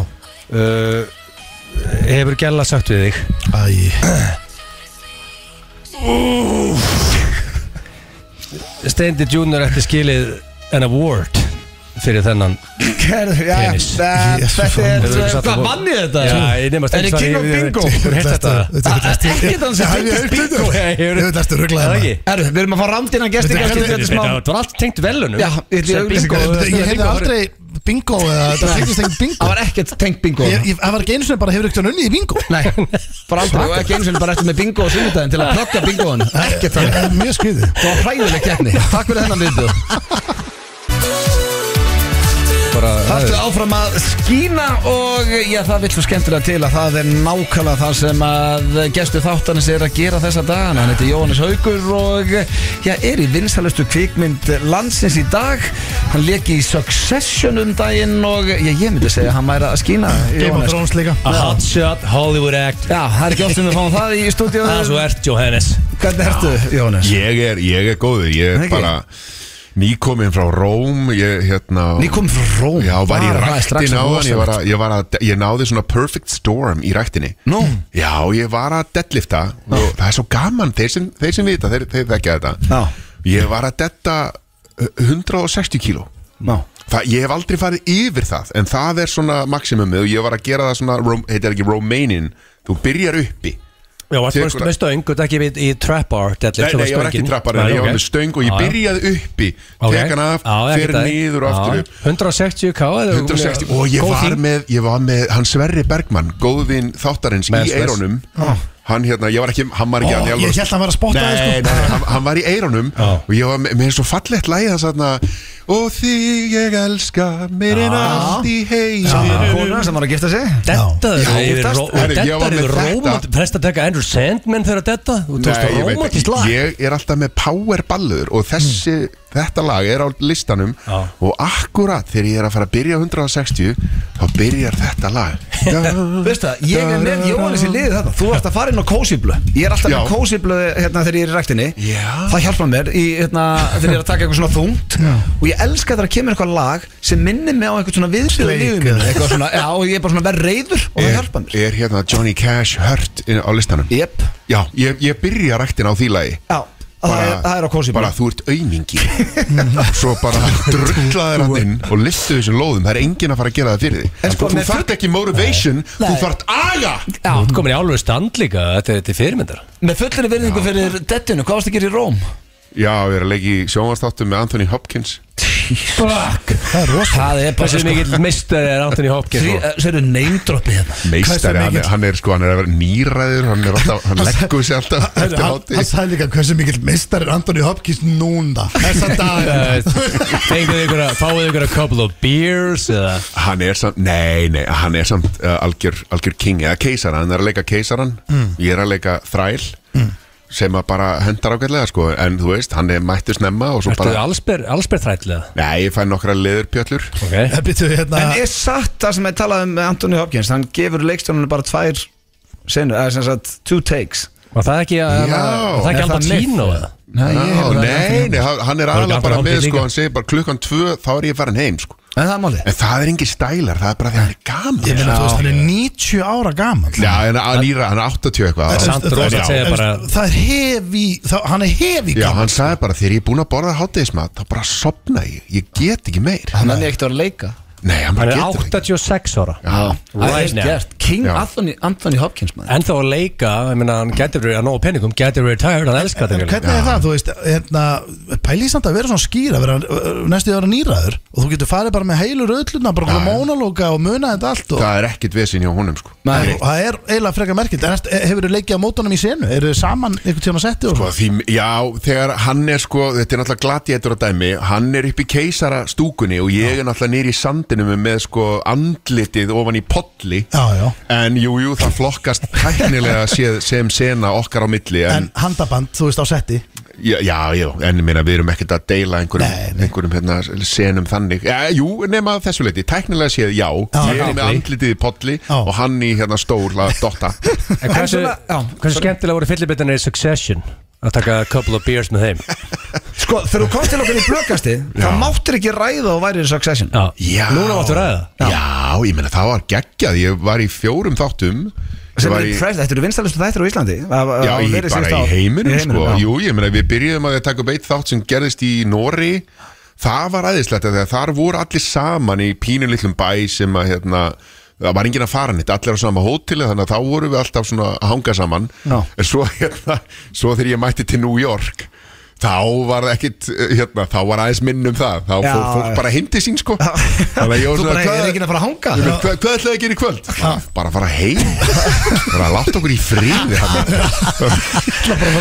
uh, Hefur Gjalla sagt við þig
æ,
Steindi Junior eftir skilið an award Fyrir þennan
Gerðu, já,
Penis.
það-
Jesus,
Þetta
hann-
er,
Hefur ekki sagt
hvað
að-
manni þetta?
Já, ég nema
Er
Steindi
þið King of Bingo?
Þú hefur þetta
Ekki þannig sem
Hef ég
Steindi
heyrt þetta? hérna.
Ég hefur-
Ég veit eftir
Það
rugglaði
er ekki
Erðu, við erum að fá ramdina gesti
Þetta er
gesti, þetta er smá
Þetta var allt tengt velunum
Já, ég ætla í
Sem
auglýsingu.
bingo-
Ég hefði
bingo-
aldrei bingo eða þetta tengist ekki bingo
Það var ekkert tengt bingo
Ég- ég- Það var ekki einu sinni bara hefur ekkert unnið í bingo
Nei, bara aldrei og ekki eins og bara eftir með bingo á sunnudaginn til að plugga bingoan Ekkert
Ég-
þannig
það er Mjög skriði
Það var hræðileg keppni Takk fyrir þennan viðbjöð Þarftu áfram að skína og já, það vill svo skemmtilega til að það er nákvæmlega það sem að gestur þáttanis er að gera þessa dagana Hann heitir Jóhannes Haugur og já, er í vinsalustu kvikmynd landsins í dag Hann leki í Succession um daginn og já, ég myndi segja að hann væri að skína
Game of
Jóhannes
Thrones líka
A hot shot, Hollywood act
Já, það er ekki oft sem við fáum það í stúdíu
Það svo ert Jóhannes
Hvernig ertu, Jóhannes?
Ég er, ég er góður, ég
Það
er
ekki?
bara nýkomin frá Róm ég, hérna,
Nýkomin frá Róm?
Já, var í
Bara, það er strax
ræktin á hann ég, var
rosalegt.
að- ég, var að- ég náði svona perfect storm í ræktinni
Nú?
Já, ég var að deadlifta og það er svo gaman, þeir sem, þeir sem vita þeir, þeir þekkja þetta
Já.
Ég var að detta uh, 160 kíló
Ná
Það, ég hef aldrei farið yfir það En það er svona maximumið Og ég var að gera það svona, Róm- heitir ekki Romanian Þú byrjar uppi
Já, varst
Tekur
varst
það.
með stöng og ekki við í trap bar
Nei, nei, ég var ekki trappar En ég var með stöng og ég byrjaði uppi Tek hann af, fer niður og aftur upp
160k eða-
160 og ég
Góð
var
þyngd.
með, ég var með hann Sverri Bergmann, góðvin þáttarins
Men's
í eironum hann hérna, ég var ekki, hann var
Ó,
ekki hann í alvöru.
ég hélt hann var að spotta þig,
nei,
sko.
nei, nei, hann, hann var í eironum og ég var með, með svo fallegt lægi það svona og þig ég elska mér en allt í heiminum
Kona sem var að gifta sig
Dettaður
Já,
yfir
giftast.
ró-
Herri, ég var
dettaður
með
yfir
þetta.
rómat Presta að taka Andrew Sandman þegar að detta Þú tókst
Nei,
það
ég, veit,
rómatist lag
ég er alltaf með powerballur og þessi,
Mm.
þetta lag er á listanum
Já.
og akkurat þegar ég er að fara að byrja á 160 þá byrjar þetta
[LAUGHS]
lag
Veistu það, ég er með Jóhannes í liði þetta Þú ert að fara inn á kósiblu Ég er alltaf
Já.
með kósiblu hérna þegar ég er í ræktinni
Já.
Það hjálpar mér í, hérna, þegar ég er að taka eitthvað svona þungt Og ég elska þegar kemur eitthvað lag sem minnir mig á eitthvað svona viðsvið í
Quake
lífið mínu Eitthvað svona, já, og ég er bara svona verð reyður og það
er,
hjálpar mér
er hérna Johnny Cash hört inn á listanum
Jep,
Já, ég, ég byrja ræktin á því lagi
já, það er, það er á kósiblu
Bara þú ert
[LAUGHS]
aumingi Svo bara drullaður hann inn Og listu þessum lóðum, það er enginn að fara að gera það fyrir
En
því
sko,
Þú
með
þarft ekki motivation, þú
Nei.
þarft aga
Þú ert komin í álöfu stand líka Þetta er- þetta er fyrirmyndar
Með fullri verðingu fyrir dettinu, hvað varst að gera í Róm?
Já, við erum að leika í sjónvastáttum með Anthony Hopkins
Það er rosa Það er bara
Þessi
sko
mikill meistari er Anthony Hopkins og-
Sér eru neymdroppið hérna
Meistari, hann, er- hann er sko, hann er að vera nýræður Hann er alltaf, [LAUGHS] hann leggur sér alltaf
Hann,
eftir hátti
hann sagði líka hversu mikill meistar er Anthony Hopkins núna Þessa
Eh,
dag
Fenguðu ykkur að Fáuðu ykkur að couple of beers Eða
Hann er samt, nei, nei, hann er samt uh, algjör, algjör king eða keisaran, hann er að leika keisaran ég er að leika þræl sem að bara hendar ágætlega sko en þú veist, hann er mættu snemma og svo
Ertu
bara
allsber, allsber þrætlega
Nei, ég fæ nokkra leðurpjöllur
Ok
Býtu, hérna,
En er satt það sem ég talaði um með Anthony Hopkins Hann gefur leikstjónunum bara tvær senur, eða sem sagt two takes
Var það ekki að Var
Já.
það
Er
ekki
það
alltaf
myth?
tínu eða
Nei,
Já, nei, nei, hann hann er
Var ekki
aðlega bara
Anton
með
Hopkins
sko,
líka?
hann segir bara klukkan tvö þá er ég farin heim sko
En það er málið
En það er engin stælar, það er bara því að hann er gaman
ég meina, þú veist, hann er 90 ára gaman
Já, en að nýra, hann er 80 eitthvað
Samt Rósa
já.
segir bara
Það er hefi, hann er hefi
Já,
gaman
hann
sko.
sagði bara, þegar ég er búin að borða hátegismat þá bara sopna ég, ég get ekki meir
Hann er ekkert að vera að leika
Nei, hann
Hann
bara
er
getur ekki
86 ára
Það er
Right now.
gert King
Já.
Anthony, Anthony Hopkins maður
En þá að leika Ég meina hann getur verið að nóg penningum Getur verið tired Hann elskar
En
þetta
hvernig er það, þú veist, hérna, pæli samt að vera svona skýr að vera uh, næstu því að vera nýræður og þú getur farið bara með heilur ölluna, bara okkur mónalóka og muna þetta allt og
Það er ekkit vesinn hjá honum sko
Nei.
og það er eiginlega frekar merkilt, en ertu- hefur þú leikið á mótunum í senu, eru þið saman einhvern tíma setti og
Sko, því, já, þegar hann er sko, þetta er náttúrulega gladiætur á dæmi, hann er upp í keisara stúkunni og ég er náttúrulega nýri í sandinum með sko andlitið ofan í polli.
Já, já.
En jú, jú, það flokkast tæknilega séð sem sena okkar á milli.
en
En,
handaband, þú veist, á setti
já, já, já, en ég meina, við erum ekkert að deila einhverjum,
Nei, nei.
einhverjum hérna, senum þannig. Já, jú, nema að þessu leiti, tæknilega séð, já,
Já,
ég
já.
er með andlitið í polli
Já.
og hann í hérna stóla
[LAUGHS]
dotta.
En hversu,
svona- já,
hversu skemmtilega voru fyllibittanir í Succession að taka a couple of beers með þeim
Sko, þegar þú komst til okkur í blökasti þá
Já.
máttir ekki ræða og væri í succession
Já,
Já.
núna máttu ræða
Já, ég meina, það var geggjað, ég var í fjórum þáttum. Ég
sem
var
er
í-
impressed, þetta eru vinstalistu þættir á Íslandi
Já, í, bara í heiminum, sko Jú, ég meina, við byrjuðum að taka upp eitt þátt sem gerðist í Nóri Það var aðeinslegt þegar þar voru allir saman í pínu litlum bæ sem að hérna Það var enginn að fara nýtt, allir á sama hóteli þannig að þá vorum við alltaf svona að hanga saman
Já.
en svo hérna, svo þegar ég mætti til New York þá var það ekkit, hérna, þá var aðeins minn um það þá
Já,
fór fólk
já.
bara heim til sín sko
Þú
þannig að ég
bara
var svona,
er
hvað,
ekki að fara að hanga
Ég meina, Hva, hvað ætlaði að gera í kvöld? Bara, bara að fara heim bara að láta okkur í friði hann.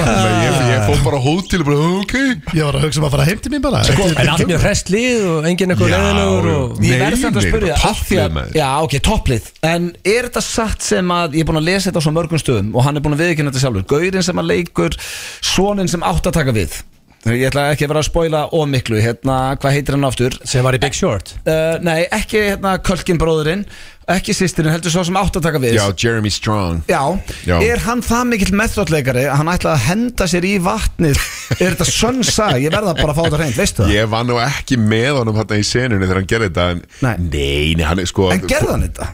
Nei, ég, ég fór bara á hótel og bara ok
ég var að hugsa um að fara heim til mín bara sko,
En allt mjög hrestlið og enginn eitthvað
Já,
leðilegur
já.
og
Ég
Nei,
verð samt að
nei,
spyrja
bara
af því
topplið,
að,
maður.
Já, ok, topplið En er þetta satt sem að Ég er búin að lesa þetta á svo mörgum stöðum Og hann er búin að viðkynna þetta sjálfur Gaurinn sem að leikur Sónin sem átt að taka við Ég ætla ekki að vera að spoila ómiklu Hérna, hvað heitir hann aftur?
sem var í Big Short
Uh, nei, ekki hérna Kölkin bróðurinn Ekki sýstirinn, heldur svo sem átt að taka við
Já, Jeremy Strong
Já.
Já.
er hann það mikill meðþjóttleikari að hann ætlaði að henda sér í
[LAUGHS]
vatnið Er þetta sönsa? Ég verða bara að fá þetta reynd, veistu það?
Ég var nú ekki með honum hérna í senunni þegar hann gerði þetta en,
Nei.
nei, nei, hann er sko
En gerði hann þetta?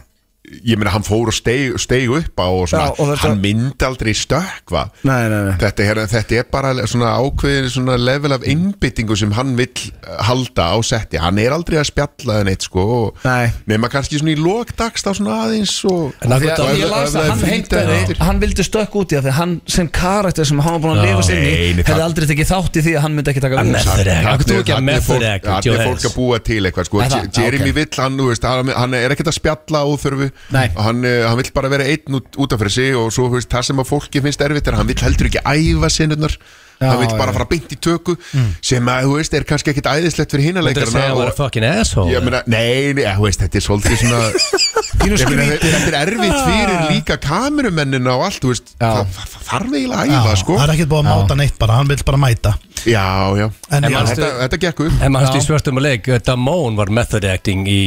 Ég meina, hann fór og steig, steig upp á og svona,
Já, og þetta-
hann myndi aldrei stökkva
Nei, nei, nei
Þetta er, þetta er bara svona ákveðin svona level af innbyttingu sem hann vill eh, halda á setti Hann er aldrei að spjalla það neitt sko og-
Nei.
Nema kannski svona í lokdags þá svona aðeins og
En af
Því
hverju-
að ég las að hann heimtaði Hann vildi stökk út í það því að hann sem karakter sem hann var búin að
Já.
lifa sér í
Nei, nei,
hefði
það-
aldrei tekið þátt í því að hann myndi ekki taka
Hann
við
er- Method act. Akkur þú ekki að method act,
Það er
Johannes?
fólk að búa til eitthvað sko.
Er það?
Jeremy
Ok.
vill, hann, þú veist, hann hann er ekkert að spjalla á þörfu
Nei.
hann, eh, hann vill bara vera einn út, út af fyrir sig og svo þú veist, það sem að fólki finnst erfitt er að hann vill heldur ekki æfa sinnurnar hann vill bara fara beint í töku
Mm.
sem að, þú veist, er kannski ekkert æðislegt fyrir hinna
Þú er að segja að það var
leikarna
fucking asshole
Ég meina, nei, nei, eh, þú veist, þetta er svolítið svona
[LAUGHS]
Ég meina, þetta þetta er erfitt
Ah.
fyrir líka kamerumennina og allt, þú veist, það það þarf eiginlega að æfa, sko
Það er ekkert búið að máta neitt bara, hann vil bara mæta
Já, já,
En
já
já.
þetta, þetta gekk upp
En maður hans í svörstum og leik, Damón var method acting í,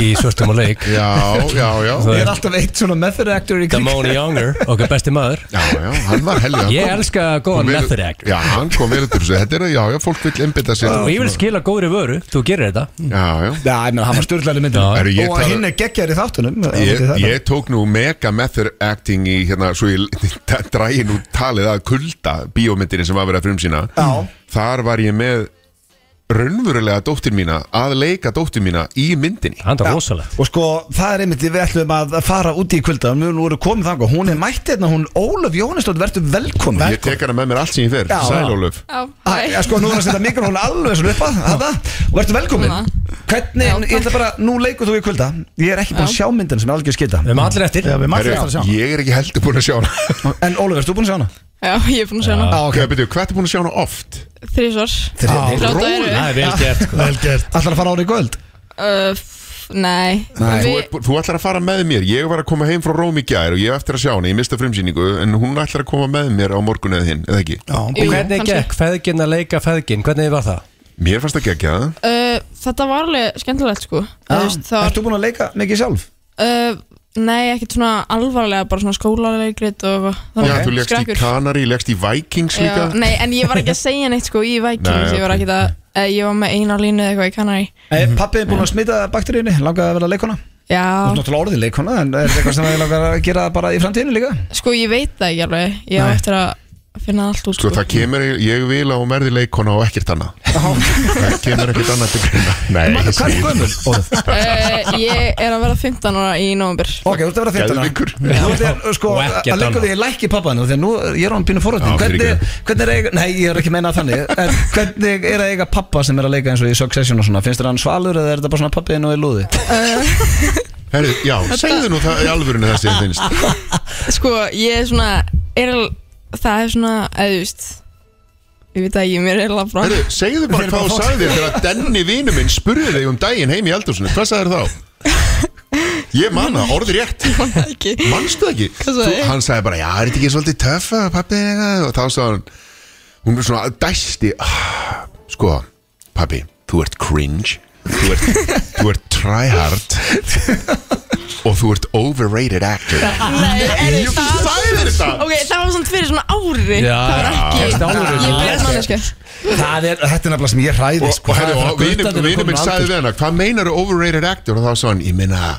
í svörstum og leik
Já, já, já
[LAUGHS]
Það
Ég er alltaf eitt svona method actor í kring
Damón Younger, okkar besti maður
Já, já, hann var helga
Ég elska góðan method actor
Já, hann kom vel upp úr þessu Þetta er, já, já, fólk vil einbytta sér
Og ég vil skila góðri vöru, þú gerir þetta
Já,
Já,
já
ég meina, hann var styrlaði myndin
Já.
Herru, ég
Og
tala-
hinn er geggjar í þáttunum
Ég,
það-
ég tók nú mega method acting í hérna, svo ég [LAUGHS] dræði nú talið að kulda bíómyndinni sem var verið að frumsýna
Já.
Þar var ég með raunverulega dóttir mína að leika dóttir mína í myndinni
Hann er rosalegt
Og sko, það er einmitt, við ætlum að fara úti í kvölda Við vorum komið þangar, hún er mættið hérna Hún Ólaf Jóhannesdótt, verður velkomin
Ég tek hana með mér allt sem ég fer
Já.
Sælólöf
Já,
Æ,
hæ.
ja, sko, nú er að setja mikrofónu alveg svona upp að hana, og ertu velkomin
Hana.
Hvernig,
Já,
ég ætla
takk.
bara, nú leikur þú í kvölda Ég er ekki búin að sjá myndin sem er algjör skita
Við erum allir eftir
Já, við mætum eftir að sjá
Ég er ekki heldur búin að sjá hana
En Ólaf, ertu búin að sjá hana?
Já, ég er búin að sjá hana
Já, ok.
okay. Hvað er búin að sjá hana oft?
Þrísvar
Þriðja.
Þrjá daga
róleg.
eru
Það er vel gert sko.
Vel gert
Ætlar að fara árið í kvöld?
Uh, f- Nei
Nei.
Þú,
Við-
er, þú ætlar að fara með mér, ég var að koma heim frá Róm í gær og ég á eftir að sjá hana, ég mista frumsýningu en hún ætlar að koma með mér á morgun eða hinn, eða ekki?
Jú,
Og hvernig
kannski.
gekk feðgin að leika feðgin, hvernig var það?
Mér fannst ekki ekki að
Uh, Þetta var alveg skemmtilegt sko
Já.
Þú veist, Það var
Ertu búin að leika mikið sjálf?
Uh, nei, ekkert svona alvarlega, bara svona skólalegrit og
það
það
Já, þú legst í Kanari, legst í Vikings líka
Já, nei, en ég var ekki að segja neitt sko í Vikings,
Nei,
ég var
ok.
ekki að, uh, ég var með eina línu eða eitthvað í Kanari
Mm. Pappi er búin að smita bakteríunni, langaði að vera leikona Þú
Já,
ert náttúrulega orðið leikona, en er þetta eitthvað sem það langar að gera bara í framtíðinu líka?
sko ég veit það ekki alveg, ég á
Nei.
eftir að finna allt út
Sko það kemur, ég vil að hún verði leikona og ekkert annað Það kemur ekkert annað til grunna Nei,
Hvað hvað er gömul? Ólaf?
uh, Ég er að vera 15 ára í nóvember
Ok, þú ert að vera 15 ára.
Geðveikur.
Þú ert að, sko,
Og
að
ekkert
leggja
annað.
því í læk í pappanu Þegar nú, ég er á hann pínu forrættin
Já,
Hvernig,
fyrirgefðu.
hvernig er að eiga, nei ég er ekki að meina þannig
[LAUGHS]
En hvernig er að eiga pappa sem er að leika eins og í Succession og svona Finnst þér hann svalur eða er þetta bara svona pappiðin og í lúði?
Herri, já, segðu nú það í alvörinu þessi finnst
Sko ég er svona, er, al- það er svona, eða þú veist, ég veit það ekki, mér er alveg frá
Herri, segðu bara hvað þú sagði þér þegar Denni vinnu minn spurði þig um daginn heim í eldhúsinu Hvað sagði þá? Ég manna, orði rétt
ekki
Manstu það ekki?
Hvað sagði
Þú-
ég?
Hann sagði bara, já, er þetta ekki svolítið töff að pappi eða eitthvað?" og þá sagði hann hún er svona dæsti "Ah, sko, pappi, þú ert cringe þú ert, þú ert tryhard og þú ert overrated actor
Nei, er
Jú, þú sagði þér þetta
Ok, það var svona fyrir svona ári
Já,
Það var ekki
já, já. Stálur
Ég
er
er manneska
Það er, þetta er nefnilega sem ég sko. hræði
og, og, herri, og vinur vinur minn sagði við hana hvað meinar overrated actor og þá sagði hann, ég meina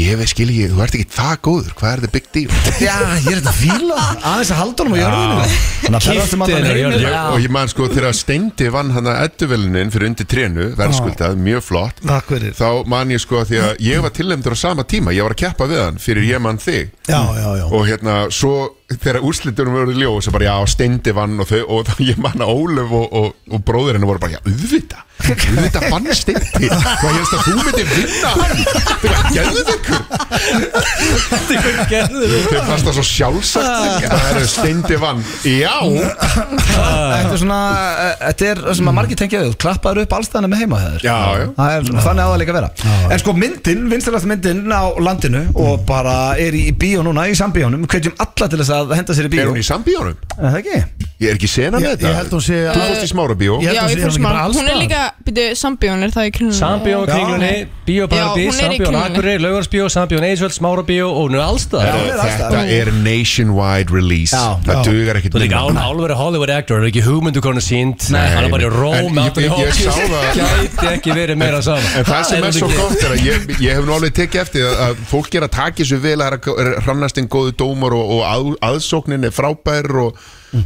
ég veist skil ekki, þú ert ekki það góður hvað er the big deal
Já, ég er þetta fíla Aðeins að halda honum á jörðinu Þannig að ferðast um allan
Kippti henni á
heiminn.
jörðinu.
Já.
og ég man sko þegar Steindi vann hann að edduvelinin fyrir undir trénu, verðskuldað, mjög flott
Takk fyrir
þá man ég sko að því að ég var tilnæmdur á sama tíma, ég var að keppa við hann fyrir ég mann þig
Já, já, já
og hérna svo þegar úrslitunum voru ljó og svo bara já, steindi vann og þau og þá- ég manna Ólöf og, og, og bróðurinn voru bara já, auðvita, auðvita vann steindi, hvað helst að þú myndir vinna hann, þegar gerðu þau þau fannst það svo sjálfsagt það eru steindi vann, já
Þetta er svona, eh, þetta er það sem að margir tengja við Klappaður upp allstæðan með heima þeir
Já, já.
Það er, Þannig á það líka að vera En sko myndin, vinstarast myndin á landinu Og bara er í, í bíó núna, í sambíónum Hvetjum alla til þess að henda sér í bíó
er hún í sambíónum?
Er það ekki?
Ég er ekki sena með
Ég-
þetta
ég held hún sé
Þú
að-
fórst í smára bíó
Ég held
Já,
að
ég
sé
fór
hún ekki bara
smá
alls
Hún er
staðar.
líka, byrju, sambjón er það í kringlunni
Sambjón kringlunni, Bíóparadís,
Já, hún er í
Sambjón
Kringlunni.
Akurey, Laugarsbjó, Sambjón Eidsvöld, Smárabjó og hún er allstað
hún er alls
Þetta
staðar.
er nationwide release
Já,
Það dugar ekkert
Þú er ekki
minna.
án álveri Hollywood actor, er ekki hugmyndu konu sínd Hann er bara í
En
róm
ég- ég- ég sá það.
[LAUGHS] Gæti ekki verið meira saman
En það sem er svo gott er að ég, ég hef nú alveg tekið eftir að, að fólk er að taka þessu vel að það er hrannast einn góðu dómar og, og að, aðsóknin er frábær og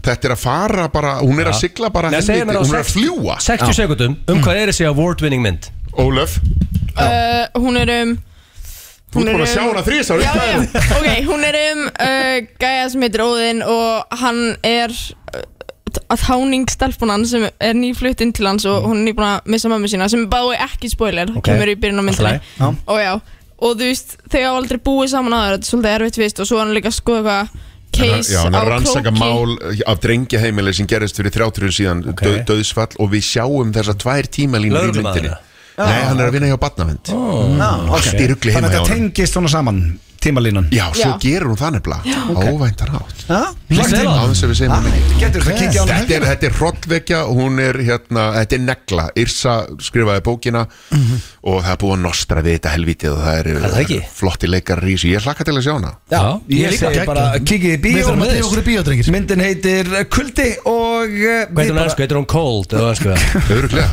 þetta er að fara bara, hún er að sigla bara
Nei, segir mér á
helviti, hún er að
60
fljúa
60 sekundum, um hvað er þessi award winning mynd?
Ólöf,
Uh, Hún er um
þú ert búin að sjá hana þrísar
Já, já,
[LAUGHS]
ok, hún er um uh, gæja sem heitir Óðinn og hann er uh, að háning stelpunan sem er nýfluttinn til hans og hún er nýbúin að missa mömmu sína sem er báði ekki spoiler,
Ok.
kemur í byrjun á myndinni
Allt
Já.
og já, og þú veist þau hafa aldrei búið saman aður, þetta er svolítið erfitt vist og svo er hann líka að skoða eitthvað case
Hérna, Já,
á
hann er að rannsaka
króki.
mál af drengjaheimili sem gerist fyrir 30 árum síðan okay. döðsfall og við sjáum þessa tvær tímalínur í
Lögreglumaður,
myndinni
eða?
Nei, hann er að vinna hjá Batnavind
Já, ok.
Allt í rugli
Þannig að
heima hjá
þetta
honum.
tengist svona saman tímalínan
Já, svo
Já.
gerur hún það nefnilega Óvæntar átt
Getur
Lagði
Á þess að við segjum
Ah.
hann
þetta kikið á
Þetta er, þetta er hrollvekja, hún er hérna, þetta er negla, Yrsa skrifaði bókina og það er búið að nostra við þetta helvítið og það
Mhm. Er það ekki?
eru flotti leikar rísi, ég hlakka til að sjá hana
Já,
Já,
ég
ég
segi
líka.
bara kikið í bíó
Við þurfum að
með
drífa okkur í
þess.
bíó, drengir.
Myndin heitir eh, Kuldi og eh, við
Hvað heitir hún
bara-
ennsku? Heitir hún Cold? eða sko? ensku?
[LAUGHS] Öruglega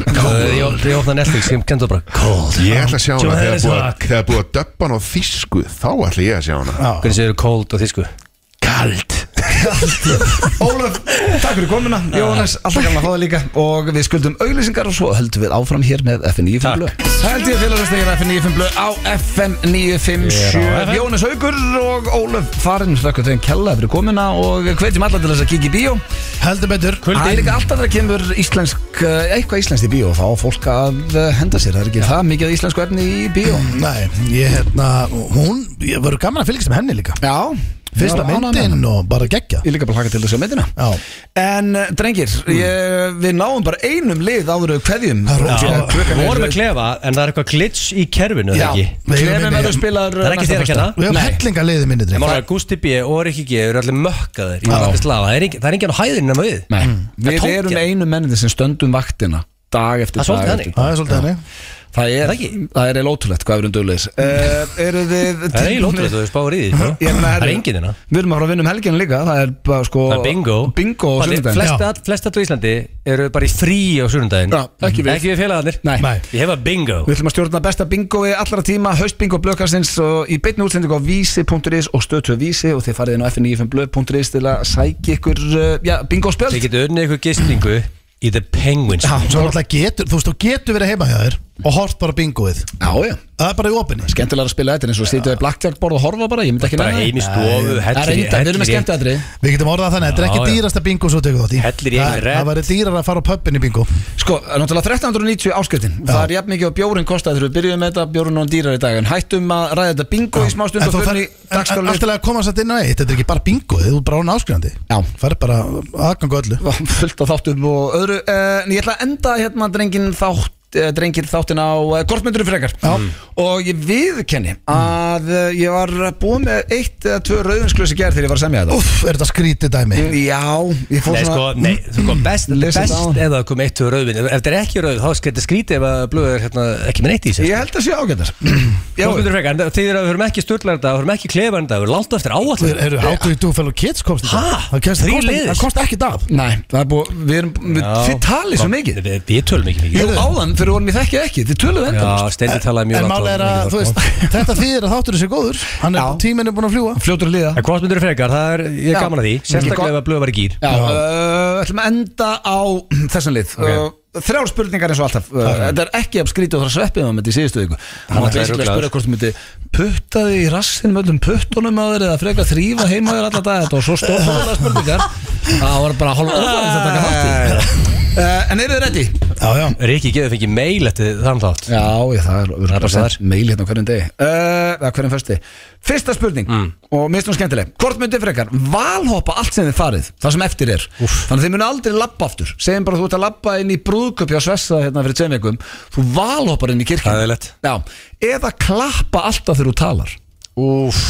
Ég ég opna Netflix, ég kentu bara Cold
Ég ætla að sjá hana
Johannes
þegar búið að-
Rock.
þegar búið að döppa hana á þýsku þá ætla ég að sjá hana
Hvernig séu Cold og þísku?
Kald
Ólaf, takk fyrir komuna Jónas, alltaf gaman að fá það líka Og við skuldum auglýsingar og svo höldum við áfram hér með FM 95 blöð Það held ég að félagastar hér FM 95 blöð á FM
Ég er
957
á FM.
Jónas Haugur og Ólaf Farinn Þakka þeim kella fyrir komuna og hvetjum alla til þess að kíkja í bíó
Heldur betur
Það er líka alltaf þegar kemur íslensk eh, eitthvað íslenskt í bíó þá á fólk að eh, henda sér, það er ekki það mikið af íslensku efni í bíó
Nei, ég hérna Hún, ég verður gaman að fylgjast með henni líka
Já,
Fyrsta myndin og bara geggja
Ég líka bara hlaka til þess að myndina
Já.
En eh, drengir, ég, við náum bara einum lið áður við kveðjum
Mm. Það er rosa.
Því að klukkan
Við
er-
vorum að klefa, en það er eitthvað glitch í kerfinu,
Já,
eða ekki?
Við erum
klefum
inni-
að þú spilar
Það er ekki þér að kenna.
Við hefum
Nei.
hellinga leiði minni
En
dreng
Málega, Gusti B. og Rikki G. eru allir mökkaðir í Bratislava Það er engin- það er enginn á hæðinu nema við
Nei,
Mm. Það
við
tók
erum
ég.
einu mennið sem stöndum vaktina dag eftir dag
Það er
eftir
svolítið þannig.
dag.
Það er svolítið henni
Það er
Það ekki.
Það er eiginlega ótrúlegt hvað við erum döglegis uh, Eru þið
Mm. Það er eiginlega ótrúlega, þú spáir í því sko.
Ég meina,
Það er
herri,
enginn hérna
Við erum að fara að vinna um helginu líka Það er bara sko
Það er bingo
Bingo og
Palli,
sunnudaginn
flest, all, flest allir í Íslandi eru bara í frí á sunnudaginn
Já, ekki við.
Ekki við félagarnir
Nei.
Nei.
Ég hef að bingo
Við ætlum að stjórna besta bingoi allra tíma Haustbingo blökastins og í beinni útsendingu á vísi.is og stöðtöð vísi og þið farið inn á fn95blöð.is til að sækja ykkur uh, já, bingo spjöld
Þið getur unnið ykkur gistingu í The Penguins
Já,
Svo náttúrulega getur, þú veist, þú getur verið heima hjá þér Og hort bara bingoið
já, já
Það er bara í opinni
Skemmtilega að spila þetta eins og sitja við blackjack borð og horfa bara, ég myndi ekki
Bara heim í stofu,
Það er
hellir í-
reynda, við erum með
hellir í-
skemmt aðri
Við getum orðað þannig, þetta er
Já,
ekki
já.
dýrasta bingo svo tekur þátt í
Hellir í
Það-
einu rett.
Það væri dýrar að fara á pöppin í bingo
Sko, náttúrulega 1390 áskriftin Það er jafn mikið og bjórin kostaði þegar við byrjuðum með þetta bjórinn og dýrar í dag en hættum að ræða þetta bingo í smá stund
En
og
þú
fyrir
fer-
í
en- en
dagskáli
alltaf að koma satt inn á eitt, þetta er ekki bara bingoið Þú er bara án áskrifandi
Já.
Fær bara aðgang á öllu
fullt á þáttum og öðru uh, en ég ætla að enda hérna drengin þátt eh, drengir þáttin á uh, kortmyndurum frekar Já. og ég viðkenni að uh, ég var búið með eitt eða tvö rauðinsklösi gerð þegar ég var að semja þetta
Úff, er þetta skrítið dæmi
Mm. Já, ég fór
Nei, sko,
svona
nei, þú kom best,
Listen
best
down.
ef það kom eitt úr rauðvin Ef það er ekki rauð, þá skrítið skrítið ef að blöð er hérna, ekki með neitt í sér
Ég held að sé ágættar [CLEARS THROAT] Já,
Þóttundur frekar, en þið eru að við höfum ekki sturlar þetta, við höfum ekki klefan þetta, við höfum langt á eftir áallin
Eru hátuðið þú fælu kids komst í
Ha?
dag? Það kemst-
Þrír
það kostar-
liðir?
Það kosti ekki dag
Nei, það er búið, við erum, við, þið talið svo mikið
Við, við tölum ekki mikið
Jú, áðan fyrir vorum ég þekkið ekki, þið töluðu
Já,
endan
Steindi talaði mjög
En
langt á
mál er að,
mikið
þú
þar,
veist,
sko.
þetta þýðir að þátturinn sé góður Hann er,
Já.
tíminn er búin að fljúa
Fljótur að liða
En hvort myndur frekar, það er, ég er
Já.
gaman að því
Ég-
Sérstaklega ef að blöð var í gýr
Já, uh, ætlum að enda á [CLEARS THROAT] þessan lið
Ok.
okay. Þrjár spurningar eins og alltaf uh, Þetta er ekki að skrítið og það er sveppið um þetta í síðustu viku Hann
það
ætla ekki
er
að
ruglaður.
spura hvort þú myndi putta þig í rassin með öllum puttunum að þér eða freka þrýfa heima á þér alla dag þetta og svo stóð það [LAUGHS] spurningar Það var bara hálf óðan þetta ekki hætti uh, En eru þið ready?
Já, já
Riki getur fengið mail eftir þann þátt
Já, ég, það er, er
bara
bara
þar.
sent meil hérna á hverjum degi uh, eða hverjum fösti Fyrsta spurning,
Mm.
og mér finnst hún skemmtileg Hvort myndið frekar, valhoppa allt sem þið farið Það sem eftir er, þannig að þið munu aldrei labba aftur Segjum bara að þú ert að labba inn í brúðköpi á Svessa hérna fyrir tveim vikum Þú valhoppar inn í kirkjum
Hræðilegt.
Já, eða klappa alltaf þegar þú talar
Úff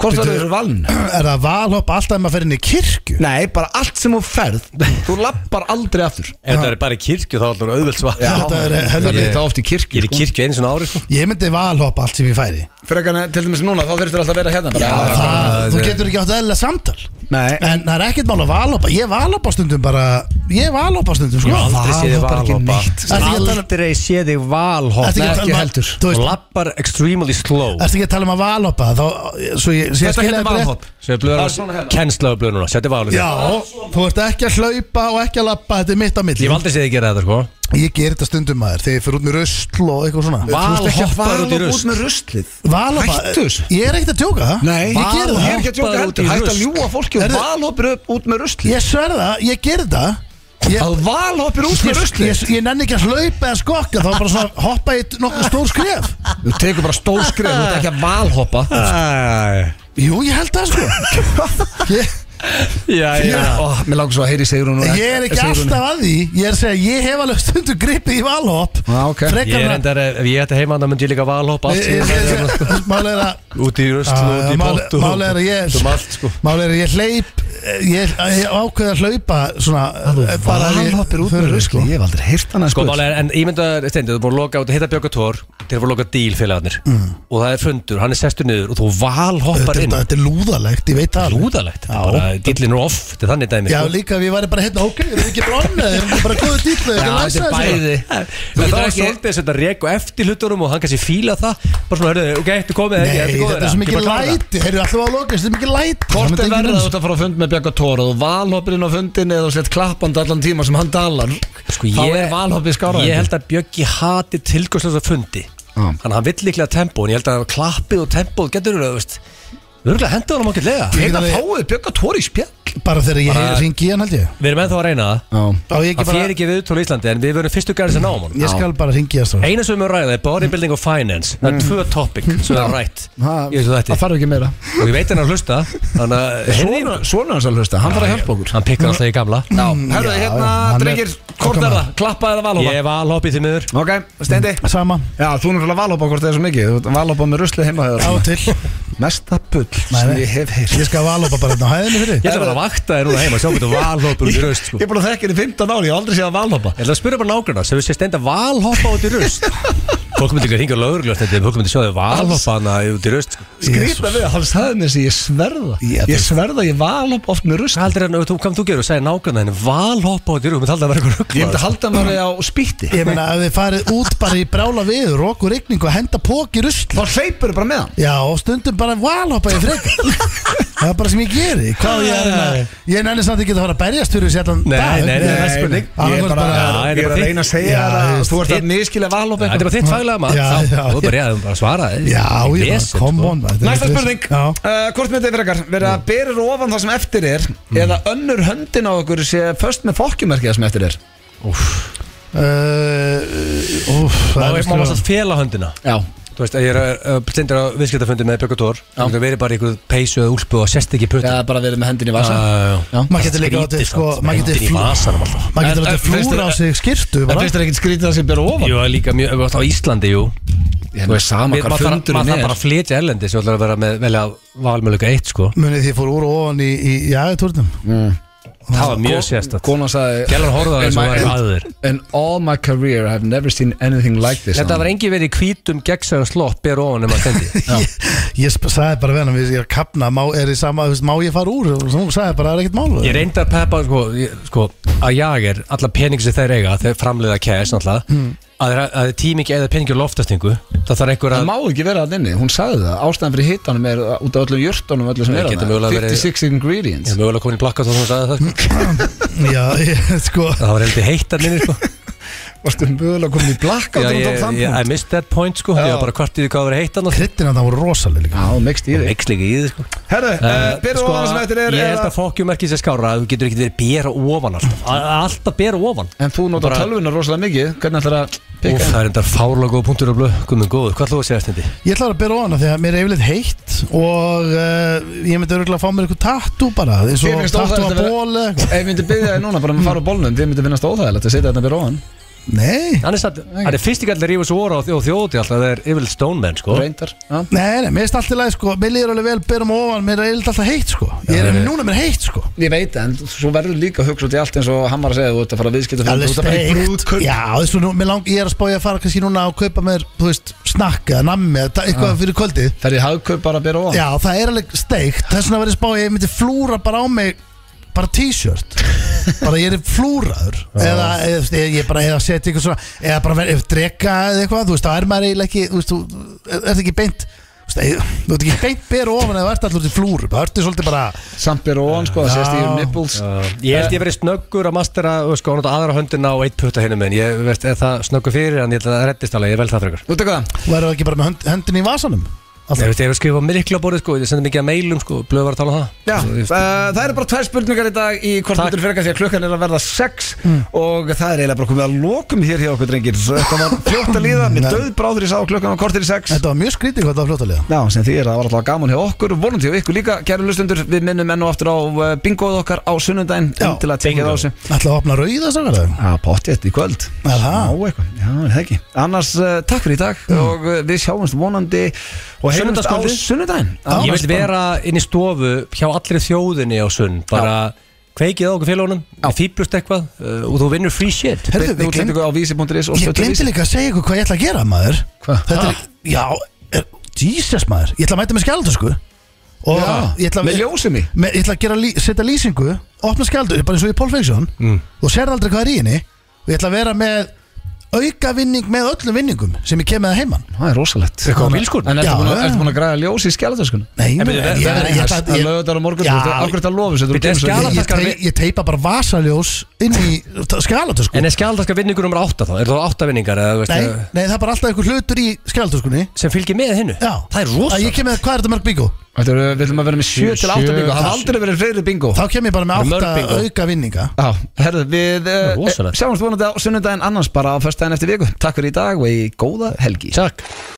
Hvort það eru valn?
Er það valhopp alltaf ef maður fer inn í kirkju?
Nei, bara allt sem þú ferð Þú lappar aldrei aftur
Ef þetta er bara í kirkju þá er alltaf auðvöld svar
Já. Þetta er,
Ég
helviti-
er þetta oft í kirkju
Ég er í
sko.
kirkju einu svona ári sko.
Ég myndi valhopp allt sem ég færi
Frekar en til dæmis núna, þá þurftur alltaf að vera hérna bara.
það,
það-
Þú getur ekki átt eðlilega samtal
Nei,
En það er ekkert mál að valhoppa Ég valhoppa stundum bara Ég valhoppa stundum sko
Ég hef aldrei séð þig
Valhoppar ekki neitt.
Ertu
valhoppa Ég hef Aldrei séð þig valhoppa
Nei,
að
ekki
tala um-
heldur.
Þú
Þú
veist,
lappar extremely slow
ertu ekki að tala um að valhoppa Þá, svo ég, svo ég
Þetta
skil
hérna
þetta rétt.
valhopp
Svo er
Það er svona
blöður
hérna.
Kennsla á blöður núna Settu valhoppa
Já, þú ert ekki að hlaupa og ekki að lappa Þetta er mitt á
Ég
milli
hef aldrei séð þig gera þetta sko
Ég ger þetta stundum maður Þegar ég fyrir út með rusl og eitthvað svona
Valhoppar út í rust
með ruslið
Valhoppa
Hættu þessu.
Ég er ekkert að djóka
Nei,
Ég ger
Ég er
það
ekki að djóka
Hoppar út í
heldur Hætt að
rusl.
ljúa fólki og
Herðu-
valhoppir upp út með ruslið
Ég sverða, ég ger það Ég,
Að valhoppir út með
ég, ég,
ruslið
ég nenni ekki að hlaupa eða skokka Þá bara svona hoppa í nokkuð stór skref
Þú tekur bara stór skrið, þú ert ekki að valhoppa
Jú, ég held
[LAUGHS]
það sko Ég
Já,
Ó, Mér langar svo að heyri Sigrún
Ég er ekki alltaf að því Ég er að segja, ég hef alveg stundu gripið í valhopp
Já, ok.
Ég
Frekar
er
en að
endar, ef ég ætti heima þannig myndi ég líka valhoppa allt sem ég sagði þarna, sko.
Málega er að
Út í rust og út
Já,
í
máli-
pottu
Máli er að ég
Um allt sko
Máli er að ég hleyp Ég, ég ákveð að hlaupa svona eh, bara að ég
Valhoppir út með
þurfi, sko.
ruslið Ég hef aldrei heyrt hann
Sko málega er, en ímyndaður, steindið, þú er búin að loka út að hitta Björga Tór Þeir eru búin að loka díl félagarnir Og það er fundur, hann er sestur niður og þú
Mm. Þetta
valhoppar
er-
inn
Þetta er lúðalegt, ég veit það alveg.
Lúðalegt, þetta
Já.
er bara, dílinn er off, þetta er þannig dæmi
Já,
sko.
líka við væri bara hérna, ok, við erum ekki bronnið Við erum bara góðu dýtlu, við
Já,
erum
þetta er bæði
sko.
Þú getur ekki haldið þess að reka á eftir hlutunum og hann kannski fíla það Bara svona, hörðu, ok, þetta er komið
Nei, þetta er svo mikið læti, heyrðu alltaf á loka, þetta er mikið læti
Hvort er
Það myndi enginn
verður að
eins-
þú ert að fara á fund með Björg og Tóra Þú valhoppir inn á fundin eða þú sett klappandi allan tíma sem hann dalar
Sko,
Þá
ég,
er valhoppið skáraðandi.
Ég held að Bjöggi hati tilgjóðslega fundi Þannig að hann vill líklega tempó En ég held að klappið og tempóð getur verið, þú veist Örgulega hendur hann ákveðlega
Ég
Heita
alveg-
fáið Björg og Tóra í spjall
Bara þegar
Bara-
ég ringi hann held ég
Við erum ennþá að reyna það
Á ég ekki
Það
bara
fyrir ekki viðtöl í Íslandi En við verðum fyrstu gæri sem náum hann
Ég skal bara ringi það
Einu sem við erum að ræða er bodybuilding og finance Það
Mm.
er tvö topic sem við erum rætt í þessu þætti
Það þarf ekki meira
Og ég veit hann að hlusta Þannig að heyrðu í
Svona,
honum.
svona hans að hlusta, hann þarf að hjálpa okkur
Hann pikkar alltaf í gamla
Já, herðu,
já,
hérna,
hann er-
drengir, hvort er það? Klappa eða valhoppa?
Ég var alhoppið til miður
Ok, steindi
Sama,
Mm. Já, þú erum fyrir að valhoppa hvort það er svo mikið Þú ert að valhoppa með rusli heima þegar
á og til
Mesta bull sem
Nei, nei.
ég hef heyrt
Ég skal valhoppa bara hérna á hæðinni fyrir
Ég ætla bara að vakta þér núna heima Sjá hvernig valhoppur í raust sko.
Ég er búin að þekka henni í 15 ári, ég hef aldrei séð að valhoppa
Ég ætla að spyrja bara nákvæmna sem við séum stenda valhoppa út í rust Fólk myndi ekki að ringa lögurlega þetta Fólk myndi sjá þau valhoppa hana út í sko. rust
Skrýta við, að hann sagði mér þessi, ég sverða
Já,
Ég sverða, ég valhoppa oft með rusli
Hvað heldur hérna, þú, hvað þú gerur og segir nákvæmna henni Valhoppa út í rust, þú myndi alltaf að vera eitthvað
Ég myndi
ruggla
að halda maður á spýtti
Ég meina ef þið farið út bara í brála við Rók og rigningu að henda pók í rusli
Þá hleypur bara með hann
Já og stundum bara valhoppa ég frekar Það er bara sem ég geri Hvað á ég er hérna Ég nenni samt ekki að fara að berjast fyrir þessi allan
Nei,
dag
nei, nei, nei.
Ég er bara,
Já,
ég er að reyna að segja
Já,
það
þú
að Þú
veist,
ert að miskila valhoppa
Þetta er bara þitt faglega
Já,
maður
já,
Þá- Þú
já.
bara ég að svara þér
Já, ég
sko.
bara, come on maður, þetta er
Næsta
ekki-
spurning
Já.
uh, Hvort myndið frekar Verið að berir ofan það sem eftir er Eða önnur höndin á okkur sé Föst með fokkjumerkið það sem eftir er
Uh, úff, það er
Má varst
veist-
að fela höndina
Já
Þú veist, ég er að stendur á viðskiptafundi með Björg og Tór
Já.
Þú getur verið bara í einhverju peysu eða úlpu og sérst ekki putta
Eða bara verið með höndin í
Já,
vasa
já, já.
Maður getur líka
Skrítið
látið, sko,
samt,
maður getur
höndin í
flú-
vasanum alltaf eh,
Maður getur
En-
alltaf
en finnst
flúra á
þér-
sig skirtu
Það
bara
finnst þér ekkert skrítið að sem berir ofan
Jú, það er líka mjög, ef þú ert á Íslandi, jú
Ég veist sama
Við-
hvar
maður þarf-
fundurinn
Maður þarf
er.
bara að flytja erlendi sem ætlar að vera með velja valmöluga eitt sko
Munið því ég fór úr og ofan í, í jæðutúrnum
Það var mjög
Ko-
sérstætt
Konan sagði
Gjallar horfði að
In
þessu
my-
var aður
In all my career I have never seen anything like this
Þetta var engin verið í hvítum gegnsæðan slott Bér ofan um að stendi
Ég sp- sagði bara við hann Ég er að kapna, má, er í sama, þú veist, má ég fara úr Og svo hún sagði bara, það er ekkert mál
Ég reyndi að peppa sko, ég- sko, að ég er alla pening sem þeir eiga þeir framleiða cash náttúrulega
Hmm.
að þeir- að þeir tími ekki eða peningi og loftastingu það þarf einhver
Það
að
má ekki vera að inni, hún sagði það Ástæðan fyrir hitanum er út af öllum jörtunum öllu sem
Nei,
er
getur
þarna.
mögulega verið-
56
Ég
ingredients
er mögulega komin í blakka þá sem hún sagði það
Hmm.
sko.
Já, [LAUGHS] ég, sko
Það var heldur heittar minni
[LAUGHS]
sko.
Varstu mögulega komin í blakka
Já, ég, ég, I missed that point sko. Ég var bara hvort í því hvað var heittar
Kryttina það voru rosalega líka
Já, mikst í þig
Mix líka í því sko.
Herru, uh, byrðu
sko,
ofan sem eftir er
Ég held
eða-
að fokkjum ekki sér skára að Þú getur ekki verið bera ofan alltaf A- Alltaf bera ofan
En þú notar
Bara-
tölvuna rosalega mikið Hvernig ætlar að
Úf,
pikka?
það er enda fárlega góð punktur og blöð Guðmund góður, hvað ætlum þú að segja stundi?
Ég ætla að byrja ofan af því að mér er yfirleitt heitt Og uh, ég myndi örgulega að fá mér eitthvað tattu bara Eins
Ég
og
finnst
tattu
óþægilegt
að
að vera-
ból eða eitthvað.
um Ef ég myndi byrja þig núna bara með að fara á bólnum Þið myndi finnast óþægilegt að setja þarna byrðu ofan
Nei,
Hann er, satt, hann er fyrst í gætlega rífus úr og, og þjóti alltaf það er Evil Stone Man sko
Reyndar Já
nei, nei, mér finnst allt í lagi sko Mér líður alveg vel berum ofan, mér er alltaf heitt sko Ég er
Já,
núna mér er heitt sko
Ég veit það, en svo verður líka að hugsa út í allt eins og hann var að segja, þú ert að fara að viðskipta fyrir
Alveg
þú ert að fara í
steikt
brúðkaup.
Já, þessu, nú, mér lang, ég er að spája að fara kannski núna og kaupa mér, þú veist, snakk eða nammi eða ta- eitthvað fyrir kvöldið
Fer í hagkaup bara að bera ofan
Já, það er alveg steikt Þess vegna verður spája, ég myndi flúra bara á mig bara t-shirt bara ég er flúraður eða, eða þú veist, ég bara eða setja eitthvað svona eða bara verið, ef drega eða eitthvað þú veist, þá er maður eiginlega ekki þú veist, þú er þetta ekki beint þú veist, eh, þú ert ekki beint beru ofan eða þú ert allur til flúru það ertu svolítið bara
Samt bera ofan, sko, það sést í
Já.
nipples
Ég held ég verið snöggur að mastera þú veist, sko, nota aðra höndina og eitt putta hinnum en ég veist er það snöggur fyrir en ég held að það reddist alveg ég vel það frekar
Þú veit hvað?
þú verður ekki bara með hönd, höndin í vasanum
Ég
alltaf
veist ég hef skrifað mikla borðið sko ég sendi mikið að mailum sko blöð var að tala um það
Já,
Svo
uh,
ég-
það eru bara tvær spurningar í dag í hvort
Takk.
myndur fyrir því að klukkan er að verða 6 og það er eiginlega bara komið að lokum hér hjá okkur drengir Þetta var fljótt að líða, mér
Nei.
döð bráður ég sá klukkan var kortir í 6
þetta var mjög skrítið hvað það var fljótalega
Já, sem því er að það var alltaf gaman hjá okkur vonandi hjá ykkur líka, kæru lustendur við minnum enn og aftur á eh, bingóð okkar á sunnundaginn
Já,
til að tekja það
bingo.
á þessu
ætlaðu að opna rauða sagar það
Já, pottjett í kvöld
Er það?
Smá eitthvað, já, er það ekki Annars, uh, takk fyrir í dag og uh, við sjáumst vonandi og heyrumst á
Sunnudagskvöldið?
sunnudaginn
Ég
Annars
vil
bara-
vera inn í stofu hjá allri þjóðinni á sunn bara kveikið á okkur félagunum fýblust eitthvað uh, og þú vinnur free shit
Beint
Herðu, við gleymd-
útsendingu á vísi.is og
Ég
stöðtu
glemdi
vísi
líka að segja ykkur hvað ég ætla að gera maður
Hva?
Þetta
Ah.
er, já, er, Jesus maður Ég ætla að mæta með skjaldösku Og ég ætla,
Með ljósum í
með, ég ætla að gera, lí- setja lýsingu Opna skjaldösku, bara eins og í Paul Fiction mm. Og sér aldrei hvað er í henni Og ég ætla að vera með auka vinning með öllum vinningum Sem ég kem með að heiman
Það er rosalegt
Eitthvað á bílskúrnum?
En ertu
Já,
búin að-
já.
ertu búin að græða ljós í skjálataskun?
Nei,
En
nú,
byrju,
en
ver-
ég-
verður-
ég ætla-
Það er
ég-
lögðar á morgun
Já,
Þú ert akkur þetta lofi Þú
Bíddu,
kemur svo
skjala-
ég- ég
skjalatakar-
tei- Ég teipa bara vasaljós inn í skjaldösku
En
Nei,
er skjaldalska vinningur nummer 8 þá? Er það 8 vinningar? Eða, þú veist, eh,
nei, það er bara alltaf einhver hlutur í skjaldöskunni
sem fylgir með hennu?
Já
Það er
Að Ég
rosa
kem með, hvað er þetta mörg bingo?
Þetta eru, við ætlum að vera með 7 til 8
Sjö-
bingo Það hafa aldrei verið fleiri bingo
Þá kem ég bara
Það
með
er mörg
átta
bingo.
auka vinninga
Já, herðu, við
er
uh,
rosalegt.
sjáumst vonandi á sunnudaginn annars bara á föstudaginn eftir viku Takk fyrir í dag og í góða helgi
Takk